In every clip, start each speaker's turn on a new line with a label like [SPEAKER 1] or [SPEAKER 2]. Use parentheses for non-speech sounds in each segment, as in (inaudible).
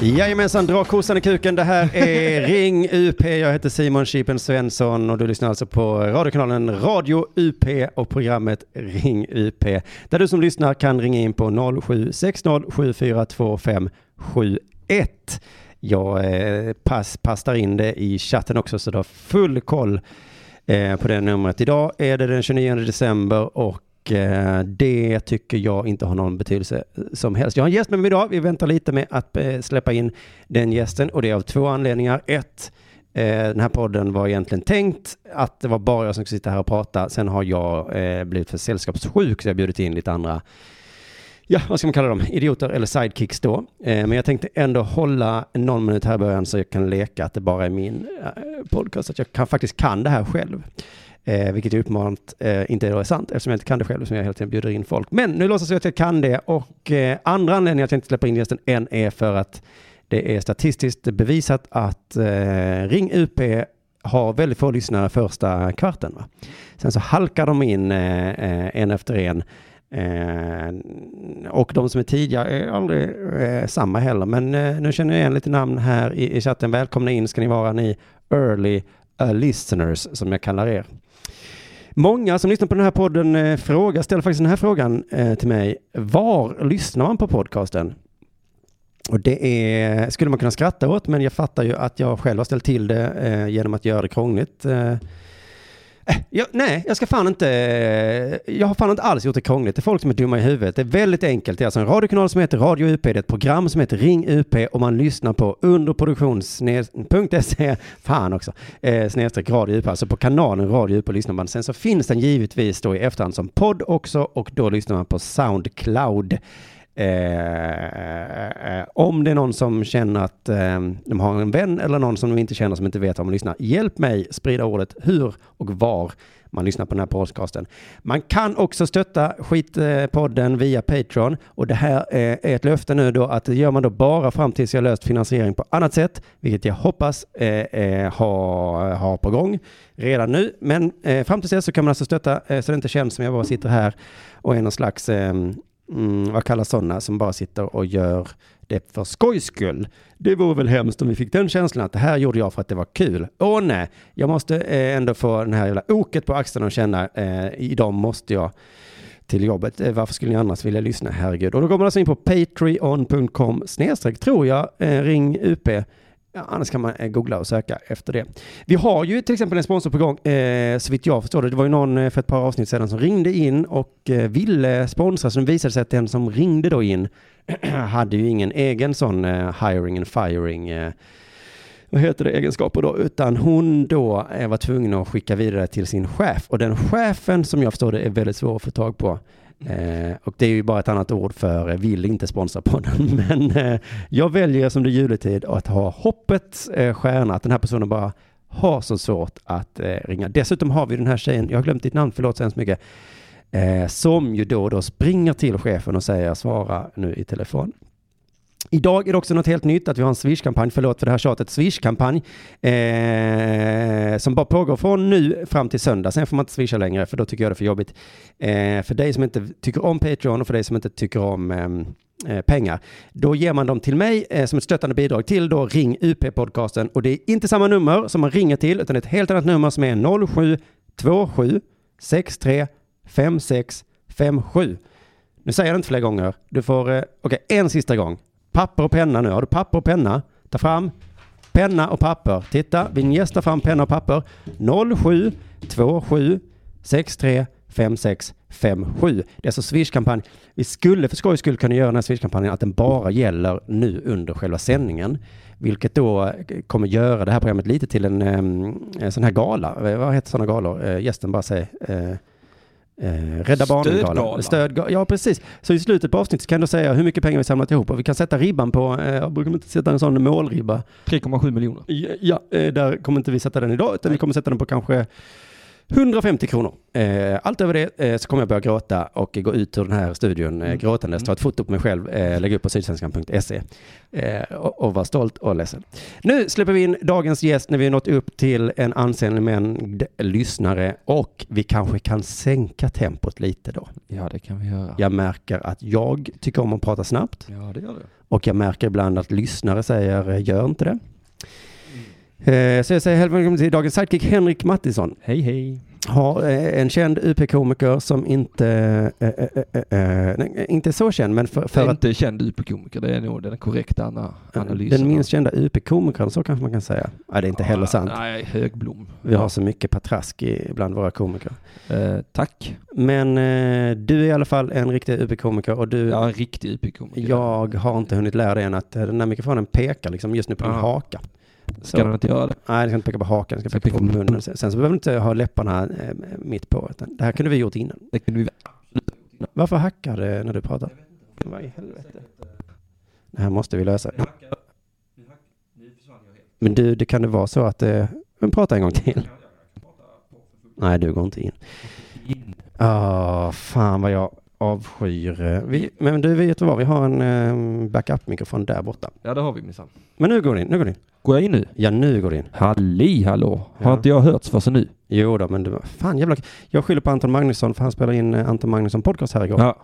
[SPEAKER 1] Jajamensan, dra kossan i kuken. Det här är Ring UP. Jag heter Simon Chipen Svensson och du lyssnar alltså på radiokanalen Radio UP och programmet Ring UP. Där du som lyssnar kan ringa in på 0760-742571. Jag eh, pass, pastar in det i chatten också så du har full koll eh, på det numret. Idag är det den 29 december och och eh, det tycker jag inte har någon betydelse eh, som helst. Jag har en gäst med mig idag. Vi väntar lite med att eh, släppa in den gästen och det är av två anledningar. Ett, eh, den här podden var egentligen tänkt att det var bara jag som skulle sitta här och prata. Sen har jag eh, blivit för sällskapssjuk så jag har bjudit in lite andra Ja, vad ska man kalla dem? Idioter eller sidekicks då. Eh, men jag tänkte ändå hålla någon minut här i början så jag kan leka att det bara är min eh, podcast, att jag kan, faktiskt kan det här själv. Eh, vilket ju uppenbart eh, inte då är sant eftersom jag inte kan det själv som jag hela tiden bjuder in folk. Men nu låtsas jag att jag kan det och eh, andra anledningen att jag inte släpper in gästen än är för att det är statistiskt bevisat att eh, Ring UP har väldigt få lyssnare första kvarten. Va? Sen så halkar de in eh, eh, en efter en. Eh, och de som är tidiga är aldrig eh, samma heller. Men eh, nu känner jag igen lite namn här i, i chatten. Välkomna in ska ni vara ni early eh, listeners som jag kallar er. Många som lyssnar på den här podden eh, frågar, ställer faktiskt den här frågan eh, till mig. Var lyssnar man på podcasten? Och det är, skulle man kunna skratta åt, men jag fattar ju att jag själv har ställt till det eh, genom att göra det krångligt. Eh, Eh, Jag, nej, jag ska fan inte... eh, Jag har fan inte alls gjort det krångligt. Det är folk som är dumma i huvudet. Det är väldigt enkelt. Det är alltså en radiokanal som heter Radio UP. Det är ett program som heter Ring UP och man lyssnar på underproduktions.se, E. fan också, eh, snedstreck Radio UP. Alltså på kanalen Radio UP lyssnar man. Sen så finns den givetvis då i efterhand som podd också och då lyssnar man på Soundcloud. Eh, eh, om det är någon som känner att eh, de har en vän eller någon som de inte känner som inte vet var man lyssnar, hjälp mig sprida ordet hur och var man lyssnar på den här podcasten. Man kan också stötta Skitpodden via Patreon och det här eh, är ett löfte nu då att det gör man då bara fram tills jag löst finansiering på annat sätt, vilket jag hoppas eh, eh, ha, ha på gång redan nu. Men eh, fram tills dess så kan man alltså stötta eh, så det inte känns som jag bara sitter här och är någon slags ehm, mm, vad kallas sådana som bara sitter och gör det för skojs skull. Det vore väl hemskt om vi fick den känslan att det här gjorde jag för att det var kul. Åh nej, jag måste eh, ändå få den här jävla oket på axeln och känna eh, idag måste jag till jobbet. Eh, Varför skulle ni annars vilja lyssna? Herregud. Och då går man alltså in på patreon.com snedstreck tror jag, eh, ring UP. Ja, annars kan man eh, googla och söka efter det. Vi har ju till exempel en sponsor på gång, eh, så vitt jag förstår det. Det var ju någon eh, för ett par avsnitt sedan som ringde in och eh, ville sponsra, så det visade sig att den som ringde då in (clears throat) hade ju ingen egen sån eh, hiring and firing eh, vad heter det, egenskaper då, utan hon då eh, var tvungen att skicka vidare till sin chef och den chefen som jag förstår det är väldigt svår att få tag på. Eh, och det är ju bara ett annat ord för eh, vill inte sponsra podden. (laughs) Men eh, jag väljer som det är juletid att ha hoppets eh, stjärna, att den här personen bara har så svårt att eh, ringa. Dessutom har vi den här tjejen, jag har glömt ditt namn, förlåt så hemskt mycket, eh, som ju då och då springer till chefen och säger svara nu i telefon. Idag är det också något helt nytt att vi har en Swish-kampanj, förlåt för det här tjatet, Swish-kampanj eh, som bara pågår från nu fram till söndag. Sen får man inte swisha längre för då tycker jag det är för jobbigt. Eh, för dig som inte tycker om Patreon och för dig som inte tycker om ehm, eh, pengar. Då ger man dem till mig eh, som ett stöttande bidrag till då Ring UP-podcasten och det är inte samma nummer som man ringer till utan ett helt annat nummer som är 0727 63 56 57. Nu säger jag det inte fler gånger. Du får, eh, okej, en sista gång. Papper och penna nu. Har du papper och penna? Ta fram penna och papper. Titta, vi gästar fram penna och papper. 07 27 63 56 57. Det är alltså Swish-kampanj. Vi skulle för skojs skull kunna göra den här Swish-kampanjen att den bara gäller nu under själva sändningen. Vilket då eh, kommer göra det här programmet lite till en, em, en sån här gala. Eh, Vad heter sådana galor? Eh, Gästen bara säger. eh, Eh, Rädda Barnen-galan.
[SPEAKER 2] Stödgala.
[SPEAKER 1] Stödga- ja, precis. Så i slutet på avsnittet kan du säga hur mycket pengar vi samlat ihop och vi kan sätta ribban på, eh, jag brukar inte sätta en sån målribba.
[SPEAKER 2] 3,7 miljoner.
[SPEAKER 1] Ja, ja, eh, där kommer inte vi sätta den idag utan vi kommer sätta den på kanske 150 kronor. Eh, allt över det eh, så kommer jag börja gråta och gå ut ur den här studion eh, gråtandes, ta ett foto på mig själv, eh, lägga upp på sydsvenskan.se eh, och, och vara stolt och ledsen. Nu släpper vi in dagens gäst när vi nått upp till en ansenlig mängd lyssnare och vi kanske kan sänka tempot lite då.
[SPEAKER 2] Ja, det kan vi göra.
[SPEAKER 1] Jag märker att jag tycker om att prata snabbt
[SPEAKER 2] Ja, det gör du.
[SPEAKER 1] Och jag märker ibland att lyssnare säger, gör inte det. Eh, Så jag säger hej välkommen till dagens sidekick Henrik Mattisson.
[SPEAKER 2] Hej hej.
[SPEAKER 1] Har eh, en känd UP-komiker som inte, eh, eh, eh, eh, nej, inte är så känd, men för, för
[SPEAKER 2] För
[SPEAKER 1] att eh,
[SPEAKER 2] inte känd UP-komiker, det är nog den korrekta ana- analysen.
[SPEAKER 1] den minst kända UP-komikern, så kanske man kan säga. Nej, det är inte heller
[SPEAKER 2] Ja,
[SPEAKER 1] sant.
[SPEAKER 2] Ah, Nej, Högblom.
[SPEAKER 1] Vi har så mycket patrask i- bland våra komiker.
[SPEAKER 2] Eh, tack.
[SPEAKER 1] Men eh, du är i alla fall en riktig UP-komiker och du,
[SPEAKER 2] Jag är en riktig UP-komiker.
[SPEAKER 1] jag har inte hunnit lära dig än att eh, den här mikrofonen pekar liksom just nu på din
[SPEAKER 2] Ja.
[SPEAKER 1] haka.
[SPEAKER 2] Ska den inte göra det?
[SPEAKER 1] Nej, den ska inte peka på hakan, den ska peka på munnen. Sen sen så behöver du inte ha läpparna eh, mitt på. Utan det här kunde vi gjort innan.
[SPEAKER 2] det kan vi...
[SPEAKER 1] Varför hackar det när du pratar? Vad i helvete? Det här måste vi lösa. Men du, det kan det vara så att... eh, Men prata en gång till. Nej, du går inte in. Ah, fan vad jag avskyr. eh, Vi, men du, vet du vad? Vi har en eh, backup-mikrofon där borta.
[SPEAKER 2] Ja, det har vi minsann.
[SPEAKER 1] Men nu går det in, nu går det in.
[SPEAKER 2] Går jag in nu?
[SPEAKER 1] Ja, nu går det in.
[SPEAKER 2] Halli hallå!
[SPEAKER 1] Ja.
[SPEAKER 2] Har inte jag hörts för så nu?
[SPEAKER 1] Jo då, men det var, fan jävla... Jag skyller på Anton Magnusson för han spelade in eh, Anton Magnusson podcast här igår.
[SPEAKER 2] Ja.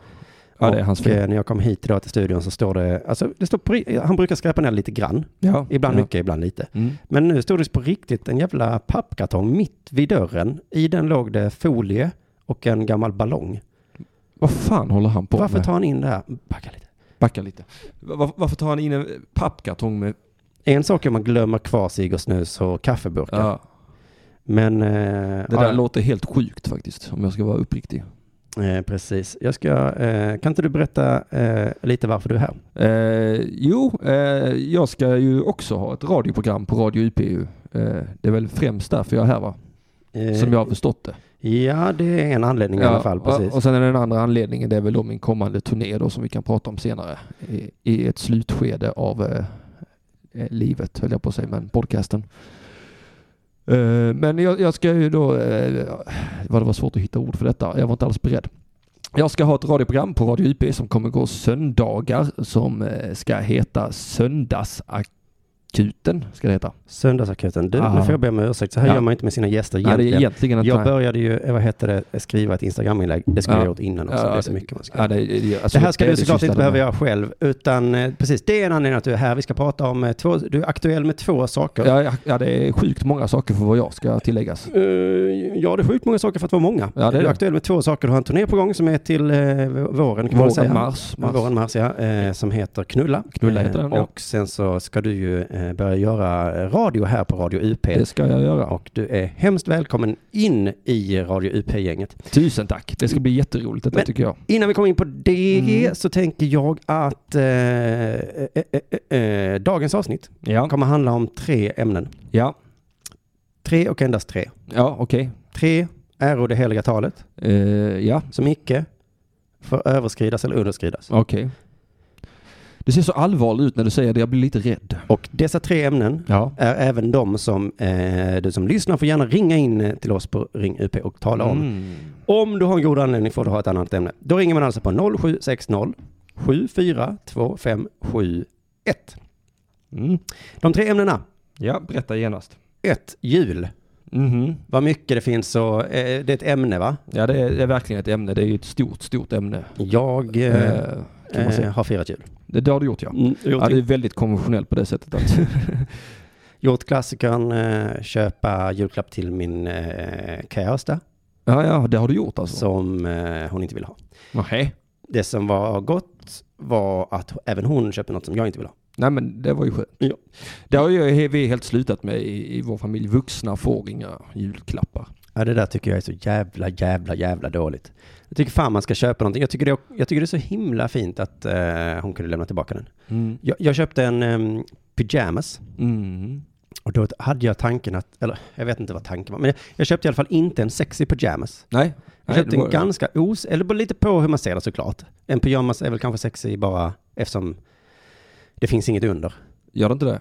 [SPEAKER 2] Ja, det är hans
[SPEAKER 1] och
[SPEAKER 2] fel.
[SPEAKER 1] eh, när jag kom hit idag till studion så står det, alltså det står på, ri- han brukar skräpa ner lite grann.
[SPEAKER 2] Ja.
[SPEAKER 1] Ibland
[SPEAKER 2] ja.
[SPEAKER 1] mycket, ibland lite.
[SPEAKER 2] Mm.
[SPEAKER 1] Men nu stod det på riktigt en jävla pappkartong mitt vid dörren. I den låg det folie och en gammal ballong.
[SPEAKER 2] Vad fan håller han på
[SPEAKER 1] Varför
[SPEAKER 2] med?
[SPEAKER 1] tar han in det här? Backa lite.
[SPEAKER 2] Backa lite. Var, varför tar han in en pappkartong med...
[SPEAKER 1] En sak är om man glömmer kvar cigg och snus och kaffeburkar.
[SPEAKER 2] Ja.
[SPEAKER 1] Men... Eh,
[SPEAKER 2] Det
[SPEAKER 1] ja,
[SPEAKER 2] där låter helt sjukt faktiskt, om jag ska vara uppriktig.
[SPEAKER 1] eh, precis. Jag ska... Eh, kan inte du berätta eh, lite varför du är här?
[SPEAKER 2] Eh, jo, eh, jag ska ju också ha ett radioprogram på Radio UP. ju. Eh, det är väl främst därför jag är här va?
[SPEAKER 1] Eh,
[SPEAKER 2] Som jag har förstått det.
[SPEAKER 1] Ja, det är en anledning i alla fall. Precis.
[SPEAKER 2] Och, och sen är den andra anledningen, det är väl då min kommande turné då som vi kan prata om senare. I, i ett slutskede av eh, eh, livet höll jag på att säga, men podcasten. Eh, men jag, jag ska ju då, eh, vad det var svårt att hitta ord för detta, jag var inte alls beredd. Jag ska ha ett radioprogram på Radio UP som kommer gå söndagar som eh, ska heta Söndagsakuten, ska det heta.
[SPEAKER 1] Söndagsakuten. Du, nu
[SPEAKER 2] Ah.
[SPEAKER 1] får jag be om ursäkt. Så här
[SPEAKER 2] Ja.
[SPEAKER 1] gör man inte med sina gäster
[SPEAKER 2] Nej, det
[SPEAKER 1] egentligen.
[SPEAKER 2] är egentligen
[SPEAKER 1] jag
[SPEAKER 2] inte...
[SPEAKER 1] började ju, eh, vad heter det, skriva ett Instagram-inlägg. Det skulle
[SPEAKER 2] Ja.
[SPEAKER 1] jag ha gjort innan också.
[SPEAKER 2] Ja,
[SPEAKER 1] det är så
[SPEAKER 2] det-
[SPEAKER 1] mycket man ska
[SPEAKER 2] Ja, det, det, alltså,
[SPEAKER 1] det här ska
[SPEAKER 2] är
[SPEAKER 1] du såklart
[SPEAKER 2] sista
[SPEAKER 1] inte
[SPEAKER 2] det med.
[SPEAKER 1] behöva göra själv, utan eh, precis, det är en anledning att du är här. Vi ska prata om eh, två, du är aktuell med två saker.
[SPEAKER 2] Ja, ja, ja, det är sjukt många saker för vad jag ska tilläggas.
[SPEAKER 1] Eh, ja, det är sjukt många saker för att vara många.
[SPEAKER 2] Ja, det är
[SPEAKER 1] du är
[SPEAKER 2] det.
[SPEAKER 1] aktuell med två saker. Du har en turné på gång som är till eh, våren, kan man
[SPEAKER 2] Våren,
[SPEAKER 1] säga.
[SPEAKER 2] mars, mars.
[SPEAKER 1] Våren, mars, ja. Eh, som heter Knulla. Eh,
[SPEAKER 2] Knulla heter den, ja.
[SPEAKER 1] Och sen så ska du ju eh, börja göra radio här på Radio UP.
[SPEAKER 2] Det ska jag göra.
[SPEAKER 1] Och du är hemskt välkommen in i Radio UP-gänget.
[SPEAKER 2] Tusen tack. Det ska bli jätteroligt detta
[SPEAKER 1] Men-
[SPEAKER 2] tycker jag.
[SPEAKER 1] Innan vi kommer in på det
[SPEAKER 2] Mm.
[SPEAKER 1] så tänker jag att eh, eh, eh, eh, eh, dagens avsnitt
[SPEAKER 2] Ja,
[SPEAKER 1] kommer handla om tre ämnen.
[SPEAKER 2] ja,
[SPEAKER 1] Tre och endast tre.
[SPEAKER 2] ja okej.
[SPEAKER 1] Tre, ära och det heliga talet,
[SPEAKER 2] Eh, ja,
[SPEAKER 1] som icke får överskridas eller underskridas.
[SPEAKER 2] okej. Du ser så allvarlig ut när du säger det. Jag blir lite rädd.
[SPEAKER 1] Och dessa tre ämnen
[SPEAKER 2] Ja.
[SPEAKER 1] är även de som eh, du som lyssnar får gärna ringa in eh, till oss på Ring UP och tala om.
[SPEAKER 2] Mm.
[SPEAKER 1] Om du har en god anledning får du ha ett annat ämne. Då ringer man alltså på 0760 742571.
[SPEAKER 2] Mm.
[SPEAKER 1] De tre ämnena.
[SPEAKER 2] Ja, berätta genast.
[SPEAKER 1] Ett, Jul.
[SPEAKER 2] Mhm.
[SPEAKER 1] Vad mycket det finns så, eh, det är ett ämne va?
[SPEAKER 2] Ja, det är, det är verkligen ett ämne. Det är ju ett stort, stort ämne.
[SPEAKER 1] Jag eh,
[SPEAKER 2] Eh, kan man säga.
[SPEAKER 1] eh, har firat jul.
[SPEAKER 2] Det, det har du gjort ja. Ja,
[SPEAKER 1] gjort,
[SPEAKER 2] det är väldigt konventionellt på det sättet. alltså. (laughs) Att,
[SPEAKER 1] gjort klassikern eh, köpa julklapp till min eh, käresta
[SPEAKER 2] ja, ja, det har du gjort alltså.
[SPEAKER 1] som eh, hon inte vill ha.
[SPEAKER 2] Nej.
[SPEAKER 1] Det som var gott var att även hon köper något som jag inte vill ha.
[SPEAKER 2] Nej men det var ju skönt.
[SPEAKER 1] Ja.
[SPEAKER 2] Det har ju vi helt slutat med i, i vår familj. Vuxna får inga julklappar.
[SPEAKER 1] Ja, det där tycker jag är så jävla, jävla, jävla dåligt. Jag tycker fan man ska köpa någonting. Jag tycker det, jag tycker det är så himla fint att eh, hon kunde lämna tillbaka den.
[SPEAKER 2] Mm.
[SPEAKER 1] Jag, jag köpte en em, pyjamas
[SPEAKER 2] Mm.
[SPEAKER 1] och då hade jag tanken att, eller jag vet inte vad tanken var, men jag, jag köpte i alla fall inte en sexy pyjamas.
[SPEAKER 2] Nej.
[SPEAKER 1] Jag
[SPEAKER 2] Nej,
[SPEAKER 1] köpte
[SPEAKER 2] det
[SPEAKER 1] en
[SPEAKER 2] var-
[SPEAKER 1] ganska os... Eller beror lite på hur man ser det såklart. En pyjamas är väl kanske sexy bara eftersom det finns inget under.
[SPEAKER 2] Gör det inte det?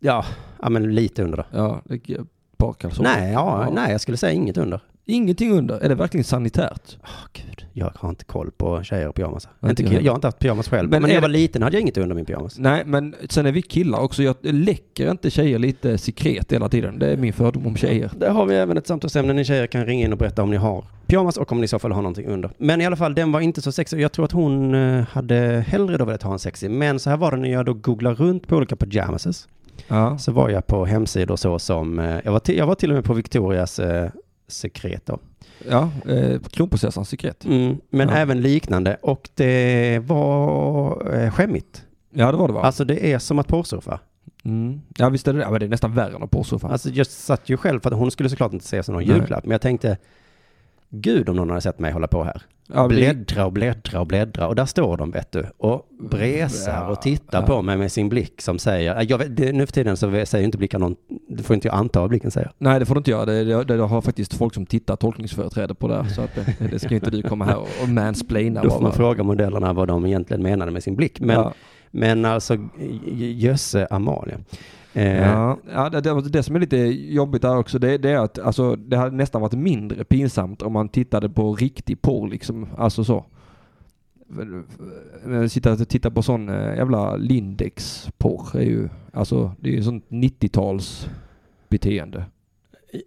[SPEAKER 1] Ja, ja men lite under då.
[SPEAKER 2] Ja, det- ett par kalsonger.
[SPEAKER 1] Nej, ja,
[SPEAKER 2] Ja.
[SPEAKER 1] nej, jag skulle säga inget under.
[SPEAKER 2] Ingenting under. Är det verkligen sanitärt?
[SPEAKER 1] Åh, gud. Jag har inte koll på tjejer och pyjamas.
[SPEAKER 2] Inte
[SPEAKER 1] Inte,
[SPEAKER 2] jag
[SPEAKER 1] jag
[SPEAKER 2] heller.
[SPEAKER 1] har inte haft pyjamas själv. Men, när
[SPEAKER 2] Men är
[SPEAKER 1] jag var
[SPEAKER 2] det-
[SPEAKER 1] liten hade jag inget under min pyjamas.
[SPEAKER 2] Nej, men sen är vi killar också. Jag läcker inte tjejer lite sekret hela tiden. Det är min fördom om tjejer.
[SPEAKER 1] Där har vi även ett samtalsämne. Ni tjejer kan ringa in och berätta om ni har pyjamas och om ni i så fall har någonting under. Men i alla fall, den var inte så sexig. Jag tror att hon eh, hade hellre då velat ha en sexig. Men så här var det när jag då googlade runt på olika pyjamases.
[SPEAKER 2] Ja.
[SPEAKER 1] Så var jag på hemsidor så som, eh, jag var till, jag var till och med på Victorias eh, sekret då.
[SPEAKER 2] Ja, eh, kronprinsessans sekret.
[SPEAKER 1] Mm, men
[SPEAKER 2] Ja.
[SPEAKER 1] även liknande. Och det var eh, skämmigt.
[SPEAKER 2] Ja, det var det va?
[SPEAKER 1] Alltså det är som att porrsurfa.
[SPEAKER 2] Mm. Ja, visst är det det. Ja, Men det är nästan värre än att porrsurfa.
[SPEAKER 1] Alltså jag satt ju själv, för att hon skulle såklart inte se som någon
[SPEAKER 2] Nej.
[SPEAKER 1] julklapp. Men jag tänkte, gud om någon hade sett mig hålla på här.
[SPEAKER 2] ja, men-
[SPEAKER 1] Bläddra och bläddra och bläddra. Och där står de, vet du. Och bresar och tittar
[SPEAKER 2] Ja.
[SPEAKER 1] på mig med sin blick som säger, jag vet, det, nu för tiden så säger ju inte blickar någon, det får inte jag anta vad blicken säger.
[SPEAKER 2] Nej, det får du inte göra. Det, det, det har faktiskt folk som tittar tolkningsföreträde på det. här, Så att det, det ska inte du komma här och, och mansplaina.
[SPEAKER 1] Då får man
[SPEAKER 2] bara.
[SPEAKER 1] fråga modellerna vad de egentligen menade med sin blick. Men,
[SPEAKER 2] Ja.
[SPEAKER 1] men alltså, j- j- jösse Amalia. Eh,
[SPEAKER 2] Ja, ja det, det, det som är lite jobbigt där också, det, det är att alltså, det hade nästan varit mindre pinsamt om man tittade på riktig porr liksom, alltså så. Men Sitta, titta på sån eh, jävla Lindex-porr är ju, alltså det är ju sånt 90-tals beteende.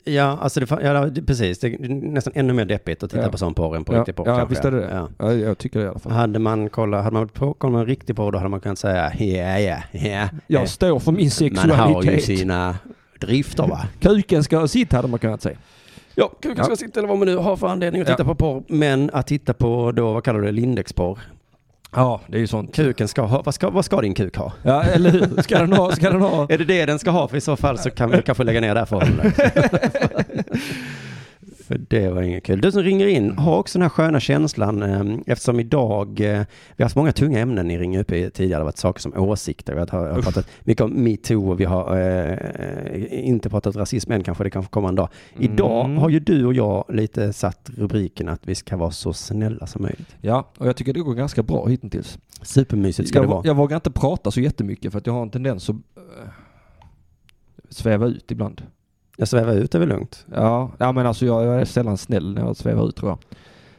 [SPEAKER 1] Ja, alltså det, fa- ja, det- precis. Det är nästan ännu mer deppigt att titta
[SPEAKER 2] Ja.
[SPEAKER 1] på sån porr än på
[SPEAKER 2] Ja.
[SPEAKER 1] riktig porr.
[SPEAKER 2] Ja,
[SPEAKER 1] kanske.
[SPEAKER 2] visst är det det.
[SPEAKER 1] Ja.
[SPEAKER 2] Ja, jag tycker det i alla fall.
[SPEAKER 1] Hade man kollat, hade man på- kollat med en riktig porr då hade man kunnat säga ja, ja, ja.
[SPEAKER 2] Jag står för min
[SPEAKER 1] Eh, Man har ju
[SPEAKER 2] sexualitet.
[SPEAKER 1] sina drifter va?
[SPEAKER 2] Kuken ska ha sitt hade man kunnat säga.
[SPEAKER 1] Ja, kuken
[SPEAKER 2] ska
[SPEAKER 1] sitta eller vad man nu har för anledning
[SPEAKER 2] att titta
[SPEAKER 1] på porr. Men att titta på då, vad kallar du det, Lindexporr?
[SPEAKER 2] Ja, det är ju sånt.
[SPEAKER 1] Kuken ska ha, vad ska, vad ska din kuk ha?
[SPEAKER 2] Ja, eller hur? Ska den ha, ska den (laughs) ha
[SPEAKER 1] Är det det den ska ha? För i så fall så kan vi kanske lägga ner det här förhållandet.
[SPEAKER 2] (laughs)
[SPEAKER 1] För det var inget kul. Du som ringer in, har också den här sköna känslan eh, eftersom idag, eh, vi har haft många tunga ämnen i Ring UP tidigare. Det har varit saker som åsikter. Vi har, har
[SPEAKER 2] Usch.
[SPEAKER 1] pratat mycket om metoo och vi har eh, inte pratat rasism än kanske. Det kanske kommer en dag. Idag
[SPEAKER 2] Mm.
[SPEAKER 1] har ju du och jag lite satt rubriken att vi ska vara så snälla som möjligt.
[SPEAKER 2] Ja, och jag tycker det går ganska bra hittills.
[SPEAKER 1] Supermysigt ska
[SPEAKER 2] Jag,
[SPEAKER 1] det vara.
[SPEAKER 2] jag vågar inte prata så jättemycket för att jag har en tendens att eh, sväva ut ibland.
[SPEAKER 1] Jag svävar ut, det är väl lugnt.
[SPEAKER 2] Ja, ja men alltså jag, jag är sällan snäll när jag svävar ut tror jag.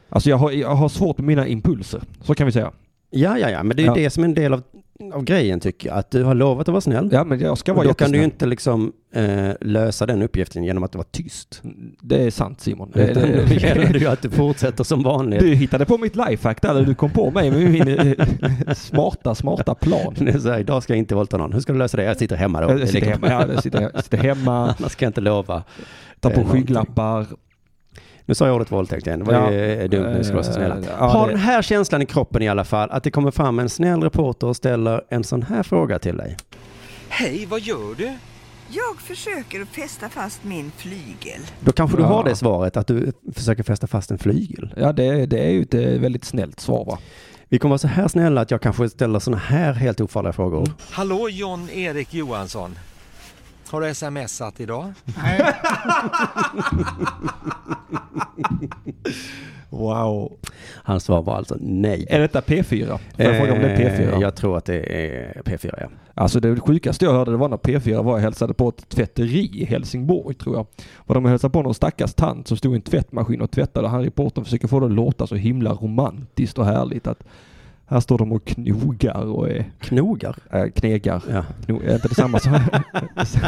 [SPEAKER 2] Alltså jag har, jag har svårt med mina impulser, så kan vi säga.
[SPEAKER 1] Ja, ja, ja, men det är ju
[SPEAKER 2] Ja.
[SPEAKER 1] det som är en del av, av grejen tycker jag. Att du har lovat att vara snäll.
[SPEAKER 2] Ja men jag ska
[SPEAKER 1] Och
[SPEAKER 2] vara
[SPEAKER 1] då kan du ju
[SPEAKER 2] jättesnäll.
[SPEAKER 1] inte liksom eh, lösa den uppgiften genom att vara tyst.
[SPEAKER 2] Det är sant Simon. Det,
[SPEAKER 1] Utan
[SPEAKER 2] det,
[SPEAKER 1] då (laughs) gäller
[SPEAKER 2] det,
[SPEAKER 1] det ju att du fortsätter som vanligt.
[SPEAKER 2] (laughs) du hittade på mitt lifehack där, eller du kom på mig med min eh, smarta, smarta plan.
[SPEAKER 1] Det är så här, idag ska jag inte våldta någon. Hur ska du lösa det? Jag sitter hemma då. Det är liksom-
[SPEAKER 2] Jag Eh, sitter
[SPEAKER 1] lika-
[SPEAKER 2] hemma, ja, jag sitter,
[SPEAKER 1] (laughs)
[SPEAKER 2] sitter hemma
[SPEAKER 1] Annars ska jag inte lova.
[SPEAKER 2] tar
[SPEAKER 1] Eh,
[SPEAKER 2] på
[SPEAKER 1] någonting.
[SPEAKER 2] skygglappar.
[SPEAKER 1] Nu sa jag ordet våldtäkt igen. Det var ju
[SPEAKER 2] Ja.
[SPEAKER 1] eh, dumt. Nu ska vara så snälla.
[SPEAKER 2] Eh, ja,
[SPEAKER 1] Ha
[SPEAKER 2] det-
[SPEAKER 1] den här känslan i kroppen i alla fall. Att det kommer fram en snäll reporter och ställer en sån här fråga till dig.
[SPEAKER 3] Hej, vad gör du?
[SPEAKER 4] Jag försöker att fästa fast min flygel.
[SPEAKER 1] Då kanske du
[SPEAKER 2] Ja.
[SPEAKER 1] har det svaret att du försöker fästa fast en flygel.
[SPEAKER 2] Ja, det, det är ju ett eh, väldigt snällt svar va?
[SPEAKER 1] Vi kommer vara så här snälla att jag kanske ställer såna här helt ofarliga frågor.
[SPEAKER 2] Mm.
[SPEAKER 3] Hallå John-Erik Johansson. Har du smsat idag?
[SPEAKER 2] Wow.
[SPEAKER 1] Hans svar var alltså nej.
[SPEAKER 2] Är detta P4? Får jag fråga om det är P4?
[SPEAKER 1] Eh, Jag tror att det är P4, ja.
[SPEAKER 2] Alltså det sjukaste jag hörde det var när P4 var och hälsade på ett tvätteri i Helsingborg tror jag. Var de och hälsade på någon stackars tant som stod i en tvättmaskin och tvättade. Han reportern försöker få det att låta så himla romantiskt och härligt att här står de och knogar och är,
[SPEAKER 1] Knogar.
[SPEAKER 2] äh, knegar. (laughs)
[SPEAKER 1] Ja.
[SPEAKER 2] Kno, är inte detsamma som...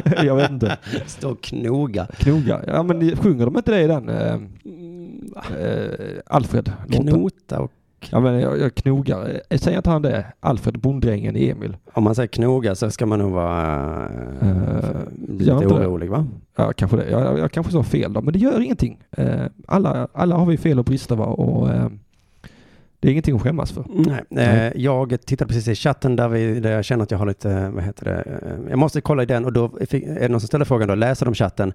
[SPEAKER 2] (laughs) jag vet inte.
[SPEAKER 1] Står knoga.
[SPEAKER 2] Knogar. Ja men ni- sjunger de inte det i den eh,
[SPEAKER 1] Mm,
[SPEAKER 2] eh, Alfred-låten?
[SPEAKER 1] Knota och...
[SPEAKER 2] Ja men jag, jag knogar. Eh, Säg inte han det. Alfred Bonddrängen i Emil.
[SPEAKER 1] Om man säger knoga så ska man nog vara eh,
[SPEAKER 2] Eh,
[SPEAKER 1] lite
[SPEAKER 2] gör inte det.
[SPEAKER 1] orolig, va?
[SPEAKER 2] Ja, kanske det. Jag, jag, jag kanske sa fel då, men det gör ingenting. Eh, alla, alla har vi fel och brister va? och eh, det är ingenting att skämmas för.
[SPEAKER 1] Nej.
[SPEAKER 2] Nej.
[SPEAKER 1] Eh, jag tittade precis i chatten där, vi, där jag känner att jag har lite, vad heter det, eh, jag måste kolla i den och då fick, är det någon som ställer frågan då, läser de chatten?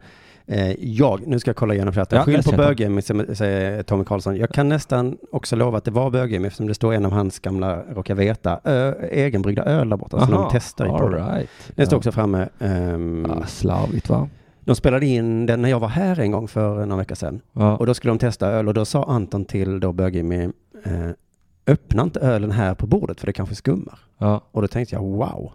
[SPEAKER 1] Eh, jag, nu ska jag kolla igenom chatten.
[SPEAKER 2] Ja,
[SPEAKER 1] Skyll
[SPEAKER 2] läs
[SPEAKER 1] på
[SPEAKER 2] chatten.
[SPEAKER 1] bög säger Tommy Karlsson. Jag kan nästan också lova att det var bög eftersom det står en av hans gamla, råkar veta, ö, egenbryggda öl där borta, som Alltså, de testar i
[SPEAKER 2] all
[SPEAKER 1] podden.
[SPEAKER 2] right.
[SPEAKER 1] Den står
[SPEAKER 2] Ja.
[SPEAKER 1] också framme. ehm,
[SPEAKER 2] Ja, ah, slarvigt va?
[SPEAKER 1] De spelade in den när jag var här en gång för några veckor sedan.
[SPEAKER 2] Ja.
[SPEAKER 1] Och då skulle de testa öl och då sa Anton till då Bög-Jimmy, eh, öppna inte ölen här på bordet för det kanske skummar.
[SPEAKER 2] Ja.
[SPEAKER 1] Och då tänkte jag, wow,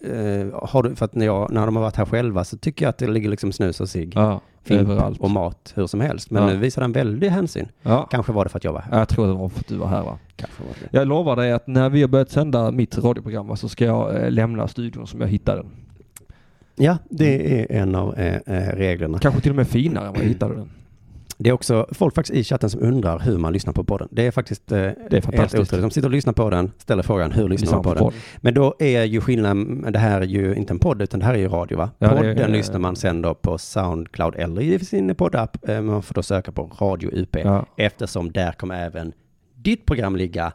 [SPEAKER 1] eh, har du, för att när, jag, när de har varit här själva så tycker jag att det ligger liksom snus och cigg,
[SPEAKER 2] Ja,
[SPEAKER 1] fimp
[SPEAKER 2] överallt.
[SPEAKER 1] och mat hur som helst. Men
[SPEAKER 2] Ja.
[SPEAKER 1] nu visar den väldig hänsyn.
[SPEAKER 2] Ja.
[SPEAKER 1] Kanske var det för att jag var här.
[SPEAKER 2] Ja, Jag tror det var för att du var här va?
[SPEAKER 1] Kanske var det.
[SPEAKER 2] Jag lovar dig att när vi har börjat sända mitt radioprogram va, så ska jag eh, lämna studion som jag hittade den.
[SPEAKER 1] Ja, det är en av eh, eh, reglerna.
[SPEAKER 2] Kanske till och med
[SPEAKER 1] (clears throat)
[SPEAKER 2] finare än vad jag hittade den.
[SPEAKER 1] Det är också folk faktiskt i chatten som undrar hur man lyssnar på podden. Det är faktiskt eh,
[SPEAKER 2] Det är
[SPEAKER 1] helt
[SPEAKER 2] fantastiskt.
[SPEAKER 1] otroligt. De sitter och lyssnar på den, ställer frågan hur lyssnar man på den?
[SPEAKER 2] podden.
[SPEAKER 1] Men då är ju skillnaden, det här är ju inte en podd utan det här är ju radio va?
[SPEAKER 2] Ja, det är-
[SPEAKER 1] Podden lyssnar man sen då på Soundcloud eller i sin poddapp. Eh, Man får då söka på Radio UP
[SPEAKER 2] Ja.
[SPEAKER 1] eftersom där kommer även ditt program ligga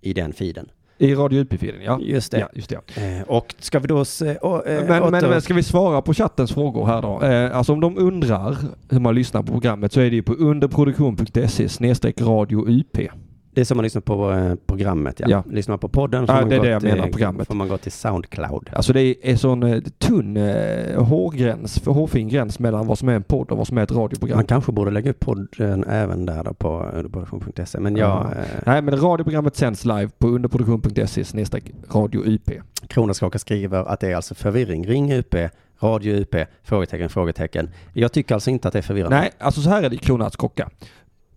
[SPEAKER 1] i den feeden.
[SPEAKER 2] I Radio Utbyfilen, ja.
[SPEAKER 1] Just det.
[SPEAKER 2] Ja, just det. Ja.
[SPEAKER 1] Eh, Och ska vi då se... och, eh,
[SPEAKER 2] Men, men,
[SPEAKER 1] åter-
[SPEAKER 2] men ska vi svara på chattens frågor här då? Eh, alltså om de undrar hur man lyssnar på programmet så är det ju på underproduktion.se snedstreck radio UP.
[SPEAKER 1] Det är som man lyssnar på eh, programmet ja.
[SPEAKER 2] Ja.
[SPEAKER 1] Lyssnar man på podden
[SPEAKER 2] Ja,
[SPEAKER 1] man
[SPEAKER 2] det är
[SPEAKER 1] gå
[SPEAKER 2] det jag
[SPEAKER 1] till-
[SPEAKER 2] menar, programmet.
[SPEAKER 1] får man gå till Soundcloud.
[SPEAKER 2] Alltså det är sån eh, tunn eh, hårgräns, för hårfin gräns mellan vad som är en podd och vad som är ett radioprogram.
[SPEAKER 1] Man kanske borde lägga upp podden även där då på underproduktion.se. Men jag,
[SPEAKER 2] Ja.
[SPEAKER 1] eh,
[SPEAKER 2] Nej men radioprogrammet sänds live på underproduktion.se snedstreck radio UP.
[SPEAKER 1] Kronenskaka skriver att det är alltså förvirring. Ring UP, radio UP, frågetecken, frågetecken. Jag tycker alltså inte att det är förvirrande.
[SPEAKER 2] Nej, alltså så här är det i Kronans Kocka.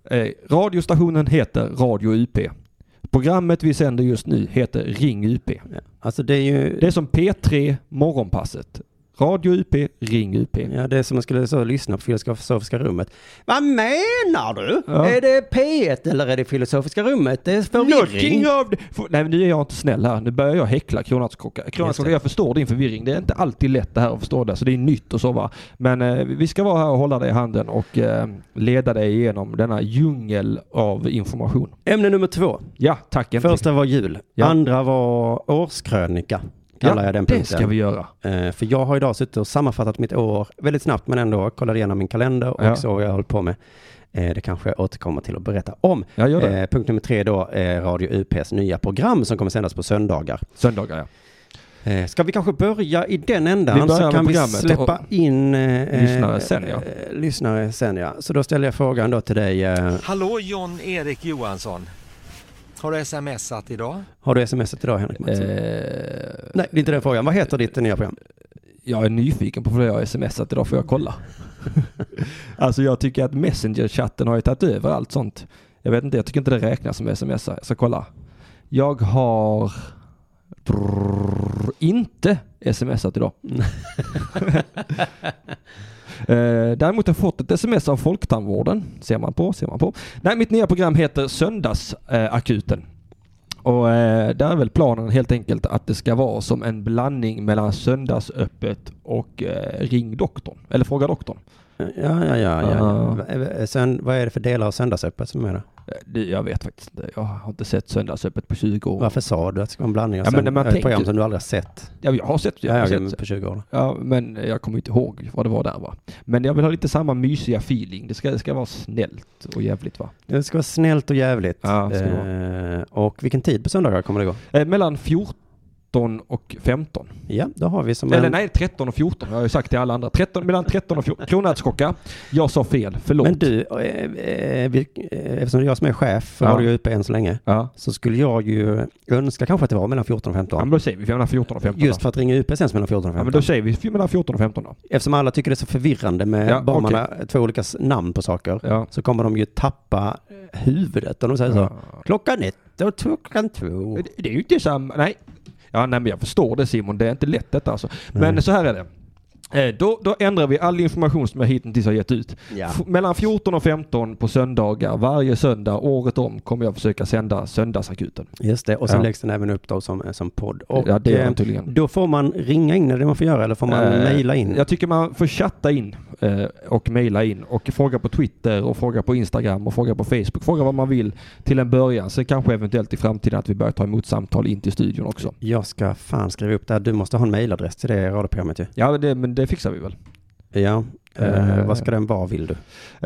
[SPEAKER 2] Eh, radiostationen heter Radio UP. Programmet vi sänder just nu heter Ring UP.
[SPEAKER 1] Alltså det är ju,
[SPEAKER 2] Det är som P3 Morgonpasset. Radio UP, Ring UP.
[SPEAKER 1] ja det är som man skulle så lyssna på Filosofiska rummet. Vad menar du?
[SPEAKER 2] Ja.
[SPEAKER 1] Är det P1 eller är det Filosofiska rummet? Det är förvirring.
[SPEAKER 2] Looking of the... F- Nej men nu är jag inte snäll här. Nu börjar jag häckla Kronans Kocka. Kronans
[SPEAKER 1] Just
[SPEAKER 2] Kocka,
[SPEAKER 1] det.
[SPEAKER 2] jag förstår din förvirring. Det är inte alltid lätt det här att förstå det. Så det är nytt och så va. Men eh, vi ska vara här och hålla dig i handen och eh, leda dig igenom denna djungel av information.
[SPEAKER 1] Ämne nummer två.
[SPEAKER 2] Ja, tack. äntligen.
[SPEAKER 1] Första var jul.
[SPEAKER 2] Ja.
[SPEAKER 1] Andra var årskrönika. Kallar jag den
[SPEAKER 2] det
[SPEAKER 1] punkten.
[SPEAKER 2] ska vi göra.
[SPEAKER 1] Eh, För jag har idag suttit och sammanfattat mitt år väldigt snabbt men ändå kollade igenom min kalender och
[SPEAKER 2] Ja.
[SPEAKER 1] så vad jag höll på med. Eh, Det kanske jag återkommer till att berätta om.
[SPEAKER 2] Ja, gör det.
[SPEAKER 1] Eh, punkt nummer tre då, eh, Radio UPs nya program som kommer sändas på söndagar.
[SPEAKER 2] Söndagar ja.
[SPEAKER 1] Eh, ska vi kanske börja i den
[SPEAKER 2] Vi
[SPEAKER 1] ändan
[SPEAKER 2] börjar
[SPEAKER 1] så
[SPEAKER 2] med
[SPEAKER 1] kan vi
[SPEAKER 2] programmet
[SPEAKER 1] släppa
[SPEAKER 2] och-
[SPEAKER 1] in eh,
[SPEAKER 2] Lyssnare sen, ja.
[SPEAKER 1] eh, lyssnare sen ja. Så då ställer jag frågan då till dig. Eh,
[SPEAKER 3] Hallå John-Erik Johansson. Har du smsat idag?
[SPEAKER 1] har du smsat idag Henrik Mattsson?
[SPEAKER 2] Eh,
[SPEAKER 1] Nej, det är inte den frågan. Vad heter ditt nya program?
[SPEAKER 2] jag är nyfiken på vad jag har smsat idag, får jag kolla? (laughs) alltså jag tycker att Messenger-chatten har ju tagit över allt sånt. Jag vet inte, jag tycker inte det räknas som sms. Jag ska kolla. Jag har Drrrr, inte smsat (laughs) idag. Eh, Däremot har jag fått ett sms av Folktandvården. Ser man på, ser man på. Nej, mitt nya program heter Söndagsakuten. Och eh, där är väl planen helt enkelt att det ska vara som en blandning mellan Söndagsöppet och eh, Ring doktorn. Eller Fråga doktorn.
[SPEAKER 1] Ja, ja, ja. ja. Va- Sen, vad är det för delar av Söndagsöppet som är det?
[SPEAKER 2] Eh, det- Jag vet faktiskt inte. Jag har inte sett Söndagsöppet på 20 år.
[SPEAKER 1] Varför sa du att det ska vara en blandning av
[SPEAKER 2] Ja, men när
[SPEAKER 1] sönd-
[SPEAKER 2] man
[SPEAKER 1] ett program
[SPEAKER 2] tänker-
[SPEAKER 1] som du aldrig har sett?
[SPEAKER 2] Ja, jag har sett. Jag
[SPEAKER 1] Ja,
[SPEAKER 2] har
[SPEAKER 1] ja,
[SPEAKER 2] sett
[SPEAKER 1] men på 20 år.
[SPEAKER 2] Ja, men jag kommer inte ihåg vad det var där va. Men jag vill ha lite samma mysiga feeling. Det ska, det ska vara snällt och jävligt va.
[SPEAKER 1] Det ska vara snällt och jävligt.
[SPEAKER 2] Ja, det ska det
[SPEAKER 1] eh, och vilken tid på söndagar kommer det gå?
[SPEAKER 2] Eh, mellan 14 och 15.
[SPEAKER 1] Ja, då har vi som
[SPEAKER 2] Eller
[SPEAKER 1] en...
[SPEAKER 2] nej, 13 och 14. Jag har ju sagt till alla andra. 13, mellan 13 och 14. Kronärtskocka. Jag sa fel. Förlåt.
[SPEAKER 1] Men du, eh, eh, vi, eh, eftersom det är jag som är chef för
[SPEAKER 2] Ja.
[SPEAKER 1] Radio UP än så länge,
[SPEAKER 2] Ja.
[SPEAKER 1] så skulle jag ju önska kanske att det var mellan 14 och
[SPEAKER 2] ja,
[SPEAKER 1] 15.
[SPEAKER 2] men då säger vi mellan 14 och 15.
[SPEAKER 1] Just
[SPEAKER 2] då.
[SPEAKER 1] för att ringa UP sänds mellan 14 och
[SPEAKER 2] Ja,
[SPEAKER 1] 15.
[SPEAKER 2] men då säger vi mellan 14 och 15 då.
[SPEAKER 1] Eftersom alla tycker det är så förvirrande med
[SPEAKER 2] Ja,
[SPEAKER 1] bara man har två olika s- namn på saker,
[SPEAKER 2] Ja.
[SPEAKER 1] så kommer de ju tappa eh, huvudet om de säger så.
[SPEAKER 2] Ja.
[SPEAKER 1] Klockan ett och två- klockan två.
[SPEAKER 2] Det- Det är ju inte samma... Nej. Ja, nej men jag förstår det Simon. Det är inte lätt detta alltså. Men så här är det. Eh, Då, då ändrar vi all information som jag hittills har gett ut.
[SPEAKER 1] Ja.
[SPEAKER 2] F- Mellan 14 och 15 på söndagar, varje söndag, året om, kommer jag försöka sända Söndagsakuten.
[SPEAKER 1] Just det, och sen
[SPEAKER 2] Ja.
[SPEAKER 1] läggs den även upp då som, eh, som podd. Och
[SPEAKER 2] Ja, det gör den
[SPEAKER 1] eh,
[SPEAKER 2] tydligen.
[SPEAKER 1] då får man ringa in, eller det man får göra, eller får man
[SPEAKER 2] Eh,
[SPEAKER 1] mejla in?
[SPEAKER 2] Jag tycker man får chatta in eh, och mejla in och fråga på Twitter och fråga på Instagram och fråga på Facebook. Fråga vad man vill till en början. Sen kanske eventuellt i framtiden att vi börjar ta emot samtal in till studion också.
[SPEAKER 1] Jag ska fan skriva upp det här. Du måste ha en mejladress till det radioprogrammet ju.
[SPEAKER 2] Ja, det, men det fixar vi väl.
[SPEAKER 1] Ja. Eh,
[SPEAKER 2] Eh.
[SPEAKER 1] vad ska den vara vill du?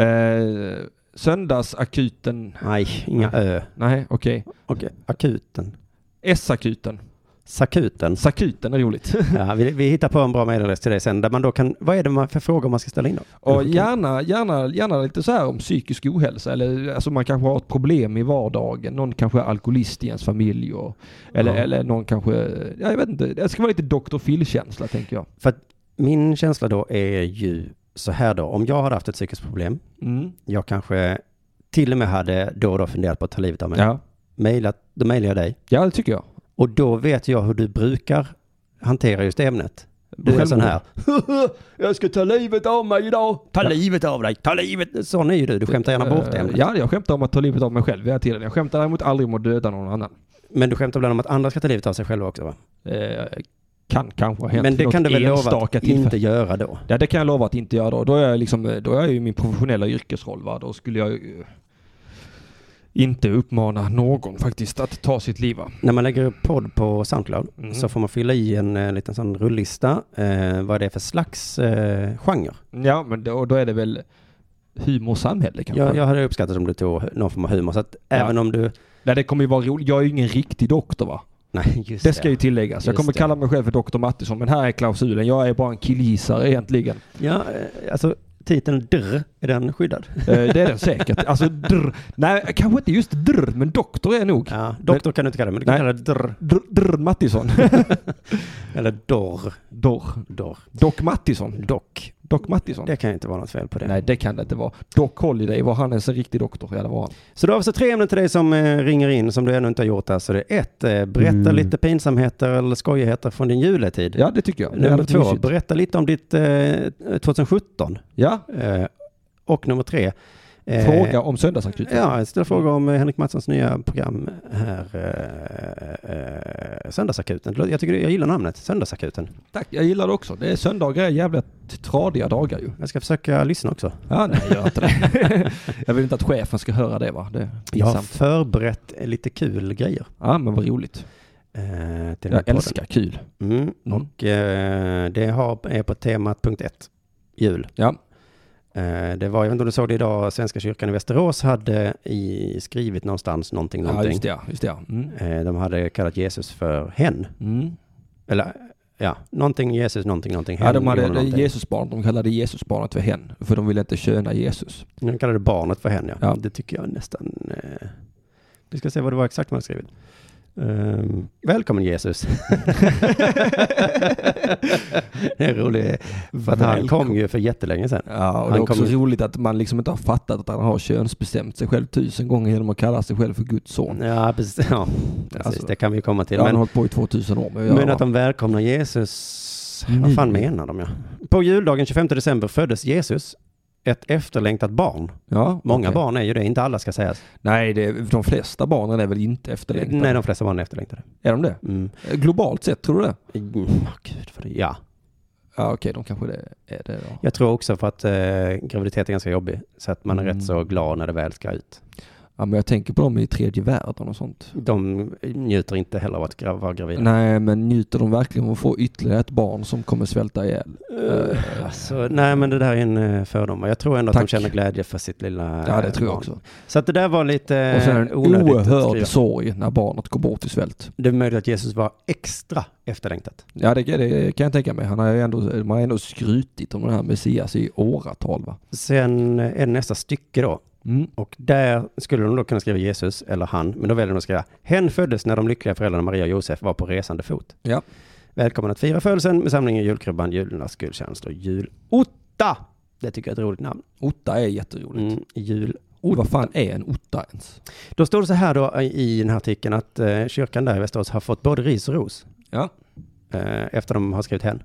[SPEAKER 2] Eh, söndagsakuten.
[SPEAKER 1] Nej, inga ö.
[SPEAKER 2] Nej, okej.
[SPEAKER 1] Okej, akuten.
[SPEAKER 2] S-akuten.
[SPEAKER 1] Sakuten.
[SPEAKER 2] Sakuten är roligt.
[SPEAKER 1] (laughs) Ja, vi, vi hittar på en bra mejladress till dig sen där man då kan, vad är det man, för frågor man ska ställa in då?
[SPEAKER 2] Och gärna, gärna, gärna lite så här om psykisk ohälsa eller alltså man kanske har ett problem i vardagen. Någon kanske är alkoholist i ens familj och, eller,
[SPEAKER 1] Ja.
[SPEAKER 2] eller någon kanske, ja, jag vet inte, det ska vara lite Dr. Phil-känsla tänker jag.
[SPEAKER 1] För att min känsla då är ju så här då, om jag hade haft ett psykiskt problem,
[SPEAKER 2] Mm.
[SPEAKER 1] jag kanske till och med hade då och då funderat på att ta livet av mig.
[SPEAKER 2] Ja.
[SPEAKER 1] Mailat, då mejlar jag dig.
[SPEAKER 2] ja, det tycker jag.
[SPEAKER 1] Och då vet jag hur du brukar hantera just det ämnet. Du är sån här.
[SPEAKER 2] (laughs) jag ska ta livet av mig idag.
[SPEAKER 1] Ta livet av dig, ta livet. Sån är ju du, du skämtar gärna bort
[SPEAKER 2] Eh,
[SPEAKER 1] ämnet.
[SPEAKER 2] Ja, jag skämtar om att ta livet av mig själv hela tiden. Jag skämtar däremot aldrig om att döda någon annan.
[SPEAKER 1] Men du skämtar ibland om att andra ska ta livet av sig själva också va?
[SPEAKER 2] Eh, kan kanske ha hänt
[SPEAKER 1] Men det
[SPEAKER 2] vid något
[SPEAKER 1] kan du väl lova
[SPEAKER 2] enstaka
[SPEAKER 1] att
[SPEAKER 2] tillfälle.
[SPEAKER 1] inte göra då?
[SPEAKER 2] Ja, det kan jag lova att inte göra då. Då är jag, liksom, då är jag ju i min professionella yrkesroll. Va? Då skulle jag ju eh, inte uppmana någon faktiskt att ta sitt liv. Va?
[SPEAKER 1] När man lägger upp podd på Soundcloud
[SPEAKER 2] Mm.
[SPEAKER 1] så får man fylla i en eh, liten sån rullista eh, vad det är för slags eh, genre.
[SPEAKER 2] Ja, men då, då är det väl humor och samhälle kanske.
[SPEAKER 1] Jag, jag hade uppskattat om du tog någon form av humor. Så att även om du...
[SPEAKER 2] Nej, det kommer ju vara roligt. Jag är ju ingen riktig doktor va?
[SPEAKER 1] Nej, just
[SPEAKER 2] Det ska ju tilläggas. Jag
[SPEAKER 1] Just
[SPEAKER 2] kommer
[SPEAKER 1] det.
[SPEAKER 2] kalla mig själv för doktor Mattisson, men här är klausulen. Jag är bara en killgissare egentligen.
[SPEAKER 1] Ja, eh, alltså titeln Drr, är den skyddad?
[SPEAKER 2] Eh, det är den
[SPEAKER 1] (laughs)
[SPEAKER 2] säkert. Alltså drr. Nej, kanske inte just drr, men doktor är nog.
[SPEAKER 1] Ja, doktor kan du inte kalla det, men du kan
[SPEAKER 2] Nej.
[SPEAKER 1] kalla det Drr.
[SPEAKER 2] Drr,
[SPEAKER 1] (laughs)
[SPEAKER 2] drr Mattisson.
[SPEAKER 1] Eller Dorr.
[SPEAKER 2] Dorr.
[SPEAKER 1] Dorr.
[SPEAKER 2] Doc Mattisson.
[SPEAKER 1] Dock.
[SPEAKER 2] Doc Mattisson.
[SPEAKER 1] Det kan ju inte vara något fel på det.
[SPEAKER 2] Nej, det kan det inte vara. Doc Holliday, var han ens en riktig doktor? Ja, det var han.
[SPEAKER 1] Så du har alltså tre ämnen till dig som eh, ringer in som du ännu inte har gjort. Alltså det är ett, eh, berätta
[SPEAKER 2] Mm.
[SPEAKER 1] lite pinsamheter eller skojigheter från din juletid.
[SPEAKER 2] Ja, det tycker jag. Det är
[SPEAKER 1] Nummer
[SPEAKER 2] lite
[SPEAKER 1] två,
[SPEAKER 2] mysigt.
[SPEAKER 1] berätta lite om ditt eh, 2017.
[SPEAKER 2] Ja,
[SPEAKER 1] Eh, och nummer tre. eh,
[SPEAKER 2] fråga om söndagsakuten.
[SPEAKER 1] Ja, ställ fråga om eh, Henrik Mattssons nya program här. Eh, eh, Söndagsakuten. Det låter- Jag, tycker, det- jag gillar namnet, Söndagsakuten.
[SPEAKER 2] Tack, jag gillar det också. Det är söndagar är jävla tradiga dagar ju.
[SPEAKER 1] Jag ska försöka lyssna också.
[SPEAKER 2] Ja, nej, gör inte (laughs) det. jag vill inte att chefen ska höra det va. Det är
[SPEAKER 1] Jag har
[SPEAKER 2] pinsamt.
[SPEAKER 1] förberett eh, lite kul grejer.
[SPEAKER 2] Ja, men vad roligt.
[SPEAKER 1] eh, till den här
[SPEAKER 2] Jag
[SPEAKER 1] podden.
[SPEAKER 2] älskar kul.
[SPEAKER 1] Mm. Och eh, det har, är på temat punkt ett, jul.
[SPEAKER 2] Ja.
[SPEAKER 1] Eh, det var, jag vet inte om du såg det idag, Svenska kyrkan i Västerås hade i, skrivit någonstans någonting,
[SPEAKER 2] Ja,
[SPEAKER 1] någonting.
[SPEAKER 2] just det ja. Just det, ja. Mm.
[SPEAKER 1] Eh, de hade kallat Jesus för hen.
[SPEAKER 2] Mm.
[SPEAKER 1] Eller ja, någonting Jesus, någonting, någonting.
[SPEAKER 2] Ja, de hade
[SPEAKER 1] gjorde
[SPEAKER 2] det är
[SPEAKER 1] någonting.
[SPEAKER 2] Jesusbarn. De kallade Jesusbarnet för hen. För de ville inte köna Jesus.
[SPEAKER 1] De kallade barnet för hen, ja.
[SPEAKER 2] Ja.
[SPEAKER 1] Det tycker jag nästan... Eh, vi ska se vad det var exakt man hade skrivit. Ehm, välkommen Jesus. (laughs) det är roligt. För att han kom ju för jättelänge sedan.
[SPEAKER 2] Ja, och
[SPEAKER 1] Han
[SPEAKER 2] det är också
[SPEAKER 1] kommer-
[SPEAKER 2] roligt att man liksom inte har fattat att han har könsbestämt sig själv tusen gånger genom att kalla sig själv för Guds son.
[SPEAKER 1] Ja, precis. Ja, precis.
[SPEAKER 2] Alltså,
[SPEAKER 1] det kan vi komma till.
[SPEAKER 2] Ja, han har
[SPEAKER 1] men
[SPEAKER 2] hållit på i 2000 år med att
[SPEAKER 1] men
[SPEAKER 2] göra,
[SPEAKER 1] att
[SPEAKER 2] va?
[SPEAKER 1] de välkomnar Jesus. Vad
[SPEAKER 2] Mm.
[SPEAKER 1] fan menar de? Ja? På juldagen 25 december föddes Jesus, ett efterlängtat barn.
[SPEAKER 2] ja,
[SPEAKER 1] Många
[SPEAKER 2] okej.
[SPEAKER 1] barn är ju det, inte alla ska sägas.
[SPEAKER 2] Nej, det är, de flesta barnen är väl inte efterlängtade?
[SPEAKER 1] Nej, de flesta barn är efterlängtade.
[SPEAKER 2] Är de det?
[SPEAKER 1] Mm.
[SPEAKER 2] Globalt sett, tror du det?
[SPEAKER 1] Mm, åh, gud, för det, ja.
[SPEAKER 2] Ja, okej, de kanske det är det då.
[SPEAKER 1] Jag tror också för att eh, graviditet är ganska jobbig, så att man är
[SPEAKER 2] Mm.
[SPEAKER 1] rätt så glad när det väl ska ut.
[SPEAKER 2] Ja, men jag tänker på dem i tredje världen och sånt.
[SPEAKER 1] De njuter inte heller av att gra- vara gravida.
[SPEAKER 2] Nej, men njuter de verkligen av att få ytterligare ett barn som kommer svälta ihjäl?
[SPEAKER 1] Eh, alltså, nej, men det där är en eh, fördom. Jag tror ändå att de
[SPEAKER 2] Tack.
[SPEAKER 1] känner glädje för sitt lilla
[SPEAKER 2] Ja, det
[SPEAKER 1] eh,
[SPEAKER 2] tror jag
[SPEAKER 1] barn.
[SPEAKER 2] också.
[SPEAKER 1] Så att det där var lite eh,
[SPEAKER 2] Och sen en
[SPEAKER 1] onödigt att skriva.
[SPEAKER 2] oerhörd sorg när barnet går bort i svält.
[SPEAKER 1] Det är möjligt att Jesus var extra efterlängtat.
[SPEAKER 2] Ja det, det kan jag tänka mig. Han har ju ändå, man har ändå skrutit om den här Messias i åratal va? Mm,
[SPEAKER 1] Sen eh, är det nästa stycke då. Och där skulle de då kunna skriva Jesus eller han, men då väljer de att skriva Hen föddes när de lyckliga föräldrarna Maria och Josef var på resande fot.
[SPEAKER 2] Ja.
[SPEAKER 1] Välkommen att fira födelsen med samlingen Julkrubban, jularnas guldkänslor, julotta. Det tycker jag är ett roligt namn.
[SPEAKER 2] Otta är jätteroligt.
[SPEAKER 1] Mm, jul.
[SPEAKER 2] Vad fan är en otta ens?
[SPEAKER 1] Då står det så här då i den här artikeln att eh, kyrkan där i Västerås har fått både ris och ros
[SPEAKER 2] Ja.
[SPEAKER 1] eh, efter de har skrivit hen.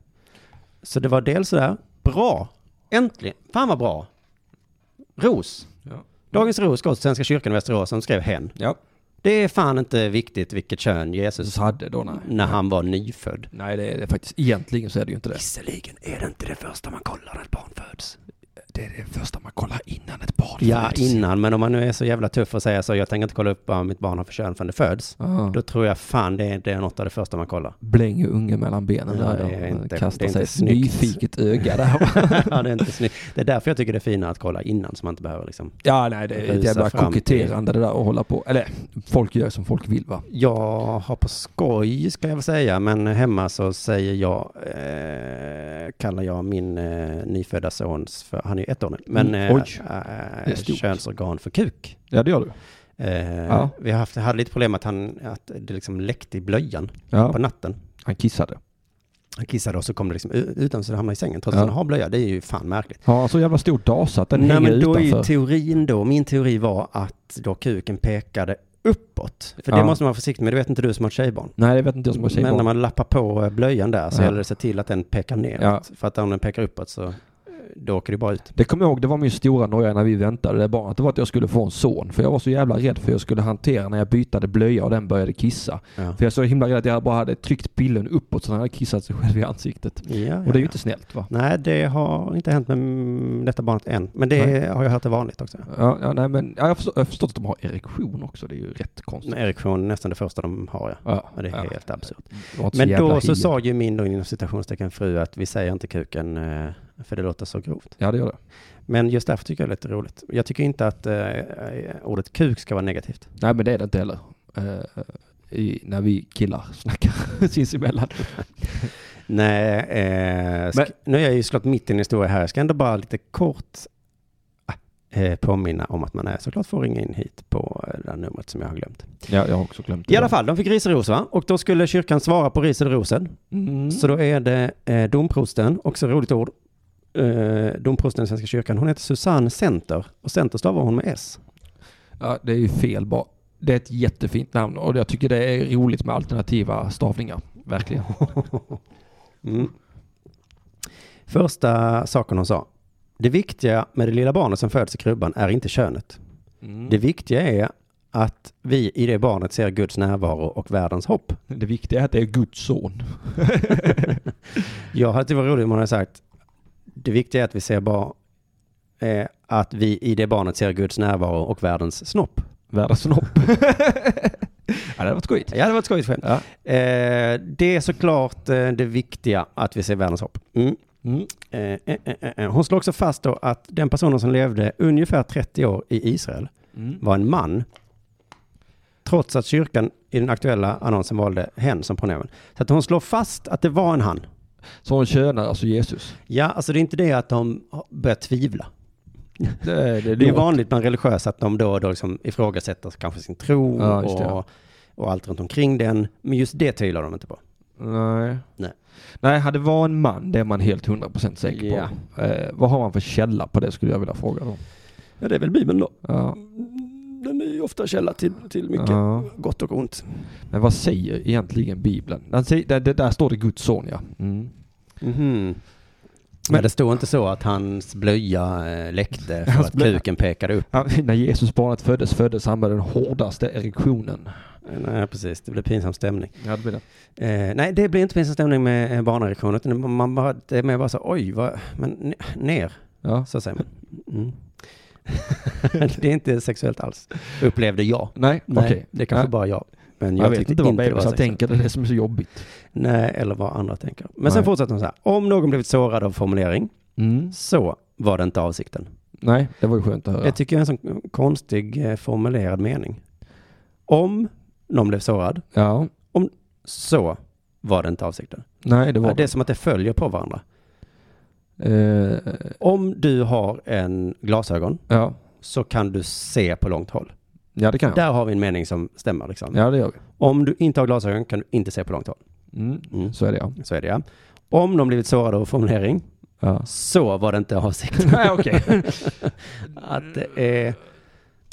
[SPEAKER 1] Så det var dels så där, bra, äntligen, fan vad bra. Ros.
[SPEAKER 2] Ja.
[SPEAKER 1] Dagens ros går till Svenska kyrkan i Västerås som skrev hen.
[SPEAKER 2] Ja.
[SPEAKER 1] Det är fan inte viktigt vilket kön Jesus
[SPEAKER 2] Så hade då nej.
[SPEAKER 1] när han var nyfödd.
[SPEAKER 2] Nej det är det faktiskt. Egentligen så är det ju inte det.
[SPEAKER 1] Visserligen är det inte det första man kollar när ett barn föds.
[SPEAKER 2] Det är det första man kollar innan ett barn
[SPEAKER 1] Ja,
[SPEAKER 2] föds.
[SPEAKER 1] innan. Men om man nu är så jävla tuff och säger så, jag tänker inte kolla upp vad mitt barn har för kön förrän det föds.
[SPEAKER 2] Ah.
[SPEAKER 1] Då tror jag fan det är, det är något av det första man kollar.
[SPEAKER 2] Blänger ungen mellan benen
[SPEAKER 1] Ja,
[SPEAKER 2] där.
[SPEAKER 1] det är
[SPEAKER 2] och
[SPEAKER 1] inte- det
[SPEAKER 2] kastar
[SPEAKER 1] är
[SPEAKER 2] sig
[SPEAKER 1] inte
[SPEAKER 2] ett
[SPEAKER 1] snyggt.
[SPEAKER 2] nyfiket öga (laughs) där.
[SPEAKER 1] (laughs) ja, det är inte snyggt. Det är därför jag tycker det är finare att kolla innan så man inte behöver liksom.
[SPEAKER 2] ja, nej, det är ett
[SPEAKER 1] Rusa
[SPEAKER 2] jävla
[SPEAKER 1] fram till-
[SPEAKER 2] koketterande det där och hålla på. Eller, folk gör som folk vill va?
[SPEAKER 1] Jag har på skoj, ska jag väl säga, men hemma så säger jag, eh, kallar jag min eh, nyfödda sons, för, han är ju ett år nu, men
[SPEAKER 2] Mm,
[SPEAKER 1] eh,
[SPEAKER 2] oj. Det är
[SPEAKER 1] eh,
[SPEAKER 2] stort.
[SPEAKER 1] könsorgan för kuk.
[SPEAKER 2] Ja, det gör du.
[SPEAKER 1] Eh,
[SPEAKER 2] Ja.
[SPEAKER 1] Vi har haft, hade lite problem med att, han, att det liksom läckte i blöjan på
[SPEAKER 2] Ja.
[SPEAKER 1] natten.
[SPEAKER 2] Han kissade.
[SPEAKER 1] Han kissade och så kom det liksom u- utan så det hamnade i sängen. Trots
[SPEAKER 2] Ja.
[SPEAKER 1] att han har blöja, det är ju fan märkligt.
[SPEAKER 2] Ja, han så jävla stor dasa att den
[SPEAKER 1] Nej,
[SPEAKER 2] hänger
[SPEAKER 1] men då är ju
[SPEAKER 2] utanför.
[SPEAKER 1] teorin då, min teori var att då kuken pekade uppåt. För
[SPEAKER 2] Ja.
[SPEAKER 1] det måste man vara försiktig med, det vet inte du som har ett tjejbarn.
[SPEAKER 2] Nej, det vet inte jag som har
[SPEAKER 1] Men när
[SPEAKER 2] tjejbarn.
[SPEAKER 1] man lappar på eh, blöjan där så
[SPEAKER 2] Ja.
[SPEAKER 1] gäller det att se till att den pekar neråt.
[SPEAKER 2] Ja.
[SPEAKER 1] För att om den pekar uppåt så eh, då åker det bara ut.
[SPEAKER 2] Det kommer jag ihåg, det var min stora noja när vi väntade det barnet. Det var att jag skulle få en son. För jag var så jävla rädd för hur jag skulle hantera när jag bytade blöja och den började kissa.
[SPEAKER 1] Ja.
[SPEAKER 2] För jag är så himla rädd att jag bara hade tryckt pillen uppåt så den hade kissat sig själv i ansiktet.
[SPEAKER 1] Ja, ja,
[SPEAKER 2] Och det är ju
[SPEAKER 1] ja.
[SPEAKER 2] inte snällt va?
[SPEAKER 1] Nej, det har inte hänt med mm, detta barnet än. Men det
[SPEAKER 2] Nej.
[SPEAKER 1] har jag hört är vanligt också.
[SPEAKER 2] Ja, ja nej men ja, jag har förstå- jag har förstått att de har erektion också. Det är ju rätt konstigt.
[SPEAKER 1] En erektion är nästan det första de har, ja.
[SPEAKER 2] Ja,
[SPEAKER 1] ja det är
[SPEAKER 2] ja.
[SPEAKER 1] helt absurt.
[SPEAKER 2] Det var inte
[SPEAKER 1] Men
[SPEAKER 2] jävla
[SPEAKER 1] då så
[SPEAKER 2] hien.
[SPEAKER 1] sa ju min, då inom citationstecken, fru att vi säger inte kuken eh, för det låter så grovt.
[SPEAKER 2] Ja det gör det.
[SPEAKER 1] Men just därför tycker jag det är lite roligt. Jag tycker inte att eh, ordet kuk ska vara negativt.
[SPEAKER 2] Nej men det är det inte heller. Eh, i, när vi killar snackar (laughs) sinsemellan.
[SPEAKER 1] Nej, eh, sk- nu är jag ju såklart mitt i en historia här. Jag ska ändå bara lite kort eh, påminna om att man är såklart får ringa in hit på eh, det där numret som jag har glömt.
[SPEAKER 2] Ja, jag har också glömt
[SPEAKER 1] I alla fall, de fick ris och ros va? Och då skulle kyrkan svara på ris eller rosen.
[SPEAKER 2] Mm.
[SPEAKER 1] Så då är det eh, domprosten, också roligt ord. Eh, domprosten i Svenska kyrkan, hon heter Susanne Center. Och Center stavar hon med S. (laughs)
[SPEAKER 2] Ja, det är ju fel bara. Det är ett jättefint namn och jag tycker det är roligt med alternativa stavningar. Verkligen.
[SPEAKER 1] Mm. Första saken hon sa. Det viktiga med det lilla barnet som föds i krubban är inte könet.
[SPEAKER 2] Mm.
[SPEAKER 1] Det viktiga är att vi i det barnet ser Guds närvaro och världens hopp.
[SPEAKER 2] Det viktiga är att det är Guds son.
[SPEAKER 1] Jag hade tyckt det var roligt om hon hade sagt det viktiga är att vi ser bara eh, att vi i det barnet ser Guds närvaro och världens snopp.
[SPEAKER 2] Världens (laughs) snopp. ja, det hade varit skojigt.
[SPEAKER 1] Ja, det var ett skojigt skämt.
[SPEAKER 2] Ja.
[SPEAKER 1] Eh, det är såklart eh, det viktiga att vi ser världens hopp. Mm.
[SPEAKER 2] Mm.
[SPEAKER 1] Eh, eh, eh, eh, eh. Hon slog också fast då att den personen som levde ungefär 30 år i Israel
[SPEAKER 2] Mm.
[SPEAKER 1] var en man. Trots att kyrkan i den aktuella annonsen valde hen som pronomen. Så att hon slår fast att det var en han.
[SPEAKER 2] Så hon könar alltså Jesus.
[SPEAKER 1] Ja, alltså det är inte det att de har börjat tvivla.
[SPEAKER 2] Det, är- det,
[SPEAKER 1] Det är ju
[SPEAKER 2] låter-
[SPEAKER 1] vanligt bland religiösa att de då och då liksom ifrågasätter kanske sin tro
[SPEAKER 2] Ja, just det.
[SPEAKER 1] och, och allt runt omkring den. Men just det tvivlar de inte på.
[SPEAKER 2] Nej.
[SPEAKER 1] Nej.
[SPEAKER 2] Nej, hade var en man, det är man helt 100% säker på. Eh, vad har man för källa på det skulle jag vilja fråga då.
[SPEAKER 1] Ja, det är väl Bibeln då.
[SPEAKER 2] Ja.
[SPEAKER 1] Den är ju ofta källa till, till
[SPEAKER 2] Ja.
[SPEAKER 1] gott och ont.
[SPEAKER 2] Men vad säger egentligen Bibeln? Den säger, där, där- där står det Guds son ja. Mm.
[SPEAKER 1] Men Mhm. det står inte så att hans blöja eh, läckte för
[SPEAKER 2] Hans
[SPEAKER 1] att
[SPEAKER 2] blöja.
[SPEAKER 1] kuken pekade upp.
[SPEAKER 2] Ja, (laughs) när Jesus barnet föddes föddes han med den hårdaste erektionen.
[SPEAKER 1] Nej, precis. Det blev pinsam stämning.
[SPEAKER 2] Ja, det blir det.
[SPEAKER 1] Eh, nej, det blir inte pinsam stämning med eh, barnreaktion, utan man bara, det är mer bara så, oj, vad, men ne- ner,
[SPEAKER 2] Ja.
[SPEAKER 1] så säger man.
[SPEAKER 2] (laughs)
[SPEAKER 1] Mm. det är inte sexuellt alls, upplevde jag.
[SPEAKER 2] Nej,
[SPEAKER 1] Nej,
[SPEAKER 2] okej.
[SPEAKER 1] det är kanske
[SPEAKER 2] Nej.
[SPEAKER 1] bara jag. Men jag,
[SPEAKER 2] Jag, vet
[SPEAKER 1] tyckte
[SPEAKER 2] inte vad
[SPEAKER 1] det var
[SPEAKER 2] bebisar
[SPEAKER 1] sexuellt.
[SPEAKER 2] tänker, det är det som är så jobbigt.
[SPEAKER 1] Nej, eller vad andra tänker. Men
[SPEAKER 2] Nej.
[SPEAKER 1] sen fortsätter hon så här. Om någon blivit sårad av formulering,
[SPEAKER 2] Mm.
[SPEAKER 1] så var det inte avsikten.
[SPEAKER 2] Nej, det var ju skönt att höra.
[SPEAKER 1] Det tycker jag är en sån konstig eh, formulerad mening. Om någon blev sårad,
[SPEAKER 2] Ja.
[SPEAKER 1] så var det inte avsikten.
[SPEAKER 2] Nej, det var
[SPEAKER 1] Ja, det är som att det följer på varandra.
[SPEAKER 2] Eh,
[SPEAKER 1] Om du har en glasögon
[SPEAKER 2] ja.
[SPEAKER 1] så kan du se på långt håll.
[SPEAKER 2] ja, det kan jag.
[SPEAKER 1] Där har vi en mening som stämmer. Liksom.
[SPEAKER 2] Ja, det gör vi.
[SPEAKER 1] Om du inte har glasögon kan du inte se på långt håll.
[SPEAKER 2] Mm.
[SPEAKER 1] Mm.
[SPEAKER 2] Så är det ja.
[SPEAKER 1] Så är det ja. Om någon blivit sårad av formulering,
[SPEAKER 2] ja.
[SPEAKER 1] så var det inte avsikten.
[SPEAKER 2] (laughs) Nej, okej.
[SPEAKER 1] (laughs) Att det är...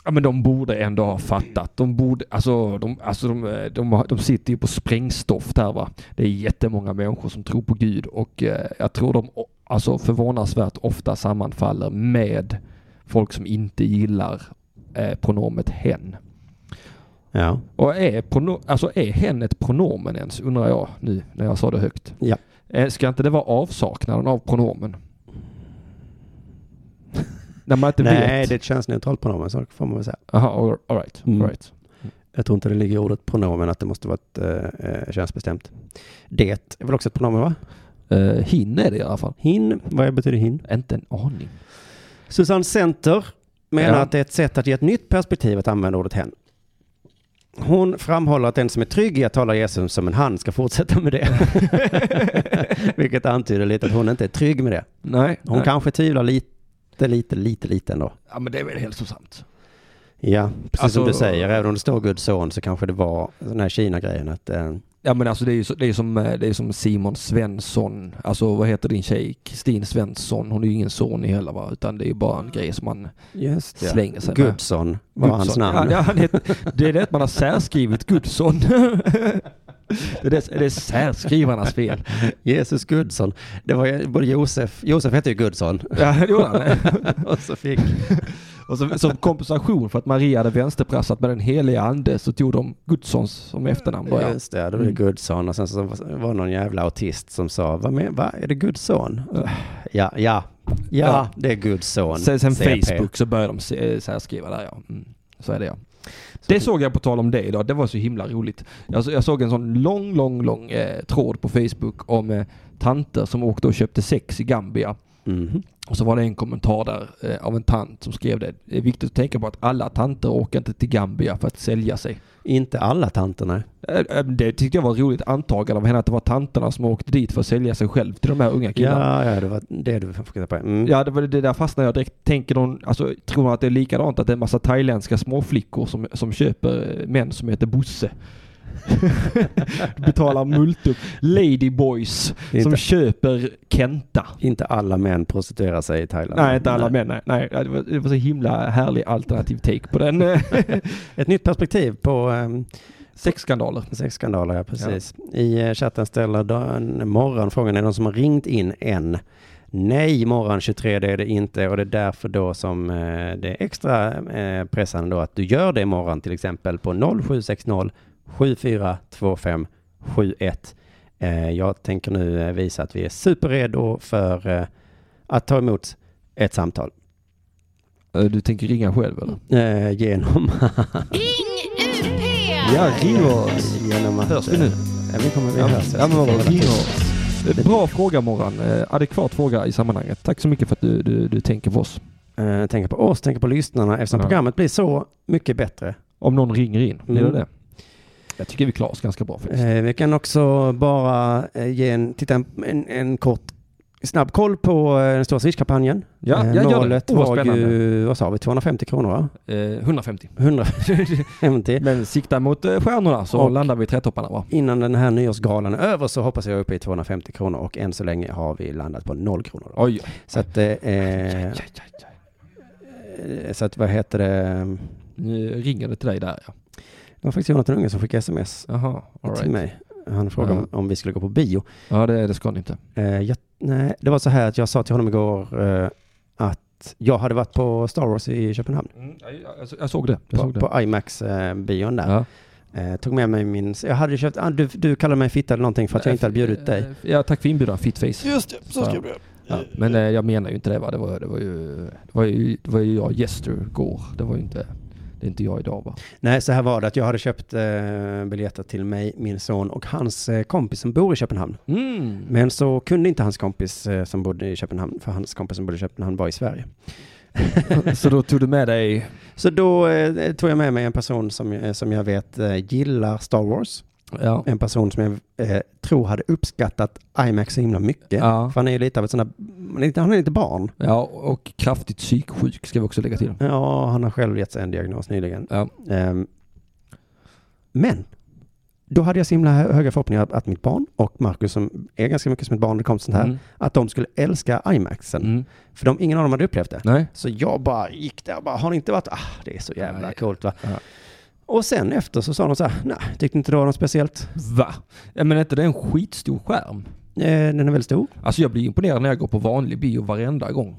[SPEAKER 2] Ja men de borde ändå ha fattat. De borde, alltså de, alltså de, eh, de, har- de sitter ju på sprängstoff där va. Det är jättemånga människor som tror på Gud och eh, jag tror de o- alltså förvånansvärt ofta sammanfaller med folk som inte gillar eh, pronomet hen.
[SPEAKER 1] Ja.
[SPEAKER 2] Och är, prono, alltså är hen ett pronomen ens undrar jag nu när jag sa det högt.
[SPEAKER 1] Ja.
[SPEAKER 2] Eh, ska inte det vara avsaknaden av pronomen? När man inte
[SPEAKER 1] Nej,
[SPEAKER 2] Nej,
[SPEAKER 1] det är
[SPEAKER 2] vet.
[SPEAKER 1] ett könsneutralt pronomen, så får man väl säga.
[SPEAKER 2] Jaha, all, all right.
[SPEAKER 1] Mm.
[SPEAKER 2] All right.
[SPEAKER 1] Jag tror inte det ligger i ordet pronomen att det måste vara ett eh, eh, könsbestämt. Det är väl också ett pronomen va?
[SPEAKER 2] Eh, hin är det i alla fall.
[SPEAKER 1] Hin, vad betyder hin?
[SPEAKER 2] Inte en aning.
[SPEAKER 1] Susanne Center menar
[SPEAKER 2] Ja.
[SPEAKER 1] att det är ett sätt att ge ett nytt perspektiv att använda ordet hen. Hon framhåller att den som är trygg i att tala Jesus som en han ska fortsätta med
[SPEAKER 2] (laughs)
[SPEAKER 1] det. Vilket antyder lite att hon inte är trygg med det.
[SPEAKER 2] Nej.
[SPEAKER 1] Hon
[SPEAKER 2] nej.
[SPEAKER 1] kanske tvivlar lite, lite, lite, lite ändå.
[SPEAKER 2] Ja, men det är väl hälsosamt.
[SPEAKER 1] Ja, precis som du
[SPEAKER 2] Alltså-
[SPEAKER 1] säger, även om det står Guds son så kanske det var den här Kina-grejen att eh,
[SPEAKER 2] Ja men alltså det är ju så, det är som, eh, det är som Simon Svensson, alltså vad heter din tjej? Kristin Svensson, hon är ju ingen son i heller va? Utan det är ju bara en grej som man
[SPEAKER 1] just det.
[SPEAKER 2] slänger sig med.
[SPEAKER 1] Gudson var hans
[SPEAKER 2] Gudsson.
[SPEAKER 1] namn.
[SPEAKER 2] Ja, ja, det, det är det att man har särskrivit (laughs) Gudsson. Det är, det, det är särskrivarnas fel.
[SPEAKER 1] Jesus Gudson. Det var ju både Josef, Josef hette ju
[SPEAKER 2] (laughs)
[SPEAKER 1] Gudson.
[SPEAKER 2] Ja, det gjorde han.
[SPEAKER 1] Och så fick,
[SPEAKER 2] Och som, som kompensation för att Maria hade vänsterprassat med den heliga ande så tog de Gudssons som efternamn då ja.
[SPEAKER 1] just det, det var det
[SPEAKER 2] Mm.
[SPEAKER 1] Gudson. Och sen så var det någon jävla autist som sa, vad med, va? Är det Gudson? Ja, ja, ja,
[SPEAKER 2] Ja.
[SPEAKER 1] det är Gudson.
[SPEAKER 2] Sen, sen
[SPEAKER 1] CP.
[SPEAKER 2] Facebook så började de se- eh, särskriva där ja. Mm. Så är det ja. Det såg jag på tal om det idag, det var så himla roligt. Jag, så- jag såg en sån lång, lång, lång eh, tråd på Facebook om eh, tanter som åkte och köpte sex i Gambia.
[SPEAKER 1] Mhm.
[SPEAKER 2] Och så var det en kommentar där eh, av en tant som skrev det. Det är viktigt att tänka på att alla tanter åker inte till Gambia för att sälja sig.
[SPEAKER 1] Inte alla tanterna.
[SPEAKER 2] Eh, eh, Det tyckte jag var ett roligt antagande av henne att det var tanterna som åkte dit för att sälja sig själv till de här unga killarna.
[SPEAKER 1] Ja, ja, det var det du fokuserade på. Mm.
[SPEAKER 2] Ja, det var det där fastnade jag direkt. Tänker någon, alltså tror hon att det är likadant? Att det är en massa thailändska småflickor som, som köper eh, män som heter Bosse? (laughs) Betalar multum. Ladyboys som
[SPEAKER 1] Inte,
[SPEAKER 2] köper Kenta.
[SPEAKER 1] inte alla män prostituerar sig i Thailand.
[SPEAKER 2] Nej, inte alla män. Nej, nej. Det, var, det var så himla härlig alternativ take på den. (laughs)
[SPEAKER 1] Ett nytt perspektiv på ehm,
[SPEAKER 2] Sexskandaler.
[SPEAKER 1] Sexskandaler, ja precis. I eh, chatten ställer Dan Morran frågan, är det någon som har ringt in än? Nej, Morran 23 det är det inte och det är därför då som eh, det är extra eh, pressande då att du gör det Morran till exempel på 0760 7425 71. Eh, Jag tänker nu eh, visa att vi är superredo för eh, att ta emot ett samtal
[SPEAKER 2] Eh, Du tänker ringa själv eller?
[SPEAKER 1] eh, genom (laughs)
[SPEAKER 5] Ring UP!
[SPEAKER 2] Ja, ring oss.
[SPEAKER 1] Genom att,
[SPEAKER 2] Hörs vi nu?
[SPEAKER 1] eh, Ja, vi kommer, vi
[SPEAKER 2] Ja,
[SPEAKER 1] hörs.
[SPEAKER 2] ja, men vad bra. Ring oss. Eh, Bra fråga Morran. Eh, Adekvat fråga i sammanhanget. Tack så mycket för att du, du, du tänker på oss.
[SPEAKER 1] Eh, tänka på oss, tänka på lyssnarna eftersom
[SPEAKER 2] Ja.
[SPEAKER 1] programmet blir så mycket bättre.
[SPEAKER 2] Om någon ringer in.
[SPEAKER 1] Mm.
[SPEAKER 2] Gör det? Jag tycker vi klarar oss ganska bra faktiskt.
[SPEAKER 1] Eh, vi kan också bara eh, ge en, titta en, en, en kort snabb koll på eh, den stora Swish-kampanjen.
[SPEAKER 2] Ja,
[SPEAKER 1] Eh,
[SPEAKER 2] jag gör
[SPEAKER 1] Målet
[SPEAKER 2] det. Åh,
[SPEAKER 1] var
[SPEAKER 2] vad spännande.
[SPEAKER 1] ju, vad sa vi, 250 kronor va?
[SPEAKER 2] Eh, 150. (laughs)
[SPEAKER 1] 150.
[SPEAKER 2] Men sikta mot eh, stjärnorna så
[SPEAKER 1] Och-
[SPEAKER 2] landar vi i trätopparna va?
[SPEAKER 1] Innan den här nyårsgalan är över så hoppas jag uppe i 250 kronor och än så länge har vi landat på 0 kronor. Då.
[SPEAKER 2] Oj.
[SPEAKER 1] Så att, eh, eh, så att vad heter det?
[SPEAKER 2] Nu ringer det till dig där ja.
[SPEAKER 1] Det var faktiskt Jonathan Unge som skickade sms
[SPEAKER 2] Jaha, all
[SPEAKER 1] till
[SPEAKER 2] right.
[SPEAKER 1] mig. Han frågade om, om vi skulle gå på bio.
[SPEAKER 2] Ja det, det ska ni inte.
[SPEAKER 1] Eh, jag, nej, det var så här att jag sa till honom igår eh, att jag hade varit på Star Wars i Köpenhamn.
[SPEAKER 6] Mm,
[SPEAKER 2] jag,
[SPEAKER 6] alltså,
[SPEAKER 2] såg det. Jag
[SPEAKER 1] På,
[SPEAKER 2] såg det.
[SPEAKER 1] på IMAX-bion där.
[SPEAKER 2] Ja.
[SPEAKER 1] Eh, tog med mig min... Jag hade ju köpt... ah, Du, du kallade mig fitta eller någonting för att jag inte hade
[SPEAKER 2] eh,
[SPEAKER 1] bjudit dig.
[SPEAKER 2] Ja, tack för inbjudan, fitface.
[SPEAKER 6] Just det, så skrev jag.
[SPEAKER 2] Ja, men eh, jag menar ju inte det va? Det var, det var, ju, det var, ju, det var ju jag Jester går. Det var ju inte, det är inte jag idag va?
[SPEAKER 1] Nej, så här var det att jag hade köpt eh, biljetter till mig, min son och hans eh, kompis som bor i Köpenhamn.
[SPEAKER 2] Mm.
[SPEAKER 1] Men så kunde inte hans kompis eh, som bodde i Köpenhamn, för hans kompis som bodde i Köpenhamn var i Sverige.
[SPEAKER 2] (laughs) Så då tog du med dig...
[SPEAKER 1] Så då eh, tog jag med mig en person som, eh, som jag vet eh, gillar Star Wars.
[SPEAKER 2] Ja.
[SPEAKER 1] en person som jag eh, tror hade uppskattat IMAX så himla mycket.
[SPEAKER 2] Ja.
[SPEAKER 1] För han är ju lite av ett sånt där, han är lite- han är lite barn.
[SPEAKER 2] ja, och kraftigt psyksjuk ska vi också lägga till.
[SPEAKER 1] Ja, han har själv gett sig en diagnos nyligen.
[SPEAKER 2] Ja.
[SPEAKER 1] Ehm, men, då hade jag så himla hö- höga förhoppningar att mitt barn och Marcus som är ganska mycket som ett barn när det kommer till sånt här,
[SPEAKER 2] Mm.
[SPEAKER 1] att de skulle älska IMAXen.
[SPEAKER 2] Mm.
[SPEAKER 1] För de, ingen av dem hade upplevt det.
[SPEAKER 2] Nej.
[SPEAKER 1] Så jag bara gick där och bara, har ni inte varit, ah, det är så jävla
[SPEAKER 2] Nej.
[SPEAKER 1] coolt va.
[SPEAKER 2] Ja.
[SPEAKER 1] Och sen efter så sa de så här, nej, tyckte inte det var något speciellt.
[SPEAKER 2] Va? Ja, men är inte det en skitstor skärm?
[SPEAKER 1] Eh, den är väldigt stor.
[SPEAKER 2] Alltså jag blir imponerad när jag går på vanlig bio varenda gång.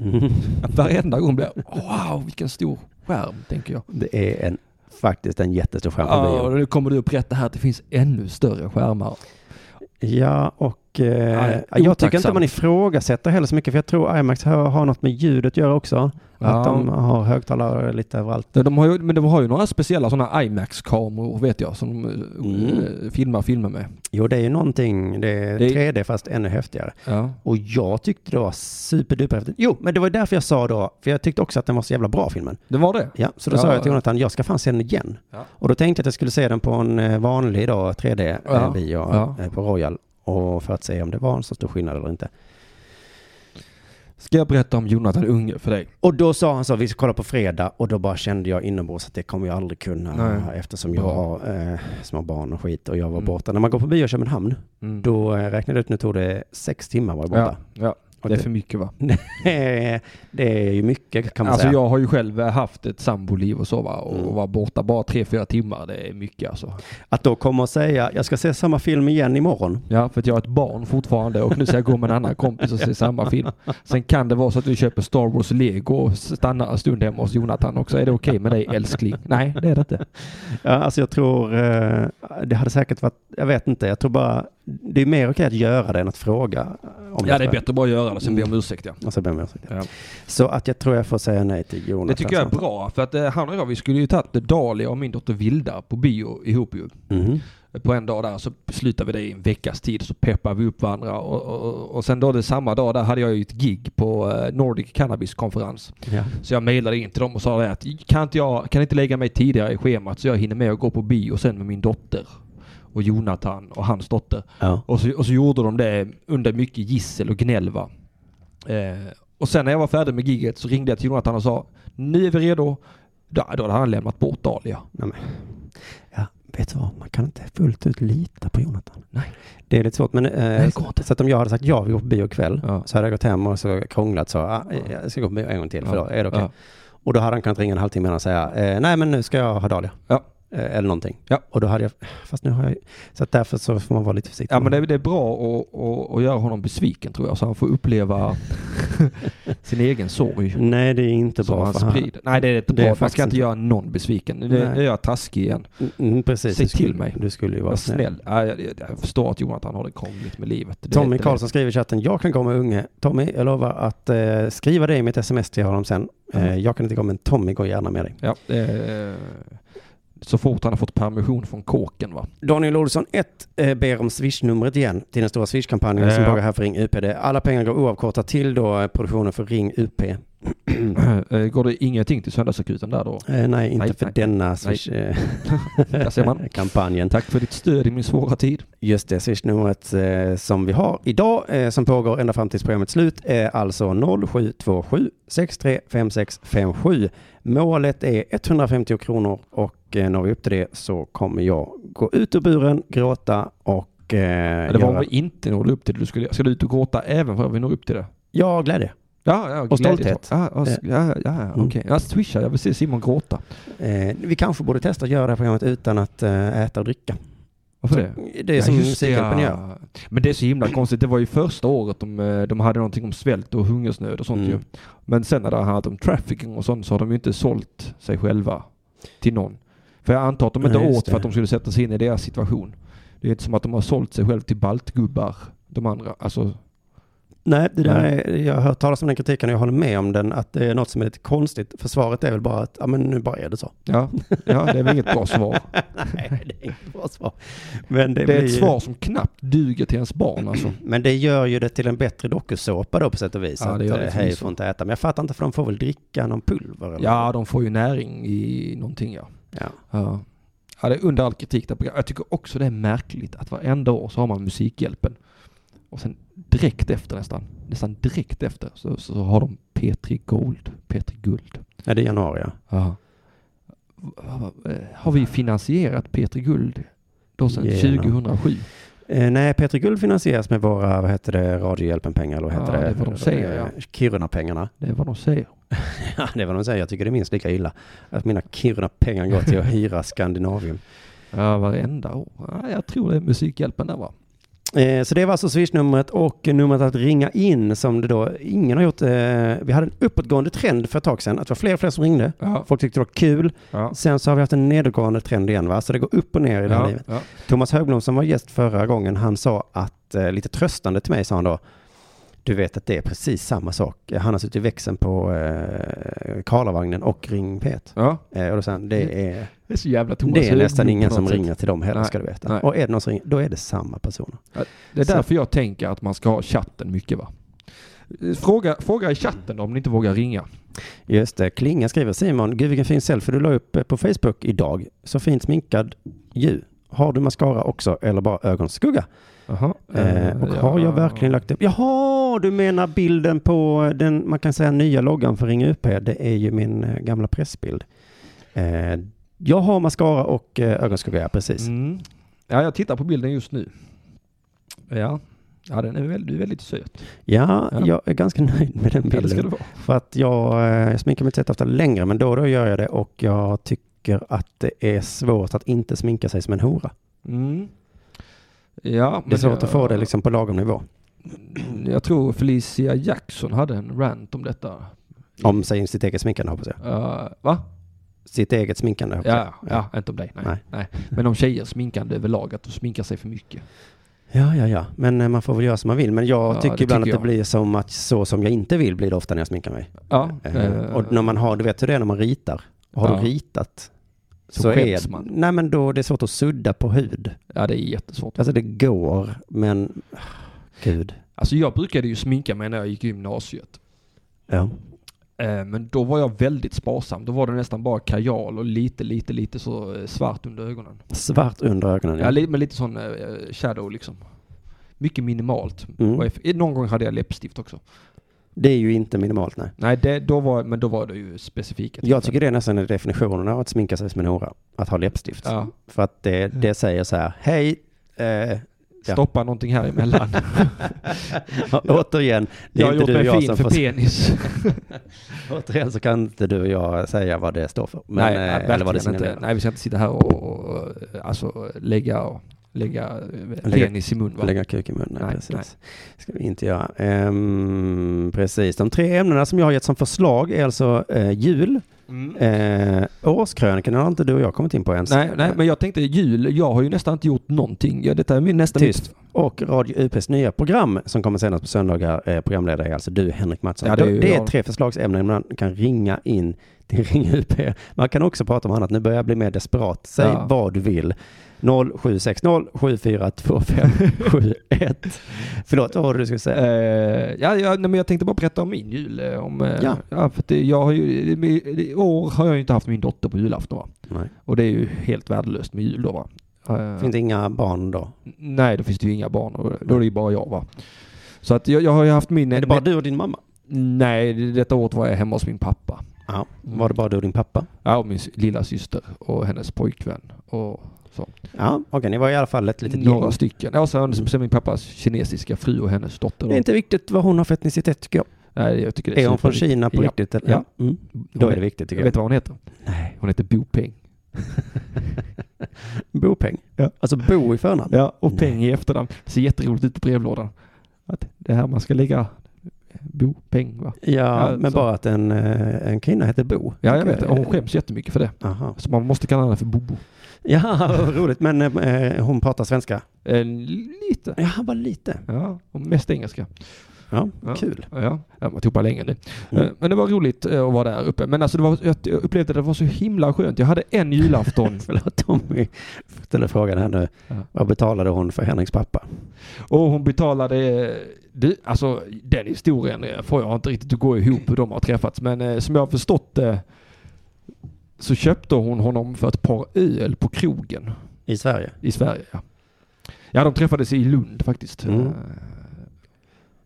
[SPEAKER 2] (laughs) Varenda gång blir jag wow vilken stor skärm tänker jag.
[SPEAKER 1] Det är en, faktiskt en jättestor skärm på
[SPEAKER 2] Ja,
[SPEAKER 1] bio.
[SPEAKER 2] och nu kommer du och berätta här att det finns ännu större skärmar.
[SPEAKER 1] Ja, och Och eh,
[SPEAKER 2] Nej,
[SPEAKER 1] jag tycker inte
[SPEAKER 2] otacksam.
[SPEAKER 1] man ifrågasätter heller så mycket, för jag tror IMAX har, har något med ljudet att göra också.
[SPEAKER 2] Ja.
[SPEAKER 1] Att de har högtalare lite överallt.
[SPEAKER 2] Ja, De har ju, men de har ju några speciella sådana IMAX-kameror vet jag som de
[SPEAKER 1] Mm.
[SPEAKER 2] eh, filmar filmer med.
[SPEAKER 1] Jo, det är ju någonting, det är
[SPEAKER 2] Det är-
[SPEAKER 1] 3D fast ännu häftigare.
[SPEAKER 2] Ja.
[SPEAKER 1] Och jag tyckte det var superduperhäftigt. Jo, men det var ju därför jag sa då, för jag tyckte också att den var så jävla bra filmen.
[SPEAKER 2] Det var det?
[SPEAKER 1] Ja, så då
[SPEAKER 2] Ja,
[SPEAKER 1] sa jag till
[SPEAKER 2] ja.
[SPEAKER 1] Jonathan, jag ska fan se den igen.
[SPEAKER 2] Ja.
[SPEAKER 1] Och då tänkte jag att jag skulle se den på en eh, vanlig då, 3D-bio
[SPEAKER 2] Ja,
[SPEAKER 1] eh, bio,
[SPEAKER 2] ja.
[SPEAKER 1] eh, på Royal. Och för att se om det var en så stor skillnad eller inte.
[SPEAKER 2] Ska jag berätta om Jonathan Unge för dig?
[SPEAKER 1] Och då sa han så, vi ska kolla på fredag. Och då bara kände jag inombords att det kommer jag aldrig kunna.
[SPEAKER 2] Nej.
[SPEAKER 1] Eftersom jag
[SPEAKER 2] Bra.
[SPEAKER 1] har eh, små barn och skit och jag var
[SPEAKER 2] Mm.
[SPEAKER 1] borta. När man går på bio i Köpenhamn,
[SPEAKER 2] Mm.
[SPEAKER 1] då eh, räknade jag ut, nu tog det sex timmar var jag borta.
[SPEAKER 2] ja, ja,
[SPEAKER 1] Och
[SPEAKER 2] det är för mycket va?
[SPEAKER 1] Eh, (laughs) det är ju mycket kan man
[SPEAKER 2] Alltså
[SPEAKER 1] säga.
[SPEAKER 2] jag har ju själv eh, haft ett samboliv och så va och
[SPEAKER 1] Mm.
[SPEAKER 2] vara borta bara tre, fyra timmar det är mycket alltså.
[SPEAKER 1] Att då komma och säga, jag ska se samma film igen imorgon.
[SPEAKER 2] Ja, för att jag är ett barn fortfarande och nu ska jag gå med en annan kompis och se samma film. Sen kan det vara så att du köper Star Wars Lego och stannar en stund hemma hos Jonathan också. Är det okej med dig
[SPEAKER 1] (laughs)
[SPEAKER 2] älskling? Nej, det är det inte.
[SPEAKER 1] Ja, alltså jag tror, eh, det hade säkert varit, jag vet inte, jag tror bara, det är mer okej att göra det än att fråga. eh, Om
[SPEAKER 2] Ja, det är bättre bara att göra det sen
[SPEAKER 1] Mm.
[SPEAKER 2] be om ursäkt ja.
[SPEAKER 1] Och så, ber jag om ursäkt.
[SPEAKER 2] Ja.
[SPEAKER 1] så att jag tror jag får säga nej till Jonas. alltså.
[SPEAKER 2] Det tycker jag är bra, för att eh, han och jag, vi skulle ju tagit Dahlia och min dotter Vilda på bio ihop ju.
[SPEAKER 1] Mhm.
[SPEAKER 2] På en dag där så beslutar vi det i en veckas tid så peppar vi upp varandra och, och, och sen då det samma dag där hade jag ju ett gig på eh, Nordic Cannabis konferens.
[SPEAKER 1] Ja.
[SPEAKER 2] Så jag mejlade in till dem och sa det att kan inte jag kan inte lägga mig tidigare i schemat så jag hinner med att gå på bio sen med min dotter och Jonathan och hans dotter.
[SPEAKER 1] Ja.
[SPEAKER 2] Och så, och så gjorde de det under mycket gissel och gnäll va. Eh, och sen när jag var färdig med giget så ringde jag till Jonathan och sa nu är vi redo. Då, då hade han lämnat bort Dahlia.
[SPEAKER 1] Nej, men. ja, vet du vad, man kan inte fullt ut lita på Jonathan.
[SPEAKER 2] Nej.
[SPEAKER 1] Det är lite svårt, men eh,
[SPEAKER 2] det går inte.
[SPEAKER 1] så att om jag hade sagt ja, vi går på bio ikväll,
[SPEAKER 2] Ja.
[SPEAKER 1] så hade jag gått hem och så krånglat så, ah, jag ska gå på bio en gång till, för då är det okej.
[SPEAKER 2] Ja.
[SPEAKER 1] Och då hade han kunnat ringa en halvtimme innan och säga, eh, nej men nu ska jag ha Dahlia.
[SPEAKER 2] Ja.
[SPEAKER 1] Eh, eller någonting.
[SPEAKER 2] Ja.
[SPEAKER 1] Och då hade jag, fast nu har jag ju- så att därför så får man vara lite försiktig.
[SPEAKER 2] Ja men det, är- det är bra att- att- att göra honom besviken tror jag så han får
[SPEAKER 1] (laughs)
[SPEAKER 2] uppleva sin egen sorg.
[SPEAKER 1] Nej, det är inte
[SPEAKER 2] Som
[SPEAKER 1] bra.
[SPEAKER 2] han
[SPEAKER 1] för han-
[SPEAKER 2] sprider. Nej det är inte
[SPEAKER 1] Det är
[SPEAKER 2] bra. Man
[SPEAKER 1] faktiskt
[SPEAKER 2] ska inte
[SPEAKER 1] inte-
[SPEAKER 2] göra någon besviken. Nu nu
[SPEAKER 1] Nej.
[SPEAKER 2] är jag taskig igen.
[SPEAKER 1] Mm, precis.
[SPEAKER 2] Säg
[SPEAKER 1] Du skulle-
[SPEAKER 2] till mig.
[SPEAKER 1] Du skulle ju
[SPEAKER 2] Var
[SPEAKER 1] vara snäll.
[SPEAKER 2] snäll. Nej, jag, jag, jag förstår att Jonathan har det krångligt med livet. Det
[SPEAKER 1] Tommy
[SPEAKER 2] vet jag.
[SPEAKER 1] Karlsson skriver i chatten, jag kan gå med unge. Tommy, jag lovar att eh, skriva dig mitt sms till honom sen.
[SPEAKER 2] Mm.
[SPEAKER 1] Eh, jag kan inte gå, men Tommy går gärna med dig.
[SPEAKER 2] Ja, det är, eh, så fort han har fått permission från kåken va. (clears throat)
[SPEAKER 1] Daniel Olsson 1 eh, ber om swishnumret igen till den stora swishkampanjen som
[SPEAKER 2] Ja.
[SPEAKER 1] pågår här för Ring UPD. Alla pengar går oavkortat till då eh, produktionen för Ring UP. (clears throat) Eh,
[SPEAKER 2] Eh, Går det ingenting till söndagsakuten där då?
[SPEAKER 1] Eh, nej, inte
[SPEAKER 2] Nej,
[SPEAKER 1] för
[SPEAKER 2] nej.
[SPEAKER 1] denna eh, swish-kampanjen.
[SPEAKER 2] (laughs) Där ser
[SPEAKER 1] (laughs)
[SPEAKER 2] man. Tack för ditt stöd i min svåra tid.
[SPEAKER 1] Just det, swishnumret eh, som vi har idag, eh, som pågår ända fram till programmets slut, är alltså 0727 635657. Målet är 150 kronor och eh, når vi upp till det så kommer jag gå ut ur buren, gråta och eh,
[SPEAKER 2] Det var om
[SPEAKER 1] göra...
[SPEAKER 2] vi inte nådde upp till det du skulle Ska du ut och gråta även för att vi når upp till det?
[SPEAKER 1] Ja, glädje.
[SPEAKER 2] Ja, ja, glädje-
[SPEAKER 1] stolthet. Mm.
[SPEAKER 2] Ja, ja, s- ja, ja okej. Jag swishar, jag vill se Simon gråta.
[SPEAKER 1] Eh, vi kanske borde testa att göra det här programmet utan att eh, äta och dricka.
[SPEAKER 2] Varför det?
[SPEAKER 1] Det är som
[SPEAKER 2] just det,
[SPEAKER 1] Musikhjälpen gör.
[SPEAKER 2] Men det är så himla konstigt. Det var ju första året de, eh, de hade någonting om svält och hungersnöd och sånt
[SPEAKER 1] Mm.
[SPEAKER 2] ju. Men sen när det har handlat om trafficking och sånt så har de ju inte sålt sig själva till någon. För jag antar att de inte
[SPEAKER 1] Nej, just
[SPEAKER 2] åt
[SPEAKER 1] det.
[SPEAKER 2] för att de skulle sätta sig in i deras situation. Det är inte som att de har sålt sig själv till baltgubbar, de andra. Alltså,
[SPEAKER 1] Nej, det där
[SPEAKER 2] Nej.
[SPEAKER 1] är, jag har hört talas om den kritiken och jag håller med om den, att det är något som är lite konstigt. För svaret är väl bara att, ja men nu bara är det så.
[SPEAKER 2] ja, ja det är väl inget bra svar.
[SPEAKER 1] Nej, det är inget bra svar. Men (laughs) det,
[SPEAKER 2] Det är
[SPEAKER 1] blir-
[SPEAKER 2] ett svar som knappt duger till ens barn alltså.
[SPEAKER 1] Men det gör ju det till en bättre dokusåpa då på sätt och vis.
[SPEAKER 2] Ja, det
[SPEAKER 1] att
[SPEAKER 2] gör
[SPEAKER 1] eh,
[SPEAKER 2] det
[SPEAKER 1] hej
[SPEAKER 2] förvisso.
[SPEAKER 1] får inte äta. Men jag fattar inte för de får väl dricka någon pulver? Eller?
[SPEAKER 2] Ja, de får ju näring i någonting ja.
[SPEAKER 1] Ja.
[SPEAKER 2] Ja. ja, det är under all kritik. Där. Jag tycker också det är märkligt att varenda år så har man Musikhjälpen. Och sen direkt efter nästan, nästan direkt efter så, så har de P3 Gold. P3 Guld.
[SPEAKER 1] Nej, det är januari ja.
[SPEAKER 2] Ja. eh, Har vi finansierat P3 Guld då sedan
[SPEAKER 1] Genom.
[SPEAKER 2] 2007?
[SPEAKER 1] Eh, nej, Petri Guld finansieras med våra, vad heter det, Radiohjälpen-pengar eller vad heter
[SPEAKER 2] Ja,
[SPEAKER 1] det?
[SPEAKER 2] det är vad de säger, ja.
[SPEAKER 1] Eh, Kiruna-pengarna. (laughs)
[SPEAKER 2] Det är vad de säger.
[SPEAKER 1] Ja, det är vad de säger. Jag tycker det är minst lika illa. Att mina Kiruna-pengar går till att hyra Skandinavium.
[SPEAKER 2] Ja, varenda år. Ja, jag tror det är Musikhjälpen där va?
[SPEAKER 1] Eh, Så det var alltså swishnumret och numret att ringa in som det då ingen har gjort. eh, Vi hade en uppåtgående trend för ett tag sedan, att det var fler och fler som ringde.
[SPEAKER 2] Ja.
[SPEAKER 1] Folk tyckte det var kul.
[SPEAKER 2] Ja.
[SPEAKER 1] Sen så har vi haft en nedåtgående trend igen, va? så det går upp och ner i det här
[SPEAKER 2] Ja.
[SPEAKER 1] livet.
[SPEAKER 2] Ja.
[SPEAKER 1] Thomas Högblom som var gäst förra gången, han sa att, eh, lite tröstande till mig sa han då, du vet att det är precis samma sak. Han har suttit i växeln på eh, Karlavagnen och Ring Pet.
[SPEAKER 2] ja.
[SPEAKER 1] Eh, och då sa han, det är,
[SPEAKER 2] Det är så jävla Mm. Thomas
[SPEAKER 1] det är
[SPEAKER 2] Högblom
[SPEAKER 1] nästan ingen
[SPEAKER 2] på
[SPEAKER 1] som
[SPEAKER 2] något sätt.
[SPEAKER 1] ringer till dem heller
[SPEAKER 2] Nej,
[SPEAKER 1] ska du veta.
[SPEAKER 2] nej.
[SPEAKER 1] Och är det någon som ringer, då är det samma personer.
[SPEAKER 2] Det är
[SPEAKER 1] Så-
[SPEAKER 2] därför jag tänker att man ska ha chatten mycket va. Fråga, fråga i chatten om ni inte vågar ringa.
[SPEAKER 1] Just det, Klinga skriver Simon, gud vilken fin selfie du la upp eh, på Facebook idag. Så fint sminkad ju. Har du mascara också eller bara ögonskugga?
[SPEAKER 2] Jaha.
[SPEAKER 1] Eh, och har jag verkligen lagt upp? Jaha, du menar bilden på eh, den, man kan säga nya loggan för Ring UP. Det är ju min eh, gamla pressbild. Eh, jag har mascara och eh, ögonskugga, ja, precis.
[SPEAKER 2] Mm. Ja, jag tittar på bilden just nu. Ja, ja den är väldigt, du är väldigt söt.
[SPEAKER 1] Ja,
[SPEAKER 2] Ja.
[SPEAKER 1] jag är ganska (laughs) nöjd med den
[SPEAKER 2] Ja, det ska det
[SPEAKER 1] bilden.
[SPEAKER 2] vara.
[SPEAKER 1] För att jag, eh, jag sminkar mig inte så ofta längre, men då och då gör jag det och jag tycker att det är svårt att inte sminka sig som en hora.
[SPEAKER 2] Mm. Ja,
[SPEAKER 1] Det är
[SPEAKER 2] men Mm.
[SPEAKER 1] svårt
[SPEAKER 2] jag-
[SPEAKER 1] att få det liksom på lagom nivå.
[SPEAKER 2] Jag tror Felicia Jackson hade en rant om detta.
[SPEAKER 1] Om sig sitt eget sminkande hoppas jag.
[SPEAKER 2] Eh, va?
[SPEAKER 1] Sitt eget sminkande hoppas
[SPEAKER 2] Ja,
[SPEAKER 1] jag.
[SPEAKER 2] ja, inte om dig. Nej.
[SPEAKER 1] Nej.
[SPEAKER 2] Nej. Men om tjejer sminkande överlag, att de sminkar sig för mycket.
[SPEAKER 1] ja, ja, ja. Men eh, man får väl göra som man vill. Men jag
[SPEAKER 2] Ja,
[SPEAKER 1] tycker
[SPEAKER 2] det
[SPEAKER 1] ibland
[SPEAKER 2] tycker
[SPEAKER 1] att det
[SPEAKER 2] jag.
[SPEAKER 1] blir som att så som jag inte vill blir det ofta när jag sminkar mig.
[SPEAKER 2] Ja,
[SPEAKER 1] Eh,
[SPEAKER 2] eh,
[SPEAKER 1] och när man har, du vet hur det är när man ritar. Har
[SPEAKER 2] Ja.
[SPEAKER 1] du ritat
[SPEAKER 2] Så skäms man.
[SPEAKER 1] Nej men då det är svårt att sudda på hud.
[SPEAKER 2] ja, det är jättesvårt.
[SPEAKER 1] Alltså det går, men gud.
[SPEAKER 2] Alltså jag brukade ju sminka mig när jag gick i gymnasiet.
[SPEAKER 1] Ja.
[SPEAKER 2] Eh, Men då var jag väldigt sparsam. Då var det nästan bara kajal och lite, lite, lite så eh, svart under ögonen.
[SPEAKER 1] Svart under ögonen.
[SPEAKER 2] Ja,
[SPEAKER 1] Ja.
[SPEAKER 2] li- men lite sån eh, shadow liksom. Mycket minimalt.
[SPEAKER 1] Mm.
[SPEAKER 2] Och if- Någon gång hade jag läppstift också.
[SPEAKER 1] Det är ju inte minimalt nej.
[SPEAKER 2] Nej, det, då var, men då var det ju specifika.
[SPEAKER 1] Jag
[SPEAKER 2] tillfällen.
[SPEAKER 1] tycker det är nästan en definition av att sminka sig som en hora. Att ha läppstift.
[SPEAKER 2] Ja.
[SPEAKER 1] För att det, det säger så här, hej, eh, (laughs) Ja.
[SPEAKER 2] Stoppa någonting
[SPEAKER 1] (laughs)
[SPEAKER 2] här emellan.
[SPEAKER 1] återigen, det
[SPEAKER 2] jag
[SPEAKER 1] är
[SPEAKER 2] har
[SPEAKER 1] inte du och
[SPEAKER 2] gjort mig
[SPEAKER 1] jag
[SPEAKER 2] fin
[SPEAKER 1] som
[SPEAKER 2] för
[SPEAKER 1] får, (laughs)
[SPEAKER 2] penis.
[SPEAKER 1] återigen så kan inte du och jag säga vad det står för. Men,
[SPEAKER 2] nej,
[SPEAKER 1] eh,
[SPEAKER 2] nej,
[SPEAKER 1] eller vad det
[SPEAKER 2] verkligen inte.
[SPEAKER 1] signalerar.
[SPEAKER 2] Nej, vi ska inte sitta här och, och och, alltså, lägga, och, lägga eh,
[SPEAKER 1] Lägga-
[SPEAKER 2] penis i mun. Va?
[SPEAKER 1] Lägga kuk i munnen,
[SPEAKER 2] Nej,
[SPEAKER 1] precis.
[SPEAKER 2] nej.
[SPEAKER 1] ska vi inte göra. Ehm, precis, de tre ämnena som jag har gett som förslag är alltså eh, jul,
[SPEAKER 2] Mm.
[SPEAKER 1] eh, årskrönikan har inte du och jag kommit in på ens.
[SPEAKER 2] Nej, nej, men jag tänkte jul, jag har ju nästan inte gjort någonting. Ja, detta är min nästan
[SPEAKER 1] Tyst. Och Radio UPs nya program som kommer senast på söndagar, eh, programledare är alltså du Henrik Mattsson.
[SPEAKER 2] Ja,
[SPEAKER 1] det,
[SPEAKER 2] det
[SPEAKER 1] är
[SPEAKER 2] är ju jag.
[SPEAKER 1] tre förslagsämnen man kan ringa in till (laughs) Ring UP. Man kan också prata om annat, nu börjar jag bli mer desperat. Säg
[SPEAKER 2] Ja.
[SPEAKER 1] vad du vill. 0760 742571. Förlåt, vad var det du skulle säga?
[SPEAKER 2] Eh, ja, ja, nej, men jag tänkte bara berätta om min jul. eh, Om, eh,
[SPEAKER 1] Ja.
[SPEAKER 2] ja. för att det, jag har ju, i- I år har jag ju inte haft min dotter på julafton va?
[SPEAKER 1] Nej.
[SPEAKER 2] Och det är ju helt värdelöst med jul då va? Eh,
[SPEAKER 1] Finns det inga barn då?
[SPEAKER 2] nej, då finns det ju inga barn och då är det ju bara jag va? Så att jag, jag har ju haft min...
[SPEAKER 1] är det bara du och din mamma?
[SPEAKER 2] Nej, det- detta året var jag hemma hos min pappa.
[SPEAKER 1] Ja. Mm. Var det bara du och din pappa?
[SPEAKER 2] Ja, och min s- lilla syster och hennes pojkvän. Och så.
[SPEAKER 1] Ja, okej, ni var i alla fall ett litet
[SPEAKER 2] Några
[SPEAKER 1] gäng.
[SPEAKER 2] stycken. Ja, sen, sen min pappas kinesiska fru och hennes dotter.
[SPEAKER 1] Det är inte viktigt vad hon har för etnicitet tycker jag.
[SPEAKER 2] nej, jag tycker det
[SPEAKER 1] Är hon från
[SPEAKER 2] superviktigt.
[SPEAKER 1] Kina på
[SPEAKER 2] Ja.
[SPEAKER 1] riktigt? eller? Ja. Mm. Då är det viktigt tycker
[SPEAKER 2] Jag
[SPEAKER 1] jag.
[SPEAKER 2] vet du vad hon heter?
[SPEAKER 1] Nej.
[SPEAKER 2] Hon heter Bo Peng.
[SPEAKER 1] (laughs) Bopeng.
[SPEAKER 2] Ja.
[SPEAKER 1] Alltså bo i förnamn.
[SPEAKER 2] Ja, och
[SPEAKER 1] Nej.
[SPEAKER 2] peng i efternamn. Mm. Det ser jätteroligt ut på brevlådan. Att det här man ska lägga bo, peng va?
[SPEAKER 1] Ja,
[SPEAKER 2] Ja,
[SPEAKER 1] men
[SPEAKER 2] så.
[SPEAKER 1] bara att en, eh, en kvinna heter Bo.
[SPEAKER 2] Ja, jag vet det. Och hon skäms jättemycket för det.
[SPEAKER 1] Aha.
[SPEAKER 2] Så man måste kalla henne för Bobo.
[SPEAKER 1] Ja, vad roligt. Men eh, hon pratar svenska?
[SPEAKER 2] Eh, lite.
[SPEAKER 1] Ja, bara lite.
[SPEAKER 2] Ja, och mest engelska.
[SPEAKER 1] Ja,
[SPEAKER 2] Ja.
[SPEAKER 1] kul.
[SPEAKER 2] Ja, ja man tog bara längre nu.
[SPEAKER 1] Mm.
[SPEAKER 2] Eh, Men det var roligt eh, att vara där uppe. Men alltså, det var, jag jag upplevde att det var så himla skönt. Jag hade en julafton
[SPEAKER 1] Förlåt Tommy, jag ställer frågan här nu.
[SPEAKER 2] Ja.
[SPEAKER 1] Vad betalade hon för Henriks pappa?
[SPEAKER 2] och hon betalade... eh, Du, alltså den historien eh, får jag inte riktigt att gå ihop hur de har träffats. Men eh, som jag har förstått det så köpte hon honom för ett par öl på krogen.
[SPEAKER 1] I Sverige?
[SPEAKER 2] I Sverige, ja. Ja, de träffades i Lund faktiskt.
[SPEAKER 1] Mm.
[SPEAKER 2] Eh,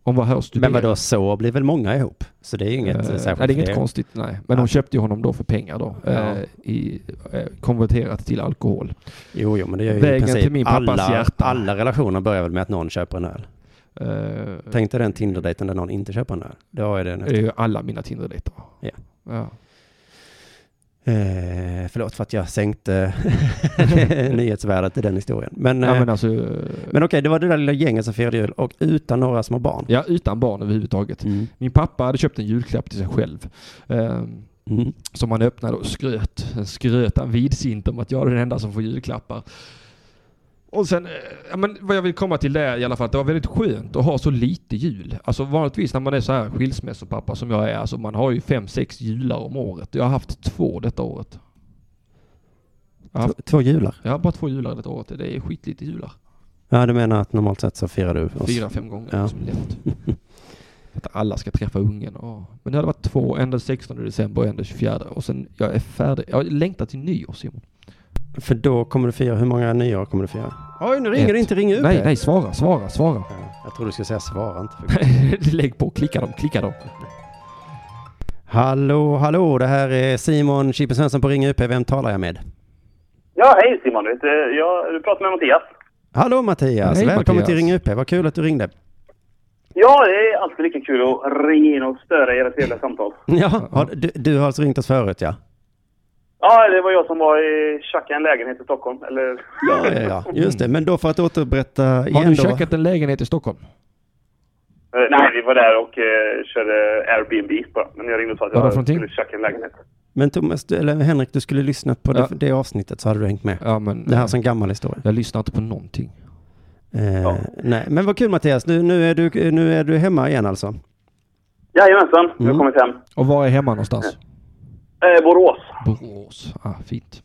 [SPEAKER 2] Hon var här och
[SPEAKER 1] Men
[SPEAKER 2] studerade.
[SPEAKER 1] vadå, så blir väl många ihop? Så det är ju inget
[SPEAKER 2] Eh,
[SPEAKER 1] eh, särskilt.
[SPEAKER 2] nej, det är
[SPEAKER 1] för
[SPEAKER 2] inget
[SPEAKER 1] er.
[SPEAKER 2] konstigt, nej.
[SPEAKER 1] Ja.
[SPEAKER 2] Men hon köpte ju honom då för pengar då. eh,
[SPEAKER 1] Ja.
[SPEAKER 2] I, eh, konverterat till alkohol.
[SPEAKER 1] Jo, jo, men det gör ju i
[SPEAKER 2] Vägen
[SPEAKER 1] princip
[SPEAKER 2] till min pappas
[SPEAKER 1] alla,
[SPEAKER 2] hjärta.
[SPEAKER 1] alla relationer börjar väl med att någon köper en öl.
[SPEAKER 2] Eh,
[SPEAKER 1] Tänk dig den Tinder-dejten där någon inte köper en öl. Då är det
[SPEAKER 2] det är ju alla mina Tinder-dejter.
[SPEAKER 1] Ja.
[SPEAKER 2] Ja.
[SPEAKER 1] Eh, Eh, förlåt för att jag
[SPEAKER 2] (laughs)
[SPEAKER 1] sänkte nyhetsvärdet i den historien. Men,
[SPEAKER 2] Ja,
[SPEAKER 1] eh,
[SPEAKER 2] men alltså,
[SPEAKER 1] men okej, det var det där lilla gänget som firade jul och utan några små barn.
[SPEAKER 2] ja, utan barn överhuvudtaget.
[SPEAKER 1] Mm.
[SPEAKER 2] Min pappa hade köpt en julklapp till sig själv. ehm,
[SPEAKER 1] Mm.
[SPEAKER 2] som han öppnade och skröt. Sen skröt han vidsint om att jag är den enda som får julklappar. Och sen, eh, ja, men vad jag vill komma till det är i alla fall att det var väldigt skönt att ha så lite jul. Alltså vanligtvis när man är så här skilsmässopappa som jag är, alltså man har ju fem, sex jular om året. Jag har haft två detta året. Jag har, haft,
[SPEAKER 1] Två, två jular.
[SPEAKER 2] jag har bara två jular detta året. Det är skitlite jular.
[SPEAKER 1] Ja, du menar att normalt sett så firar du oss?
[SPEAKER 2] Fyra, fem gånger
[SPEAKER 1] Ja.
[SPEAKER 2] som lätt. (laughs) Att alla ska träffa ungen. Och, men det hade varit två, en den 16 december och en den 24. Och sen, jag är färdig. Jag längtar till nyår Simon.
[SPEAKER 1] För då kommer du fira, hur många nyår kommer du fira? Oj, nu ringer
[SPEAKER 2] Ett.
[SPEAKER 1] det inte, ring upp
[SPEAKER 2] Nej,
[SPEAKER 1] det.
[SPEAKER 2] nej, svara, svara, svara. (laughs)
[SPEAKER 1] Ja, Jag tror du skulle säga svara inte.
[SPEAKER 2] Lägg på, klicka dem, klicka dem.
[SPEAKER 1] Hallå, hallå, det här är Simon Chippen Svensson på Ring UP. Vem talar jag med?
[SPEAKER 6] Ja, hej Simon. Du, heter, jag, du pratar med Mattias.
[SPEAKER 1] Hallå Mattias,
[SPEAKER 2] Hej,
[SPEAKER 1] välkommen
[SPEAKER 2] Mattias.
[SPEAKER 1] till Ring UP. Vad kul att du ringde.
[SPEAKER 6] Ja, det är alltid lika kul att ringa in och störa era trevliga samtal.
[SPEAKER 1] Ja, har, du, du har alltså ringt oss förut ja?
[SPEAKER 6] Ja, det var jag som var i tjacka en lägenhet i Stockholm. Eller, eh,
[SPEAKER 1] Ja, ja, ja. just det. Men då för att återberätta
[SPEAKER 2] Mm. Har
[SPEAKER 1] igen
[SPEAKER 2] du
[SPEAKER 1] då.
[SPEAKER 2] checkat en lägenhet i Stockholm?
[SPEAKER 6] Eh, nej, vi var där och eh, körde Airbnb bara. Men jag ringde och sa att
[SPEAKER 2] Vad var det
[SPEAKER 6] jag
[SPEAKER 2] för någonting?
[SPEAKER 6] skulle tjacka en lägenhet.
[SPEAKER 1] Men Thomas, du, eller Henrik, du skulle lyssnat på
[SPEAKER 2] Ja.
[SPEAKER 1] det, det avsnittet så hade du hängt med.
[SPEAKER 2] Ja, men
[SPEAKER 1] Det här är en gammal historia.
[SPEAKER 2] jag lyssnar inte på någonting.
[SPEAKER 1] Eh, Nej, men vad kul Mattias, nu, nu, är du, nu är du hemma igen alltså?
[SPEAKER 6] Jajamensan, mm. jag har kommit hem.
[SPEAKER 2] Och var är hemma någonstans?
[SPEAKER 6] Eh, Borås.
[SPEAKER 2] Borås. Ah, fint.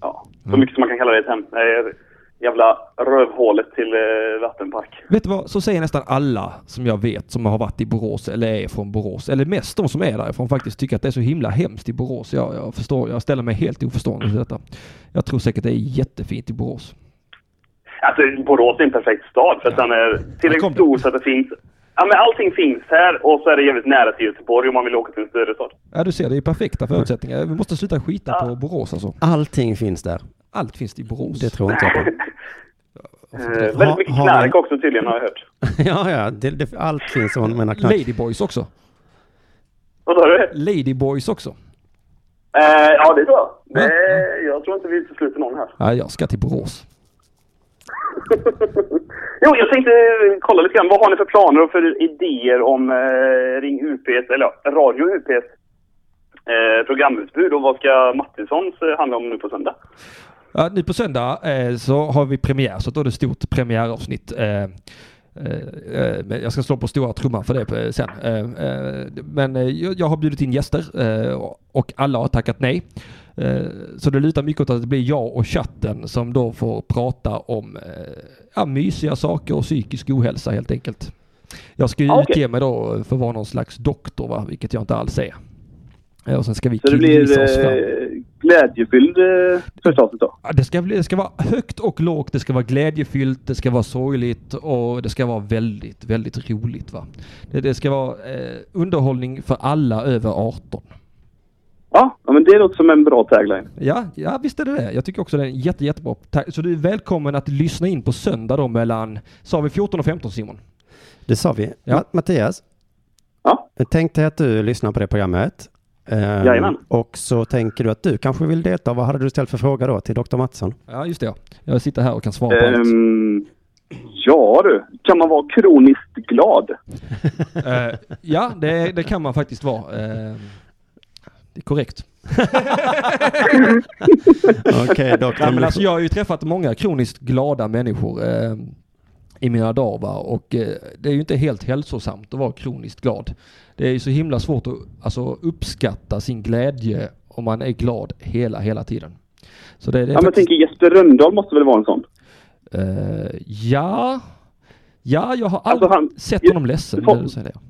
[SPEAKER 6] Ja,
[SPEAKER 2] Mm.
[SPEAKER 6] så mycket som man kan kalla det ett hem. Det är jävla rövhålet till eh, vattenpark.
[SPEAKER 2] Vet du vad, så säger nästan alla som jag vet som har varit i Borås eller är från Borås, eller mest de som är därifrån faktiskt tycker att det är så himla hemskt i Borås. Jag, jag förstår, jag ställer mig helt oförstående till detta. Jag tror säkert det är jättefint i Borås.
[SPEAKER 6] Alltså Borås är en perfekt stad för att den är
[SPEAKER 2] Där kom
[SPEAKER 6] tillräckligt
[SPEAKER 2] det.
[SPEAKER 6] stor så att det finns... Ja men allting finns här och så är det jävligt nära till Göteborg om man vill åka till en större stad.
[SPEAKER 2] Ja, du ser, det är perfekta förutsättningar. Vi måste sluta skita på Borås alltså.
[SPEAKER 1] Allting finns där.
[SPEAKER 2] Allt finns i Borås.
[SPEAKER 1] Det
[SPEAKER 6] (laughs)
[SPEAKER 1] tror inte jag på. (laughs)
[SPEAKER 6] Eh,
[SPEAKER 1] Har-
[SPEAKER 6] väldigt mycket
[SPEAKER 1] har
[SPEAKER 6] knark
[SPEAKER 1] man-
[SPEAKER 6] också tydligen har jag hört.
[SPEAKER 1] ja, ja, det, det, allt finns om man menar knark.
[SPEAKER 2] Ladyboys också.
[SPEAKER 6] Vad sa du? Eh,
[SPEAKER 2] Ladyboys också.
[SPEAKER 6] ja det tror jag. Nej, jag tror inte vi utesluter någon här.
[SPEAKER 2] Ja, jag ska till Borås.
[SPEAKER 6] Jo, jag tänkte eh, kolla lite grann. Vad har ni för planer och för idéer om eh, Ring UP, eller ja, Radio UP eh, programutbud och vad ska Mattisons eh, handla om nu på söndag?
[SPEAKER 2] Ja, nu på söndag eh, så har vi premiär, så då är det stort premiäravsnitt. Eh, eh, eh, men jag ska slå på stora trumman för det eh, sen. Eh, eh, men eh, jag jag har bjudit in gäster eh, och alla har tackat nej. Eh, så det lutar mycket åt att det blir jag och chatten som då får prata om eh, ja, mysiga saker och psykisk ohälsa helt enkelt. Jag ska ju
[SPEAKER 6] Ah, okej.
[SPEAKER 2] utge mig då för att vara någon slags doktor, va? vilket jag inte alls är. Eh, Och sen ska vi
[SPEAKER 7] Så det
[SPEAKER 2] killgissa
[SPEAKER 7] blir
[SPEAKER 2] oss fram.
[SPEAKER 7] eh, glädjefylld eh, förstås då.
[SPEAKER 2] Ja, Det ska, bli, det ska vara högt och lågt, det ska vara glädjefyllt, det ska vara sorgligt och det ska vara väldigt, väldigt roligt. Va? Det, det ska vara eh, underhållning för alla över 18.
[SPEAKER 7] Ja, ja, men det låter som en bra tagline.
[SPEAKER 2] Ja, ja visst är det det. Jag tycker också det är en jätte, jättebra. ta- Så du är välkommen att lyssna in på söndag då mellan, sa vi 14 och 15 Simon?
[SPEAKER 1] Det sa vi.
[SPEAKER 2] Ja.
[SPEAKER 1] Ma- Mattias,
[SPEAKER 7] Ja.
[SPEAKER 1] tänk dig att du lyssnar på det programmet. Ehm,
[SPEAKER 7] Jajamän.
[SPEAKER 1] Och så tänker du att du kanske vill delta. Vad hade du ställt för fråga då till Dr.
[SPEAKER 2] (laughs)
[SPEAKER 1] Mattsson?
[SPEAKER 2] Ja, just det. ja. Jag sitter här och kan svara på allt.
[SPEAKER 7] Ehm, ja du, kan man vara kroniskt glad?
[SPEAKER 2] Eh, ja, det, det kan man faktiskt vara. Eh, det är korrekt.
[SPEAKER 1] Okej, doktorn.
[SPEAKER 2] Ja, men alltså, jag har ju träffat många kroniskt glada människor eh, i mina dagar va? och eh, det är ju inte helt hälsosamt att vara kroniskt glad. Det är ju så himla svårt att alltså, uppskatta sin glädje om man är glad hela, hela tiden. Så det, det är
[SPEAKER 7] Ja, men jag
[SPEAKER 2] faktiskt-
[SPEAKER 7] tänker Jesper Rönndahl måste väl vara en sån?
[SPEAKER 2] eh, ja, ja, jag har
[SPEAKER 7] Alltså,
[SPEAKER 2] aldrig
[SPEAKER 7] han-
[SPEAKER 2] sett honom ledsen.
[SPEAKER 7] Fått-
[SPEAKER 2] när du säger det.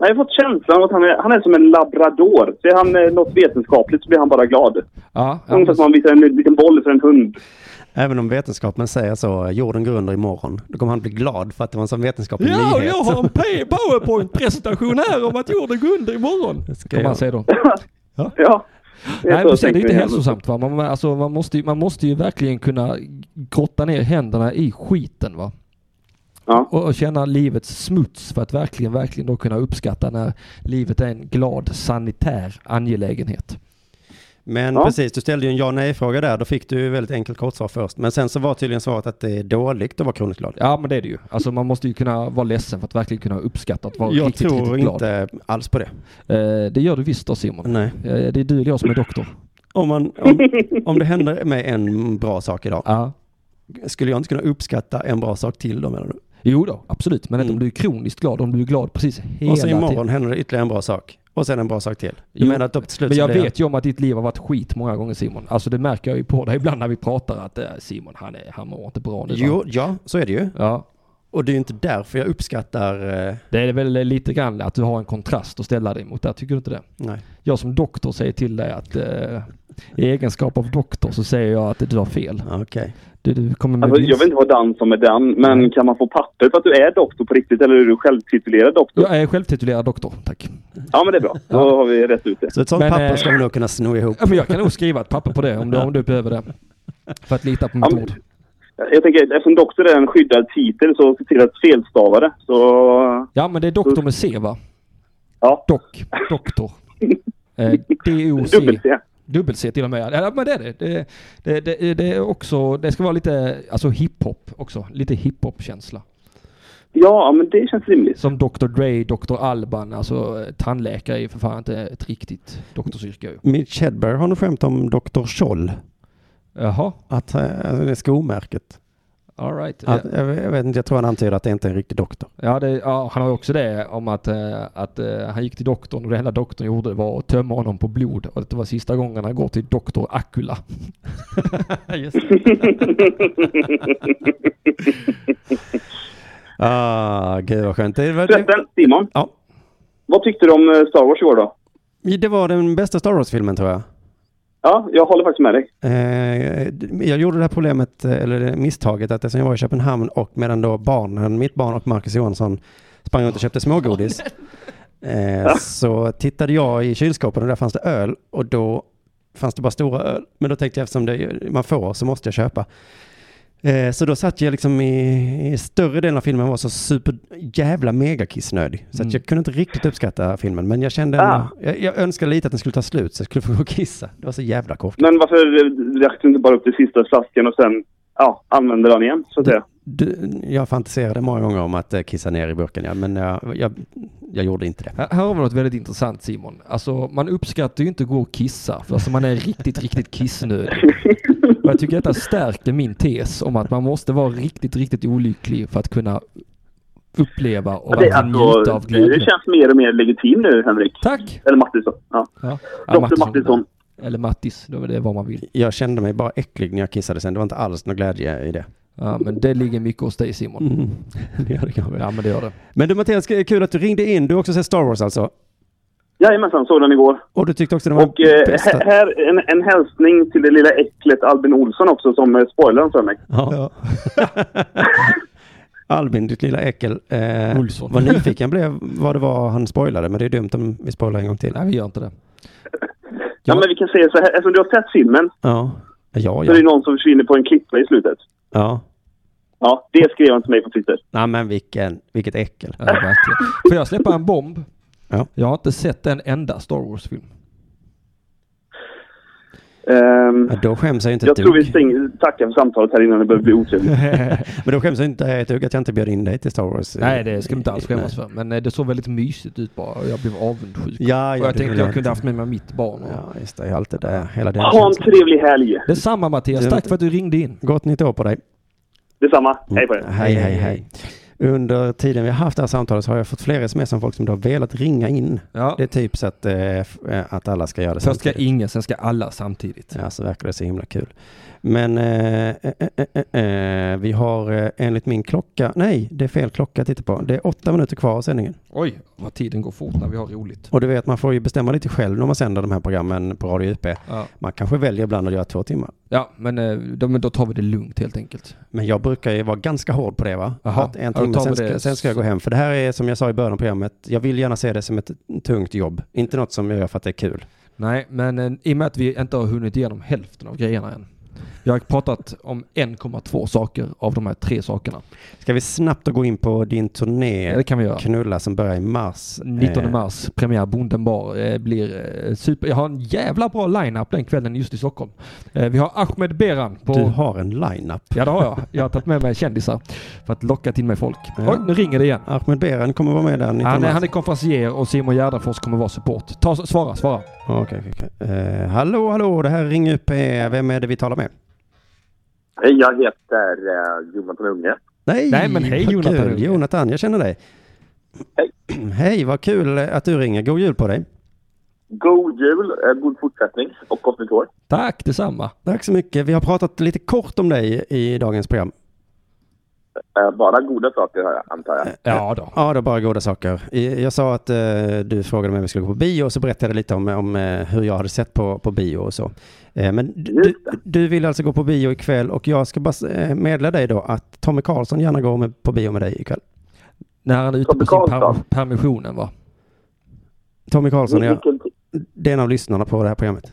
[SPEAKER 7] Nej, Jag har fått känslan av att han är, han är som en labrador. Ser han eh, något vetenskapligt så blir han bara glad.
[SPEAKER 2] Ja, ja,
[SPEAKER 7] Ungefär som man visar en liten boll för en hund.
[SPEAKER 1] Även om vetenskapen säger så, jorden går under imorgon. Då kommer han bli glad för att det var en sån vetenskaplig
[SPEAKER 2] Ja, och
[SPEAKER 1] nyhet.
[SPEAKER 2] jag har (laughs) en pre- powerpoint-presentation här om att jorden går under imorgon. Kommer han
[SPEAKER 1] jag-
[SPEAKER 2] säga då.
[SPEAKER 7] Ja.
[SPEAKER 2] Nej, men sen,
[SPEAKER 7] så
[SPEAKER 2] det är
[SPEAKER 7] tänker
[SPEAKER 2] inte
[SPEAKER 7] jag.
[SPEAKER 2] hälsosamt va. Man, man- alltså, man, måste, ju- man måste ju verkligen kunna grotta ner händerna i skiten va.
[SPEAKER 7] Ja.
[SPEAKER 2] Och, och känna livets smuts för att verkligen, verkligen då kunna uppskatta när livet är en glad sanitär angelägenhet.
[SPEAKER 1] Men
[SPEAKER 7] Ja.
[SPEAKER 1] precis, du ställde ju en ja nej-fråga där. Då fick du ju väldigt enkelt kortsvar först. Men sen så var tydligen svaret att det är dåligt att vara kroniskt glad.
[SPEAKER 2] Ja men det är det ju. Alltså man måste ju kunna vara ledsen för att verkligen kunna uppskatta att vara
[SPEAKER 1] jag
[SPEAKER 2] riktigt,
[SPEAKER 1] tror
[SPEAKER 2] riktigt glad.
[SPEAKER 1] inte alls på det.
[SPEAKER 2] Eh, det gör du visst då Simon.
[SPEAKER 1] Nej.
[SPEAKER 2] Eh, det är du eller jag som är doktor.
[SPEAKER 1] Om, man, om, om det händer mig en bra sak idag,
[SPEAKER 2] Ja.
[SPEAKER 1] skulle jag inte kunna uppskatta en bra sak till då menar du?
[SPEAKER 2] Jo då, absolut. Men inte
[SPEAKER 1] Mm.
[SPEAKER 2] om du är kroniskt glad, om du är glad precis hela
[SPEAKER 1] Och så
[SPEAKER 2] tiden.
[SPEAKER 1] imorgon händer det ytterligare en bra sak. Och sen en bra sak till. Du
[SPEAKER 2] Jo,
[SPEAKER 1] menar att då till slut
[SPEAKER 2] Men
[SPEAKER 1] så
[SPEAKER 2] jag
[SPEAKER 1] blir
[SPEAKER 2] vet ju om att ditt liv har varit skit många gånger Simon. Alltså det märker jag ju på dig (laughs) ibland när vi pratar att eh, Simon han, är, han mår inte bra nu. va?
[SPEAKER 1] Jo, ja, så är det ju.
[SPEAKER 2] Ja.
[SPEAKER 1] Och det är ju inte därför jag uppskattar... Eh,
[SPEAKER 2] Det är väl lite grann att du har en kontrast att ställa dig mot där, tycker du inte det?
[SPEAKER 1] nej.
[SPEAKER 2] Jag som doktor säger till dig att eh, i egenskap av doktor så säger jag att du har fel.
[SPEAKER 1] Ja, Okej.
[SPEAKER 2] Du, du kommer med
[SPEAKER 7] Alltså, jag
[SPEAKER 2] vins-
[SPEAKER 7] vet inte vad Dan som är Dan, men kan man få papper för att du är doktor på riktigt eller är du självtitulerad doktor?
[SPEAKER 2] Jag är självtitulerad doktor, tack.
[SPEAKER 7] Ja, men det är bra. Då har vi rätt ut det.
[SPEAKER 1] Så ett sånt
[SPEAKER 2] Men,
[SPEAKER 1] papper
[SPEAKER 2] eh,
[SPEAKER 1] ska vi nog kunna sno ihop.
[SPEAKER 2] Ja, men jag kan nog skriva ett papper på det om du, om du behöver det. För att lita på mitt
[SPEAKER 7] Ja, men-
[SPEAKER 2] ord.
[SPEAKER 7] Jag tänker, eftersom doktor är en skyddad titel så se till att felstava det. Så
[SPEAKER 2] Ja, men det är doktor med C va?
[SPEAKER 7] Ja.
[SPEAKER 2] Dock,
[SPEAKER 7] (laughs)
[SPEAKER 2] doktor. Eh, D-O-C.
[SPEAKER 7] dubbel-C.
[SPEAKER 2] Dubbel-C till och med. Ja, men det är det. Det, det, det. det är också, det ska vara lite, alltså hiphop också. Lite hiphop-känsla.
[SPEAKER 7] Ja, men det känns rimligt.
[SPEAKER 2] Som Dr Dre, Dr Alban, alltså eh, tandläkare är ju för fan inte ett riktigt doktorsyrke ju.
[SPEAKER 1] Mitch Hedberg har nog skämt om Dr. Scholl.
[SPEAKER 2] Jaha,
[SPEAKER 1] Att eh, alltså det är skomärket.
[SPEAKER 2] alright.
[SPEAKER 1] Att, jag, vet- jag vet inte, jag tror han antyder att det inte är en riktig doktor.
[SPEAKER 2] Ja, det, ja, han har ju också det om att, eh, att eh, han gick till doktorn och det enda doktorn gjorde var att tömma honom på blod och att det var sista gången han går till doktor Akula.
[SPEAKER 1] Ah, gud vad skönt. Det var, det,
[SPEAKER 7] Förresten, Simon.
[SPEAKER 1] Ja.
[SPEAKER 7] Vad tyckte du om eh, Star Wars igår då?
[SPEAKER 1] det var den bästa Star Wars-filmen tror jag.
[SPEAKER 7] Ja, jag håller faktiskt med dig.
[SPEAKER 1] Eh, jag gjorde det här problemet, eh, eller det misstaget, att eftersom jag var i Köpenhamn och medan då barnen, mitt barn och Marcus Johansson sprang runt och köpte smågodis, eh, så tittade jag i kylskåpen och där fanns det öl och då fanns det bara stora öl. Men då tänkte jag eftersom det, man får så måste jag köpa. Eh, så då satt jag liksom i, i större delen av filmen var så super jävla megakissnödig. Så att jag kunde inte riktigt uppskatta filmen. Men jag kände,
[SPEAKER 7] Ah.
[SPEAKER 1] jag, jag önskade lite att den skulle ta slut så jag skulle få gå och kissa. Det var så jävla kort.
[SPEAKER 7] Men varför eh, drack du inte bara upp den sista flaskan och sen ja, använde den igen, så att säga?
[SPEAKER 1] Du, jag fantiserade många gånger om att eh, kissa ner i burken, ja, men jag, jag, jag gjorde inte det.
[SPEAKER 2] Här, här har vi något väldigt intressant Simon. Alltså man uppskattar ju inte att gå och kissa för alltså, man är riktigt, riktigt kissnödig. Och jag tycker detta stärker min tes om att man måste vara riktigt, riktigt olycklig för att kunna uppleva och
[SPEAKER 7] Det,
[SPEAKER 2] verkligen njuta
[SPEAKER 7] alltså,
[SPEAKER 2] av
[SPEAKER 7] du
[SPEAKER 2] glädje.
[SPEAKER 7] känns mer och mer legitim nu, Henrik.
[SPEAKER 2] Tack!
[SPEAKER 7] Eller Mattisson. Ja.
[SPEAKER 2] Ja.
[SPEAKER 7] Dr. Mattisson.
[SPEAKER 2] Eller Mattis, det är väl det vad man vill.
[SPEAKER 1] Jag kände mig bara äcklig när jag kissade sen, det var inte alls någon glädje i det.
[SPEAKER 2] Ja, men det ligger mycket hos dig Simon.
[SPEAKER 1] (laughs) det gör det kanske.
[SPEAKER 2] Ja men det gör det.
[SPEAKER 1] Men du Mattias, det är kul att du ringde in, du har också sett Star Wars alltså?
[SPEAKER 7] Jajamensan, såg den igår.
[SPEAKER 1] Och du tyckte också det var
[SPEAKER 7] Och eh,
[SPEAKER 1] bästa?
[SPEAKER 7] (laughs) hä- här en, en hälsning till det lilla äcklet Albin Olsson också som eh, spoilade för mig.
[SPEAKER 1] Ja. (laughs) Albin, ditt lilla äckel. Eh,
[SPEAKER 2] Olsson.
[SPEAKER 1] vad nyfiken blev vad det var han spoilade, men det är dumt om vi spoilar en gång till.
[SPEAKER 2] Nej vi gör inte det.
[SPEAKER 7] Ja, men vi kan säga så här, eftersom du har sett filmen
[SPEAKER 1] Ja, ja,
[SPEAKER 7] så är det
[SPEAKER 1] ja.
[SPEAKER 7] någon som försvinner på en klippa i slutet.
[SPEAKER 1] ja.
[SPEAKER 7] Ja, det skrev han till mig på Twitter.
[SPEAKER 1] Nej men vilken, vilket äckel.
[SPEAKER 2] Ja, verkligen. Får jag släppa en bomb?
[SPEAKER 1] Ja.
[SPEAKER 2] Jag har inte sett en enda Star Wars-film.
[SPEAKER 7] Ehm,
[SPEAKER 1] Ja, Då skäms jag ju inte
[SPEAKER 7] jag
[SPEAKER 1] ett
[SPEAKER 7] tror vi
[SPEAKER 1] dugg.
[SPEAKER 7] stänger, tackar för samtalet här innan det börjar
[SPEAKER 1] (laughs)
[SPEAKER 7] bli otrevligt.
[SPEAKER 1] Men då skäms jag inte ett dugg att jag inte bjöd in dig till Star Wars.
[SPEAKER 2] Nej det ska du inte alls skämmas
[SPEAKER 1] Nej.
[SPEAKER 2] för. Men eh, det såg väldigt mysigt ut bara och jag blev avundsjuk.
[SPEAKER 1] Ja,
[SPEAKER 2] och jag
[SPEAKER 1] det
[SPEAKER 2] tänkte
[SPEAKER 1] vill
[SPEAKER 2] jag kunde
[SPEAKER 1] inte.
[SPEAKER 2] haft med mig mitt barn. Och...
[SPEAKER 1] Ja, just det. Allt det där. Hela den
[SPEAKER 7] Ha en
[SPEAKER 1] känslan.
[SPEAKER 7] trevlig helg!
[SPEAKER 2] Detsamma Mattias,
[SPEAKER 1] Det-
[SPEAKER 2] tack för att du ringde in.
[SPEAKER 1] Gott nytt år på dig. Mm.
[SPEAKER 7] Detsamma, hej på er!
[SPEAKER 1] Hej, hej, hej. Under tiden vi har haft det här samtalet så har jag fått fler sms om folk som då har velat ringa in.
[SPEAKER 2] Ja.
[SPEAKER 1] Det är typ så att, eh, f- eh, att alla ska göra det
[SPEAKER 2] Först ska
[SPEAKER 1] samtidigt.
[SPEAKER 2] ingen, sen ska alla samtidigt.
[SPEAKER 1] Ja, så verkar det så himla kul. Men eh, eh, eh, eh, eh, vi har eh, enligt min klocka, nej det är fel klocka jag tittar på. Det är åtta minuter kvar av sändningen.
[SPEAKER 2] Oj, vad tiden går fort när vi har roligt.
[SPEAKER 1] Och du vet, man får ju bestämma lite själv när man sänder de här programmen på Radio UP.
[SPEAKER 2] Ja,
[SPEAKER 1] Man kanske väljer ibland att göra två timmar.
[SPEAKER 2] ja men eh, då, men då tar vi det lugnt helt enkelt.
[SPEAKER 1] Men jag brukar ju vara ganska hård på det va?
[SPEAKER 2] Jaha.
[SPEAKER 1] Att en
[SPEAKER 2] Ja, då
[SPEAKER 1] timme,
[SPEAKER 2] tar
[SPEAKER 1] sen
[SPEAKER 2] vi
[SPEAKER 1] ska,
[SPEAKER 2] det.
[SPEAKER 1] sen ska jag gå hem. För det här är som jag sa i början av programmet, jag vill gärna se det som ett tungt jobb. Inte något som jag gör för att det är kul.
[SPEAKER 2] Nej, men eh, i och med att vi inte har hunnit igenom hälften av grejerna än. Vi Jag har pratat om 1,2 saker av de här tre sakerna.
[SPEAKER 1] Ska vi snabbt gå in på din
[SPEAKER 2] Ja,
[SPEAKER 1] turné
[SPEAKER 2] det kan vi göra.
[SPEAKER 1] Knulla som börjar i mars?
[SPEAKER 2] 19
[SPEAKER 1] Eh,
[SPEAKER 2] mars, premiär Bonden bar. eh, Blir eh, super. Jag har en jävla bra line-up den kvällen just i Stockholm. Eh, Vi har Ahmed Beran på...
[SPEAKER 1] Du har en line-up.
[SPEAKER 2] Ja det har jag. Jag har tagit med mig kändisar för att locka till mig folk.
[SPEAKER 1] Ja.
[SPEAKER 2] Oj, nu ringer det igen.
[SPEAKER 1] Ahmed Beran kommer vara med där 19
[SPEAKER 2] Han är,
[SPEAKER 1] mars.
[SPEAKER 2] han är konferencier och Simon Gärdenfors kommer vara support. Ta, svara, svara.
[SPEAKER 1] Okej, okej, okej. Eh, hallå, hallå, det här är Ring UP. Vem är det vi talar med?
[SPEAKER 7] Hej, jag heter eh, Jonathan Unge.
[SPEAKER 1] Nej,
[SPEAKER 2] Nej, men hej,
[SPEAKER 1] vad
[SPEAKER 2] Jonathan
[SPEAKER 1] kul.
[SPEAKER 2] Unge.
[SPEAKER 1] Jonathan, jag känner dig.
[SPEAKER 7] Hej.
[SPEAKER 1] Hej, vad kul att du ringer. God jul på dig.
[SPEAKER 7] God jul, eh, god fortsättning och gott nytt år.
[SPEAKER 2] Tack detsamma.
[SPEAKER 1] Tack så mycket. Vi har pratat lite kort om dig i dagens program.
[SPEAKER 7] Eh, bara goda saker hör jag, antar
[SPEAKER 1] Eh,
[SPEAKER 7] jag.
[SPEAKER 2] Ja då.
[SPEAKER 1] Ja, det var bara goda saker. I- Jag sa att eh, du frågade mig om vi skulle gå på bio och så berättade jag lite om, om eh, hur jag hade sett på, på bio och så. Eh, men d- du,
[SPEAKER 7] Just det.
[SPEAKER 1] du vill alltså gå på bio ikväll och jag ska bara s- eh, meddela dig då att Tommy Karlsson gärna går med, på bio med dig ikväll.
[SPEAKER 2] När han är ute på
[SPEAKER 7] Tobbe
[SPEAKER 2] sin per
[SPEAKER 7] Karlsson.
[SPEAKER 2] permissionen va?
[SPEAKER 1] Tommy Karlsson, ja,
[SPEAKER 7] vilken, ti-
[SPEAKER 1] det är en av lyssnarna på det här programmet.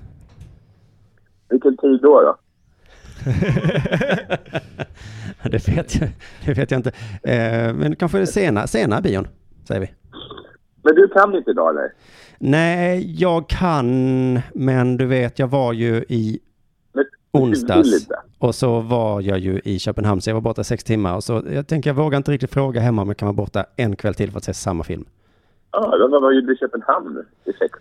[SPEAKER 7] vilken tid då? då?
[SPEAKER 1] (laughs) det, vet jag, det vet jag inte. Eh, men kanske det sena, sena bion, säger vi.
[SPEAKER 7] Men du kan inte idag eller?
[SPEAKER 1] Nej, jag kan, men du vet, jag var ju i
[SPEAKER 7] Men, du vill
[SPEAKER 1] onsdags.
[SPEAKER 7] inte.
[SPEAKER 1] Och så var jag ju i Köpenhamn, så jag var borta sex timmar. Och så, jag tänker, jag vågar inte riktigt fråga hemma om jag kan vara borta en kväll till för att se samma film.
[SPEAKER 7] Ja, då var ju i Köpenhamn i sex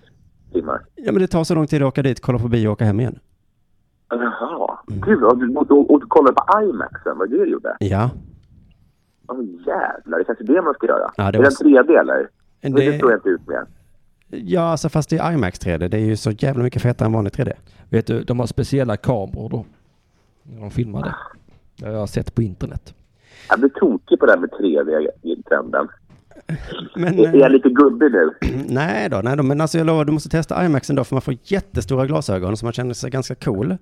[SPEAKER 7] timmar.
[SPEAKER 1] Ja, men det tar så lång tid att åka dit, kolla på bio och åka hem igen.
[SPEAKER 7] Jaha.
[SPEAKER 1] Mm.
[SPEAKER 7] Gud, och du, och, och, och du kollade på IMAXen, vad du gjorde?
[SPEAKER 1] Ja.
[SPEAKER 7] Åh jävlar, det kanske är det man ska göra.
[SPEAKER 1] Ja, det
[SPEAKER 7] är
[SPEAKER 1] var-
[SPEAKER 7] den 3D eller? Det... Men det
[SPEAKER 1] Det,
[SPEAKER 7] står jag inte ut med.
[SPEAKER 1] ja, alltså fast det är IMAX 3D. Det är ju så jävla mycket fetare än vanlig 3D.
[SPEAKER 2] Vet du, de har speciella kameror då. När de filmar det. Det har jag sett på internet.
[SPEAKER 7] Jag blir tokig på det här med 3D-trenden.
[SPEAKER 1] Men,
[SPEAKER 7] Är jag lite gubbig nu?
[SPEAKER 1] Mm, Nej då, nej då, men alltså jag lovar, du måste testa IMAXen då för man får jättestora glasögon så man känner sig ganska cool.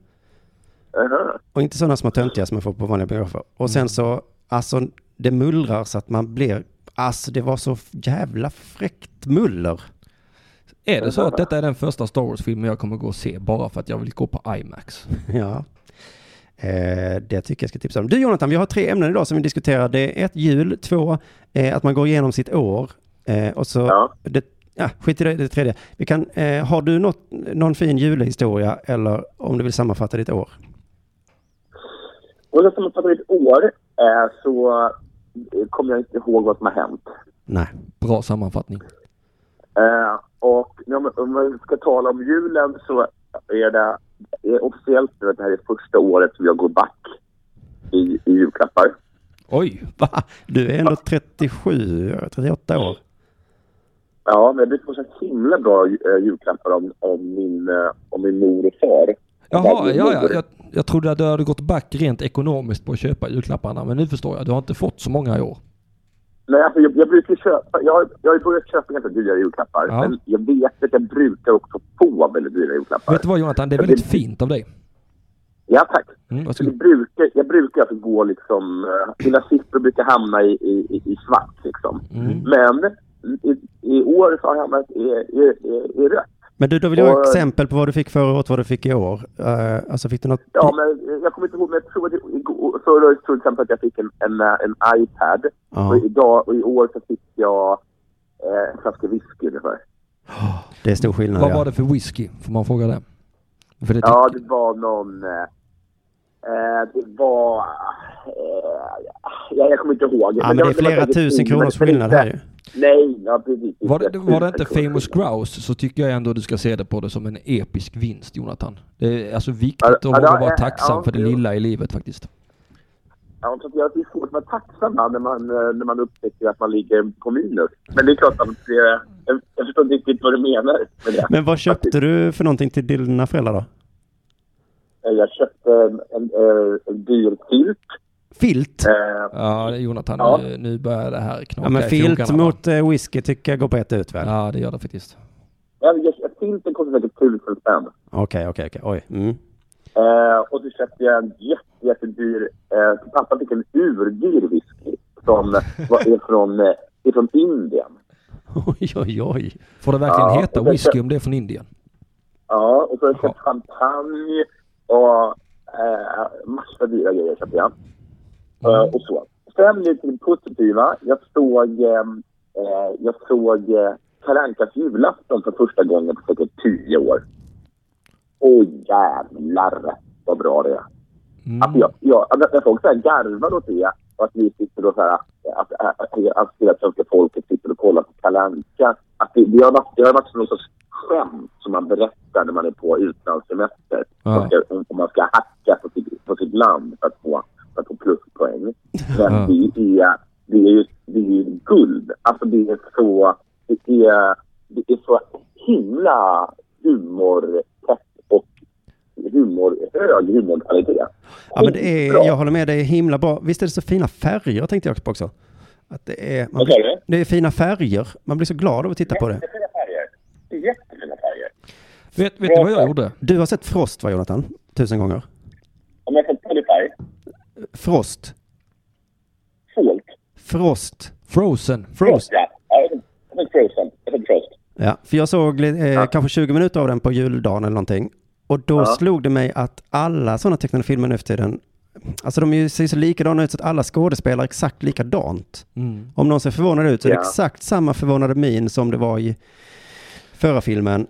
[SPEAKER 7] Jaha.
[SPEAKER 1] Och inte sådana små töntiga som man får på vanliga biografer. Och sen så, alltså det mullrar så att man blir, alltså det var så jävla fräckt muller.
[SPEAKER 2] Är det så att detta är den första Star Wars-filmen jag kommer gå och se bara för att jag vill gå på IMAX?
[SPEAKER 1] (laughs) Ja. Eh, det tycker jag ska tipsa om. Du Jonathan, vi har tre ämnen idag som vi diskuterar. Det är ett, jul, två, eh, att man går igenom sitt år. Eh, och så,
[SPEAKER 7] Ja.
[SPEAKER 1] det, ja, skit i det, det tredje. Vi kan, eh, har du något, någon fin julhistoria eller om du vill sammanfatta ditt år?
[SPEAKER 7] Och sen som har tagit ett år eh, så eh, kommer jag inte ihåg vad som har hänt.
[SPEAKER 1] Nej.
[SPEAKER 2] Bra sammanfattning.
[SPEAKER 7] Eh, och om, om man ska tala om julen så är det är officiellt nu att det här är första året som jag går back i, i julklappar.
[SPEAKER 2] Oj!
[SPEAKER 1] Va? Du är ändå 37, 38
[SPEAKER 7] Mm.
[SPEAKER 1] år.
[SPEAKER 7] Ja, men det får så himla bra eh, julklappar om, om, min, eh, om min mor och far.
[SPEAKER 2] Jaha,
[SPEAKER 7] Min
[SPEAKER 2] ja, ja,
[SPEAKER 7] mor.
[SPEAKER 2] jag, jag trodde att du hade gått back rent ekonomiskt på att köpa julklapparna, men nu förstår jag. Du har inte fått så många i år.
[SPEAKER 7] Nej, alltså jag, jag brukar köpa. Jag, har- jag har ju börjat köpa ganska dyra julklappar.
[SPEAKER 2] Ja.
[SPEAKER 7] Men jag vet att jag brukar också få väldigt dyra julklappar.
[SPEAKER 2] Vet du vad Jonathan, det är
[SPEAKER 7] Men
[SPEAKER 2] väldigt
[SPEAKER 7] det-
[SPEAKER 2] fint av dig.
[SPEAKER 7] Ja, tack.
[SPEAKER 2] Mm,
[SPEAKER 7] Jag
[SPEAKER 2] varsågod.
[SPEAKER 7] brukar, jag brukar alltså gå liksom... eh, Mina siffror brukar hamna i, i, i- i svart liksom.
[SPEAKER 2] Mm.
[SPEAKER 7] Men i, i år så har jag hamnat i, i, i, i rött.
[SPEAKER 1] Men du, då vill jag ha
[SPEAKER 7] Och-
[SPEAKER 1] exempel på vad du fick förra året, vad du fick i år. Eh, alltså fick du något?
[SPEAKER 7] Ja, men eh, jag kommer inte ihåg, men jag tror att det- igår- förra året tror jag till exempel att jag fick en, en, eh, en iPad.
[SPEAKER 1] Ja.
[SPEAKER 7] Och, idag, och i år så fick jag eh, en flaska whisky ungefär.
[SPEAKER 1] Det är stor skillnad.
[SPEAKER 2] Vad
[SPEAKER 1] ja.
[SPEAKER 2] var det för whisky? Får man fråga det? För det typ-
[SPEAKER 7] Ja, det var någon... eh, Eh, det var... Eh, ja, jag kommer inte ihåg.
[SPEAKER 1] Ja, men det är
[SPEAKER 7] var- var
[SPEAKER 1] flera
[SPEAKER 7] säkert
[SPEAKER 1] tusen
[SPEAKER 7] fint, men-
[SPEAKER 1] kronors
[SPEAKER 7] men
[SPEAKER 1] skillnad
[SPEAKER 7] inte-
[SPEAKER 1] här ju.
[SPEAKER 7] Nej, ja, precis.
[SPEAKER 2] var, det, var det inte
[SPEAKER 7] tusen kronors
[SPEAKER 2] famous
[SPEAKER 7] skillnad.
[SPEAKER 2] grouse så tycker jag ändå du ska se det på det som en episk vinst Jonathan. Det är alltså
[SPEAKER 7] Ja,
[SPEAKER 2] viktigt att
[SPEAKER 7] ja,
[SPEAKER 2] våga
[SPEAKER 7] det-
[SPEAKER 2] vara
[SPEAKER 7] ja,
[SPEAKER 2] tacksam
[SPEAKER 7] ja,
[SPEAKER 2] för det
[SPEAKER 7] jo.
[SPEAKER 2] lilla i livet faktiskt.
[SPEAKER 7] Ja, så att jag- det är svårt att vara tacksam va, när man, eh, när man upptäcker att man ligger på minus. Men det är klart att det, jag, jag förstår inte riktigt vad du menar med det.
[SPEAKER 1] Men vad köpte du för någonting till dina föräldrar då?
[SPEAKER 7] Eh, Jag köpte en, en, eh, en dyr filt.
[SPEAKER 1] Filt?
[SPEAKER 7] Eh,
[SPEAKER 2] Ja, Jonathan,
[SPEAKER 7] Ja.
[SPEAKER 2] nu, nu börjar det här knaka
[SPEAKER 1] Ja, men
[SPEAKER 2] i
[SPEAKER 1] filt
[SPEAKER 2] krokarna, va?
[SPEAKER 1] mot eh, whisky tycker jag går på ett ut väl?
[SPEAKER 2] Ja, det gör det faktiskt.
[SPEAKER 7] jag, jag, filten kostade säkert tusen spänn.
[SPEAKER 1] Okej, okej, okej. Oj. Mm.
[SPEAKER 7] Eh, och så köpte jag en jätte, jättedyr... Eh, pappa fick en urdyr whisky som var, är från, eh, är från Indien.
[SPEAKER 1] (laughs) Oj, oj, oj.
[SPEAKER 2] Får det verkligen
[SPEAKER 7] Ja,
[SPEAKER 2] heta
[SPEAKER 7] och sen-
[SPEAKER 2] whisky om det är från Indien?
[SPEAKER 7] Ja, och så har jag köpt champagne och eh, massa dyra grejer köpte jag. Eh, och så. Sen lite till det positiva. Jag såg, eh, eh, jag såg eh, Kalle Ankas julafton för första gången på säkert tio år. Åh jävlar vad bra det är.
[SPEAKER 2] Mm.
[SPEAKER 7] Alltså jag, jag, när- när folk så här garvar åt det och att vi sitter och så här, att, att, att, att hela svenska folket sitter och kollar på Kalle Anka. Att det, det har varit, det har varit som någon sorts skämt som man berättar när man är på utlandssemester.
[SPEAKER 2] Ja.
[SPEAKER 7] Man ska- Om, om man ska hacka på sitt, på sitt land för att få, för att få pluspoäng. Men
[SPEAKER 2] Ja.
[SPEAKER 7] det är, det är ju det är ju guld. Alltså det är så, det är, det är så himla humortätt och humor, hög humorkvalitet.
[SPEAKER 1] Ja, men det är,
[SPEAKER 7] Bra.
[SPEAKER 1] jag håller med, det är himla bra. Visst är det så fina färger tänkte jag också. Att det, är, man
[SPEAKER 7] Vad sa du?
[SPEAKER 1] blir, det är fina färger. Man blir så glad av att titta på det.
[SPEAKER 7] Jättefina färger. Det är jättefina färger.
[SPEAKER 2] Vet, vet du vad jag gjorde?
[SPEAKER 1] Du har sett Frost va Jonathan? Tusen gånger.
[SPEAKER 7] Om jag kan ta det färg.
[SPEAKER 1] Frost.
[SPEAKER 7] Folk.
[SPEAKER 1] Frost.
[SPEAKER 2] Frozen.
[SPEAKER 1] Frost.
[SPEAKER 7] Ja. Ja, Jag vet- jag vet Frozen. Jag vet Frost.
[SPEAKER 1] Ja, för jag såg li- eh, kanske 20 minuter av den på juldagen eller någonting. Och då slog det mig att alla sådana tecknade filmer nu för tiden, alltså de är ju- ser så likadana ut så att alla skådespelar exakt likadant.
[SPEAKER 2] Mm.
[SPEAKER 1] Om någon ser förvånad ut så är
[SPEAKER 7] Ja.
[SPEAKER 1] det exakt samma förvånade min som det var i förra filmen.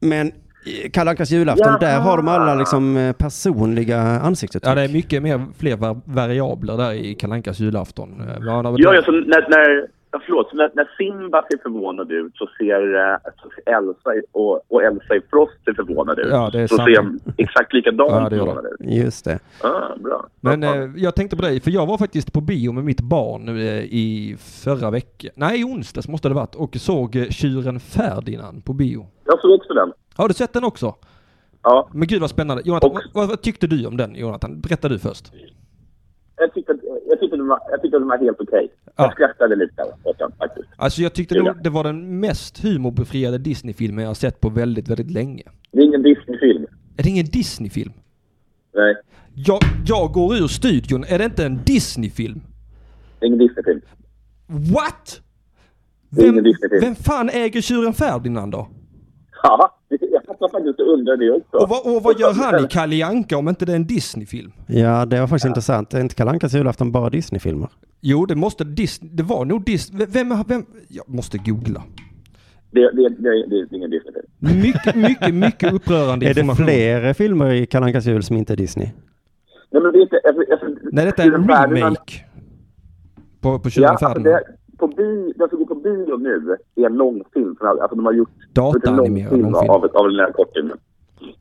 [SPEAKER 1] Men i Kalle Ankas julafton, där har de alla liksom eh, personliga ansiktsuttryck.
[SPEAKER 2] Ja, det är mycket mer, fler var- variabler där i Kalankas julafton. Eh, Ja, där-
[SPEAKER 7] Ja, ja, så när, när, ja, förlåt, så när, när Simba ser förvånad ut så ser, eh, så ser Elsa i- och, och Elsa i Frost ser förvånad ut.
[SPEAKER 2] Ja, det är
[SPEAKER 7] så
[SPEAKER 2] sant.
[SPEAKER 7] ser de exakt likadant
[SPEAKER 2] Ja, det gör de.
[SPEAKER 7] förvånade ut.
[SPEAKER 1] Just det.
[SPEAKER 7] Ah, bra.
[SPEAKER 2] Men
[SPEAKER 7] Ja,
[SPEAKER 2] eh, jag tänkte på dig, för jag var faktiskt på bio med mitt barn eh, i förra veckan. Nej, i onsdags måste det varit. Och såg eh, Tjuren Ferdinand på bio.
[SPEAKER 7] jag såg också den.
[SPEAKER 2] Har du sett den också?
[SPEAKER 7] Ja,
[SPEAKER 2] Men gud vad spännande. Jonathan,
[SPEAKER 7] Och-
[SPEAKER 2] vad, vad, vad tyckte du om den Jonathan? Berätta du först.
[SPEAKER 7] jag tyckte, att- jag tyckte, att den var, jag tyckte att den var helt okej.
[SPEAKER 2] Ja.
[SPEAKER 7] Jag skrattade lite åt den faktiskt.
[SPEAKER 2] Alltså jag tyckte nog det var den mest humorbefriade Disney-filmen jag har sett på väldigt, väldigt länge.
[SPEAKER 7] Det är ingen Disney-film.
[SPEAKER 2] Är det ingen Disney-film?
[SPEAKER 7] Nej,
[SPEAKER 2] Jag, jag går ur studion. Är det inte en Disney-film?
[SPEAKER 7] det är ingen Disney-film. (laughs)
[SPEAKER 2] What?
[SPEAKER 7] är ingen
[SPEAKER 2] Vem,
[SPEAKER 7] Disney-film.
[SPEAKER 2] vem fan äger tjuren Ferdinand då?
[SPEAKER 7] Ja, jag fattar faktiskt och undrar det också.
[SPEAKER 2] Och, vad- och vad gör han i Kalle Anka om inte det är en Disney-film?
[SPEAKER 1] Ja, det var faktiskt intressant. Är inte Kalle Ankas julafton bara Disney-filmer?
[SPEAKER 2] Jo, det måste Disney... Det var nog Disney... Vem, vem... Jag måste googla.
[SPEAKER 7] Det, det, det, det är ingen Disney-film.
[SPEAKER 2] Mycket, mycket,
[SPEAKER 7] (laughs)
[SPEAKER 2] mycket upprörande
[SPEAKER 1] Är det
[SPEAKER 2] information.
[SPEAKER 1] fler eh, filmer i Kalle Ankas jul som inte är Disney?
[SPEAKER 7] Nej, men det är inte... Alltså, alltså,
[SPEAKER 2] Nej, detta är en
[SPEAKER 7] Tjuren Ferdinand-
[SPEAKER 2] remake. På, på
[SPEAKER 7] Ja,
[SPEAKER 2] tjuren
[SPEAKER 7] alltså
[SPEAKER 2] Ferdinand.
[SPEAKER 7] det, på bio, den som går på bio nu är en långfilm. från all- Alltså de har gjort
[SPEAKER 2] Dataanimerad
[SPEAKER 7] gjort en långfilm
[SPEAKER 2] långfilm.
[SPEAKER 7] av, av den här kortfilmen.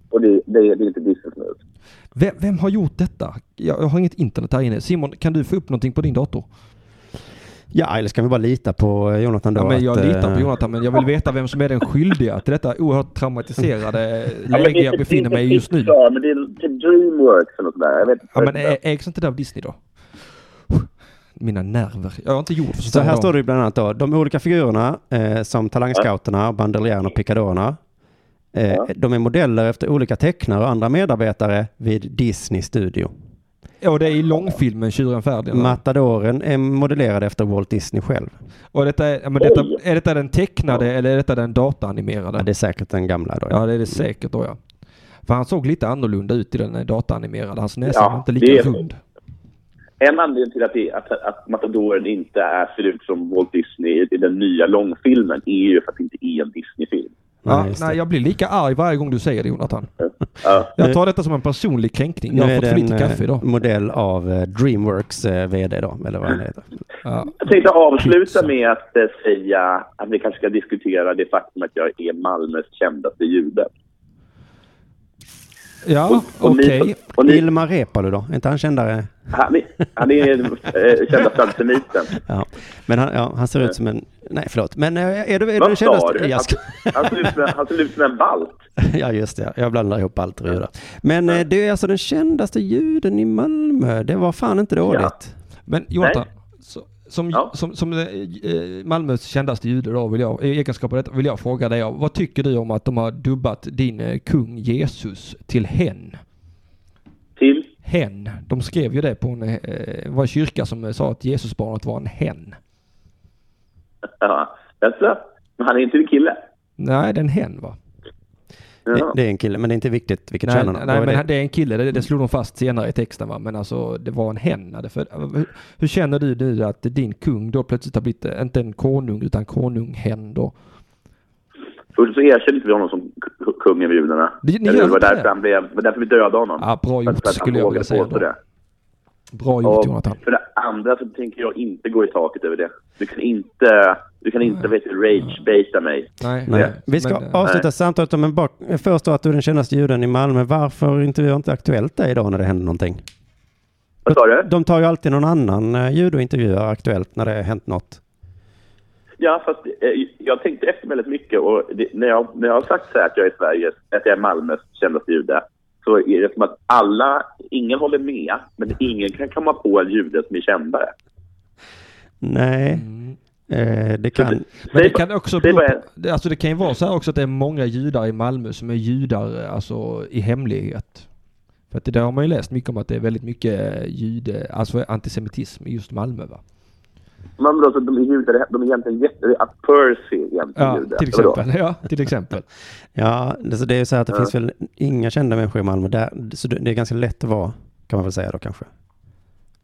[SPEAKER 7] Och det, det, det är inte Disney som har gjort.
[SPEAKER 2] Vem, vem har gjort detta? Jag, jag har inget internet här inne. Simon, kan du få upp någonting på din dator?
[SPEAKER 1] Ja, eller ska vi bara lita på eh, Jonathan då?
[SPEAKER 2] Ja, men jag
[SPEAKER 1] att, eh,
[SPEAKER 2] litar på Jonathan, men jag vill veta vem som är den skyldiga till detta oerhört
[SPEAKER 1] (laughs)
[SPEAKER 2] traumatiserade läge jag befinner mig i just nu.
[SPEAKER 7] Ja, men det är till Dreamworks eller något sådär. Jag vet inte.
[SPEAKER 2] Ja, men ä- ägs inte det av Disney då? Mina nerver. Jag har inte gjort för
[SPEAKER 1] Så här står det ju bland annat då. De olika figurerna eh, som talangscouterna, bandeljärerna och pickadorerna. Eh, De är modeller efter olika tecknare och andra medarbetare vid Disney Studio.
[SPEAKER 2] Och det är i långfilmen Tjuren Ferdinand.
[SPEAKER 1] Matadoren är modellerad efter Walt Disney själv.
[SPEAKER 2] och detta är, ja, men detta,
[SPEAKER 7] Oj.
[SPEAKER 2] är detta den tecknade eller är detta den
[SPEAKER 1] Ja,
[SPEAKER 2] dataanimerade?
[SPEAKER 1] det är säkert den gamla då.
[SPEAKER 2] Ja, det är det säkert då ja. För han såg lite annorlunda ut i den eh, dataanimerade. Hans näsa
[SPEAKER 7] Ja,
[SPEAKER 2] var inte
[SPEAKER 7] det
[SPEAKER 2] lika
[SPEAKER 7] är-
[SPEAKER 2] rund.
[SPEAKER 7] En anledning till att, det, att, att Matadoren inte är, ser ut som Walt Disney i den nya långfilmen är ju för att det inte är en Disney-film.
[SPEAKER 2] Ja,
[SPEAKER 1] Nej, just det.
[SPEAKER 2] nej, jag blir lika arg varje gång du säger det Jonathan.
[SPEAKER 7] Ja.
[SPEAKER 2] Jag tar detta som en personlig kränkning. Jag har fått för lite
[SPEAKER 1] eh,
[SPEAKER 2] kaffe idag.
[SPEAKER 1] modell av eh, Dreamworks eh, vd då, eller vad han heter.
[SPEAKER 7] Jag tänkte avsluta
[SPEAKER 2] Pizza.
[SPEAKER 7] med att eh, säga att vi kanske ska diskutera det faktum att jag är Malmös kändaste jude.
[SPEAKER 2] Ja,
[SPEAKER 7] Oh, Och ni-
[SPEAKER 2] okej.
[SPEAKER 7] och ni-
[SPEAKER 1] Ilmar Reepalu då? Är inte han kändare?
[SPEAKER 7] Han är, han är eh, kändaste antisemiten.
[SPEAKER 1] Ja. Men han, ja, han ser ut som en... Nej, förlåt. Men eh, är du, är du den
[SPEAKER 7] Vad sa
[SPEAKER 1] kändaste?
[SPEAKER 7] du?
[SPEAKER 1] Jag ska-
[SPEAKER 7] Han- Han ser ut som en- han ser ut som en balt.
[SPEAKER 1] (laughs) Ja, just det. Jag blandar ihop allt och judar. Men eh, det är alltså den kändaste juden i Malmö. Det var fan inte dåligt.
[SPEAKER 2] Men Jonathan, så, som,
[SPEAKER 7] Ja.
[SPEAKER 2] som, som eh, Malmös kändaste jude då, vill jag, i egenskap av detta, vill jag fråga dig, om, vad tycker du om att de har dubbat din eh, kung Jesus till hen?
[SPEAKER 7] Till?
[SPEAKER 2] Hen. De skrev ju det på en, eh, var en kyrka som eh, sa att Jesusbarnet var en hen.
[SPEAKER 7] Ja. Jaså? Men han är inte en kille?
[SPEAKER 2] Nej, det är en hen va?
[SPEAKER 1] Det,
[SPEAKER 7] Ja.
[SPEAKER 1] det är en kille, men det är inte viktigt vilket
[SPEAKER 2] Nej,
[SPEAKER 1] kön han
[SPEAKER 2] nej
[SPEAKER 1] har.
[SPEAKER 2] men
[SPEAKER 1] Då är
[SPEAKER 2] det...
[SPEAKER 1] det-
[SPEAKER 2] det är en kille, det, det slog de fast senare i texten va. Men alltså det var en hen. hade För, hur, hur känner du nu att din kung då plötsligt har blivit, eh, inte en konung utan konunghen då?
[SPEAKER 7] Först så erkände inte vi honom som k- k- kungen vid judarna.
[SPEAKER 2] Ni- ni
[SPEAKER 7] Eller
[SPEAKER 2] gör
[SPEAKER 7] det var
[SPEAKER 2] inte
[SPEAKER 7] därför,
[SPEAKER 2] det?
[SPEAKER 7] han blev, det var därför vi dödade honom.
[SPEAKER 2] Ja, bra
[SPEAKER 7] För att-
[SPEAKER 2] gjort
[SPEAKER 7] för att han
[SPEAKER 2] skulle jag
[SPEAKER 7] vågade
[SPEAKER 2] vilja säga
[SPEAKER 7] påstå
[SPEAKER 2] då. Bra gjort Jonathan.
[SPEAKER 7] för det andra så tänker jag inte gå i taket över det. Du kan inte, du kan inte vet, rage-baita mig.
[SPEAKER 2] Nej,
[SPEAKER 1] Nej. Vi ska
[SPEAKER 2] men, eh,
[SPEAKER 1] avsluta samtalet om en bak. Först då att du är den kändaste juden i Malmö. Varför intervjuar inte Aktuellt dig idag när det händer någonting?
[SPEAKER 7] Vad sa du?
[SPEAKER 1] De tar ju alltid någon annan eh, jude och intervjuar Aktuellt när det har hänt något.
[SPEAKER 7] Ja, fast eh, jag tänkte efter väldigt mycket och det, när, jag, när jag har sagt så här att jag är Sveriges, att jag är Malmös kändaste jude så är det som att alla, ingen håller med, men ingen kan komma på en jude som är kändare.
[SPEAKER 1] Nej,
[SPEAKER 2] mm.
[SPEAKER 1] eh, det kan...
[SPEAKER 2] Men det
[SPEAKER 7] Säg-
[SPEAKER 2] kan också
[SPEAKER 7] säg
[SPEAKER 2] bero
[SPEAKER 7] bara
[SPEAKER 2] på, det- alltså det kan ju vara så här också att det är många judar i Malmö som är judar alltså i hemlighet. För att det där har man ju läst mycket om att det är väldigt mycket eh, jude, alltså antisemitism i just Malmö va?
[SPEAKER 7] Men vadå, så de är judar, de är egentligen jätte... Att Percy är egentligen
[SPEAKER 2] Ja,
[SPEAKER 7] jude.
[SPEAKER 2] till
[SPEAKER 7] Vadå?
[SPEAKER 2] exempel. (laughs) Ja, till exempel.
[SPEAKER 1] Ja, det, så det är ju så här att det
[SPEAKER 7] Ja.
[SPEAKER 1] finns väl inga kända människor i Malmö. Där, så det det är ganska lätt att vara, kan man väl säga då kanske.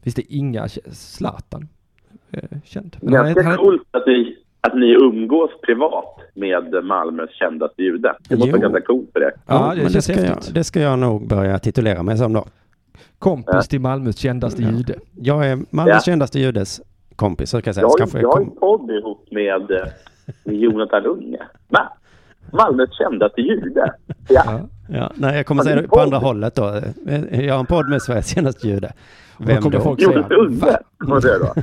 [SPEAKER 2] Finns det inga, Zlatan? eh, Känd. Men han är-
[SPEAKER 7] Ganska
[SPEAKER 2] han är-
[SPEAKER 7] coolt att ni, att ni umgås privat med Malmös kändaste jude. Det måste
[SPEAKER 1] Jo.
[SPEAKER 7] vara ganska coolt för det.
[SPEAKER 2] Ja, det
[SPEAKER 1] men
[SPEAKER 2] känns
[SPEAKER 1] ska jag,
[SPEAKER 2] häftigt.
[SPEAKER 1] det ska jag nog börja titulera mig som då.
[SPEAKER 7] Ja.
[SPEAKER 2] Kompis till Malmös kändaste
[SPEAKER 1] Ja.
[SPEAKER 2] jude.
[SPEAKER 1] Jag är Malmös
[SPEAKER 7] Ja.
[SPEAKER 1] kändaste judes kompis, så kan jag säga.
[SPEAKER 7] Jag har
[SPEAKER 1] Skaffa-
[SPEAKER 7] ju- jag har ju
[SPEAKER 1] kom-
[SPEAKER 7] en podd ihop med, eh, med Jonathan Unge. Va? Malmös kändaste jude. Ja.
[SPEAKER 2] Ja.
[SPEAKER 1] Ja, nej, jag kommer
[SPEAKER 7] Har du
[SPEAKER 1] säga
[SPEAKER 7] en
[SPEAKER 1] det på
[SPEAKER 7] podd?
[SPEAKER 1] andra hållet då. Eh, Jag har en podd med Sveriges senaste jude. Vem
[SPEAKER 2] kommer
[SPEAKER 1] då?
[SPEAKER 2] folk-
[SPEAKER 7] Jonas
[SPEAKER 2] säga.
[SPEAKER 7] Unge, får man säga då.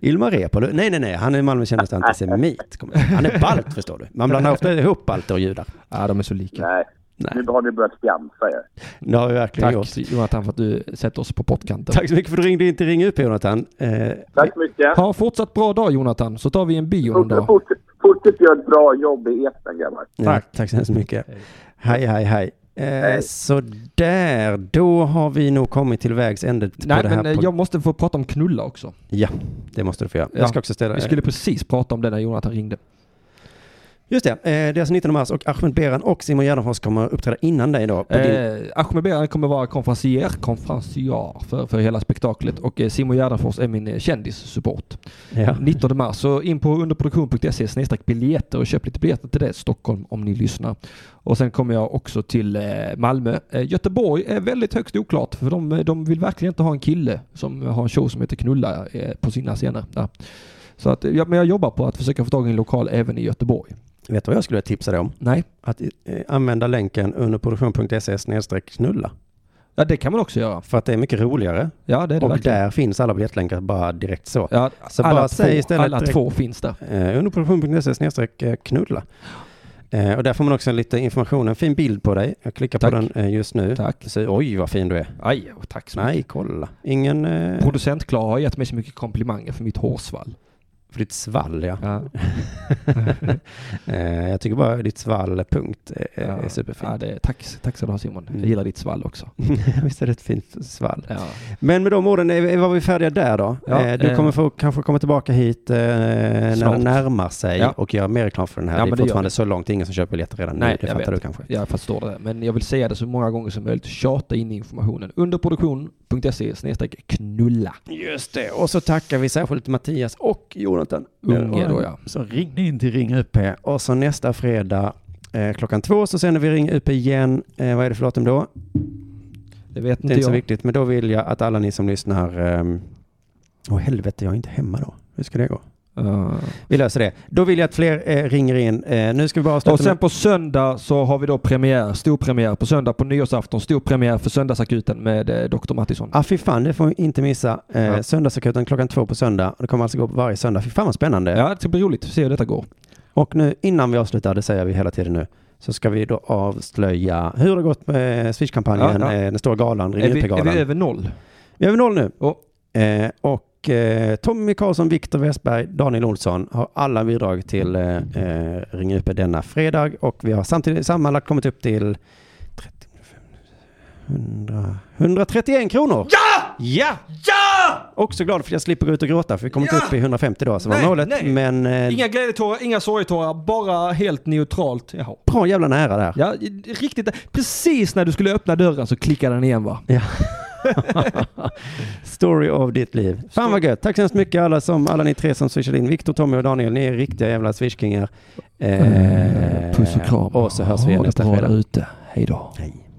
[SPEAKER 1] Ilmar Reepalu? Nej, nej, nej, han är Malmös kändaste antisemit. kommer jag säga. Han är balt, förstår du. Man blandar ofta ihop balter och judar.
[SPEAKER 2] ja, de är så lika.
[SPEAKER 7] Nej.
[SPEAKER 1] Nej.
[SPEAKER 7] Nu har ni börjat fjamsa er.
[SPEAKER 1] Det har vi verkligen
[SPEAKER 2] Tack
[SPEAKER 1] gjort.
[SPEAKER 2] Jonathan för att du sätter oss på pottkanten.
[SPEAKER 1] Tack så mycket för att du ringde in till Ring UP, Jonathan. Eh,
[SPEAKER 7] Tack så mycket.
[SPEAKER 2] Ha fortsatt bra dag Jonathan, så tar vi en bio någon
[SPEAKER 7] Forts-
[SPEAKER 2] dag.
[SPEAKER 7] forts- Fortsätt göra ett bra jobb i etern, grabbar.
[SPEAKER 1] Tack. Ja, tack så hemskt mycket. Hej, hej, hej. Eh,
[SPEAKER 7] Hej.
[SPEAKER 1] så där, då har vi nog kommit till vägs ände på
[SPEAKER 2] Nej
[SPEAKER 1] det här.
[SPEAKER 2] men eh,
[SPEAKER 1] pro-
[SPEAKER 2] jag måste få prata om knulla också.
[SPEAKER 1] Ja, det måste du få göra.
[SPEAKER 2] Ja.
[SPEAKER 1] Jag ska också ställa...
[SPEAKER 2] Vi skulle precis prata om det när Jonathan ringde.
[SPEAKER 1] Just det, eh, det är alltså 19 mars och Ahmed Beran och Simon Gärdenfors kommer uppträda innan dig idag. På din...
[SPEAKER 2] Eh, Ahmed Beran kommer vara konferencier, konferencier för, för hela spektaklet och eh, Simon Gärdenfors är min eh, kändissupport.
[SPEAKER 1] Ja.
[SPEAKER 2] 19 mars, så in på underproduktion.se snedstreck biljetter och köp lite biljetter till det Stockholm om ni lyssnar. Och sen kommer jag också till eh, Malmö. Eh, Göteborg är väldigt högst oklart för de, de vill verkligen inte ha en kille som har en show som heter Knulla eh, på sina scener. Ja. Så att, eh, ja, men jag jobbar på att försöka få tag i en lokal även i Göteborg.
[SPEAKER 1] Vet du vad jag skulle tipsa dig om?
[SPEAKER 2] Nej,
[SPEAKER 1] Att eh, använda länken underproduktion.se snedstreck knulla.
[SPEAKER 2] ja, det kan man också göra.
[SPEAKER 1] För att det är mycket roligare.
[SPEAKER 2] Ja, det är det
[SPEAKER 1] och
[SPEAKER 2] verkligen.
[SPEAKER 1] där finns alla biljettlänkar bara direkt så.
[SPEAKER 2] Ja,
[SPEAKER 1] Så
[SPEAKER 2] alla
[SPEAKER 1] bara säg
[SPEAKER 2] två,
[SPEAKER 1] istället
[SPEAKER 2] alla
[SPEAKER 1] direkt-
[SPEAKER 2] två finns där.
[SPEAKER 1] Eh, underproduktion.se snedstreck knulla. Eh, och där får man också lite information, en fin bild på dig. Jag klickar
[SPEAKER 2] Tack.
[SPEAKER 1] på den eh, just nu.
[SPEAKER 2] Tack.
[SPEAKER 1] Så, oj, vad fin du är.
[SPEAKER 2] Aj, tack så mycket.
[SPEAKER 1] Nej, kolla. Ingen... Eh,
[SPEAKER 2] Producent Klara har gett mig så mycket komplimanger för mitt hårsvall.
[SPEAKER 1] för ditt svall, ja.
[SPEAKER 2] Ja, (laughs)
[SPEAKER 1] (laughs) Eh, jag tycker bara ditt svall, punkt, eh,
[SPEAKER 2] ja.
[SPEAKER 1] är superfint.
[SPEAKER 2] Ja, det, tack, tack ska du ha Simon.
[SPEAKER 1] Mm.
[SPEAKER 2] Jag gillar ditt svall också.
[SPEAKER 1] (laughs) Visst är det ett fint svall?
[SPEAKER 2] Ja.
[SPEAKER 1] Men med de orden är, vi- var vi färdiga där då.
[SPEAKER 2] Ja,
[SPEAKER 1] eh, du
[SPEAKER 2] eh,
[SPEAKER 1] kommer få, kanske komma tillbaka hit eh, när det
[SPEAKER 2] Snart.
[SPEAKER 1] närmar sig
[SPEAKER 2] Ja.
[SPEAKER 1] och göra mer reklam för den här.
[SPEAKER 2] Ja,
[SPEAKER 1] det är
[SPEAKER 2] men det gör
[SPEAKER 1] fortfarande
[SPEAKER 2] vi.
[SPEAKER 1] så långt, det är ingen som köper biljetter redan
[SPEAKER 2] Nej,
[SPEAKER 1] nu. Det
[SPEAKER 2] jag
[SPEAKER 1] fattar
[SPEAKER 2] vet.
[SPEAKER 1] du kanske.
[SPEAKER 2] Jag förstår det. Men jag vill säga det så många gånger som möjligt. Tjata in informationen. Underproduktion.se snedstreck knulla.
[SPEAKER 1] Just det, och så tackar vi särskilt Mattias och Jonathan
[SPEAKER 2] Unge då, ja.
[SPEAKER 1] Så ringde in till Ring UP och så nästa fredag eh, klockan två så sänder vi Ring UP igen. Eh, vad är det för datum då?
[SPEAKER 2] Det vet
[SPEAKER 1] Det
[SPEAKER 2] inte
[SPEAKER 1] är inte så
[SPEAKER 2] jag.
[SPEAKER 1] viktigt, men då vill jag att alla ni som lyssnar... ehm, Åh helvete, jag är inte hemma då. Hur ska det gå?
[SPEAKER 2] Ja.
[SPEAKER 1] Vi löser det. Då vill jag att fler eh, ringer in. Eh, nu ska vi bara avsluta
[SPEAKER 2] Och sen
[SPEAKER 1] med-
[SPEAKER 2] på söndag så har vi då premiär, stor premiär på söndag på nyårsafton, stor premiär för Söndagsakuten med eh, Dr. Mattisson.
[SPEAKER 1] Ah, fy fan, det får vi inte missa. Eh,
[SPEAKER 2] Ja.
[SPEAKER 1] Söndagsakuten klockan två på söndag. Och det kommer alltså gå på varje söndag. Fy fan vad spännande.
[SPEAKER 2] Ja, det ska bli roligt. Se hur detta går.
[SPEAKER 1] Och nu innan vi avslutar, det säger vi hela tiden nu, så ska vi då avslöja hur det gått med Swish-kampanjen,
[SPEAKER 2] Ja, ja.
[SPEAKER 1] eh, den stora galan, Ring
[SPEAKER 2] Är vi, är
[SPEAKER 1] UP-galan.
[SPEAKER 2] vi
[SPEAKER 1] Vi,
[SPEAKER 2] över noll?
[SPEAKER 1] är över noll nu.
[SPEAKER 2] Och-
[SPEAKER 1] Eh, och eh, Tommy Karlsson, Viktor Westberg, Daniel Olsson har alla bidrag till eh, eh, Ring UP denna fredag och vi har samtidigt sammanlagt kommit upp till 30, 100, 131 kronor. Ja! Ja! Ja!
[SPEAKER 2] Ja!
[SPEAKER 1] Också glad för att jag slipper gå ut och gråta, för vi kommer
[SPEAKER 2] Ja!
[SPEAKER 1] inte upp i 150 dagar som var
[SPEAKER 2] Nej,
[SPEAKER 1] målet.
[SPEAKER 2] nej.
[SPEAKER 1] Men eh,
[SPEAKER 2] Inga glädjetårar, inga sorgetårar, bara helt neutralt. Jaha.
[SPEAKER 1] bra jävla nära där.
[SPEAKER 2] Ja, riktigt. Precis när du skulle öppna dörren så klickade den igen va?
[SPEAKER 1] Ja. Story of ditt liv. Fan vad gött. Tack så hemskt mycket alla, som, alla ni tre som swishade in. Viktor, Tommy och Daniel, ni är riktiga jävla swishkingar. Eh,
[SPEAKER 8] Puss och kram.
[SPEAKER 1] Och så hörs vi
[SPEAKER 8] Ha
[SPEAKER 1] igen
[SPEAKER 8] det
[SPEAKER 1] nästa
[SPEAKER 8] bra där
[SPEAKER 1] fredag.
[SPEAKER 8] ute. Hej då.
[SPEAKER 1] Hej.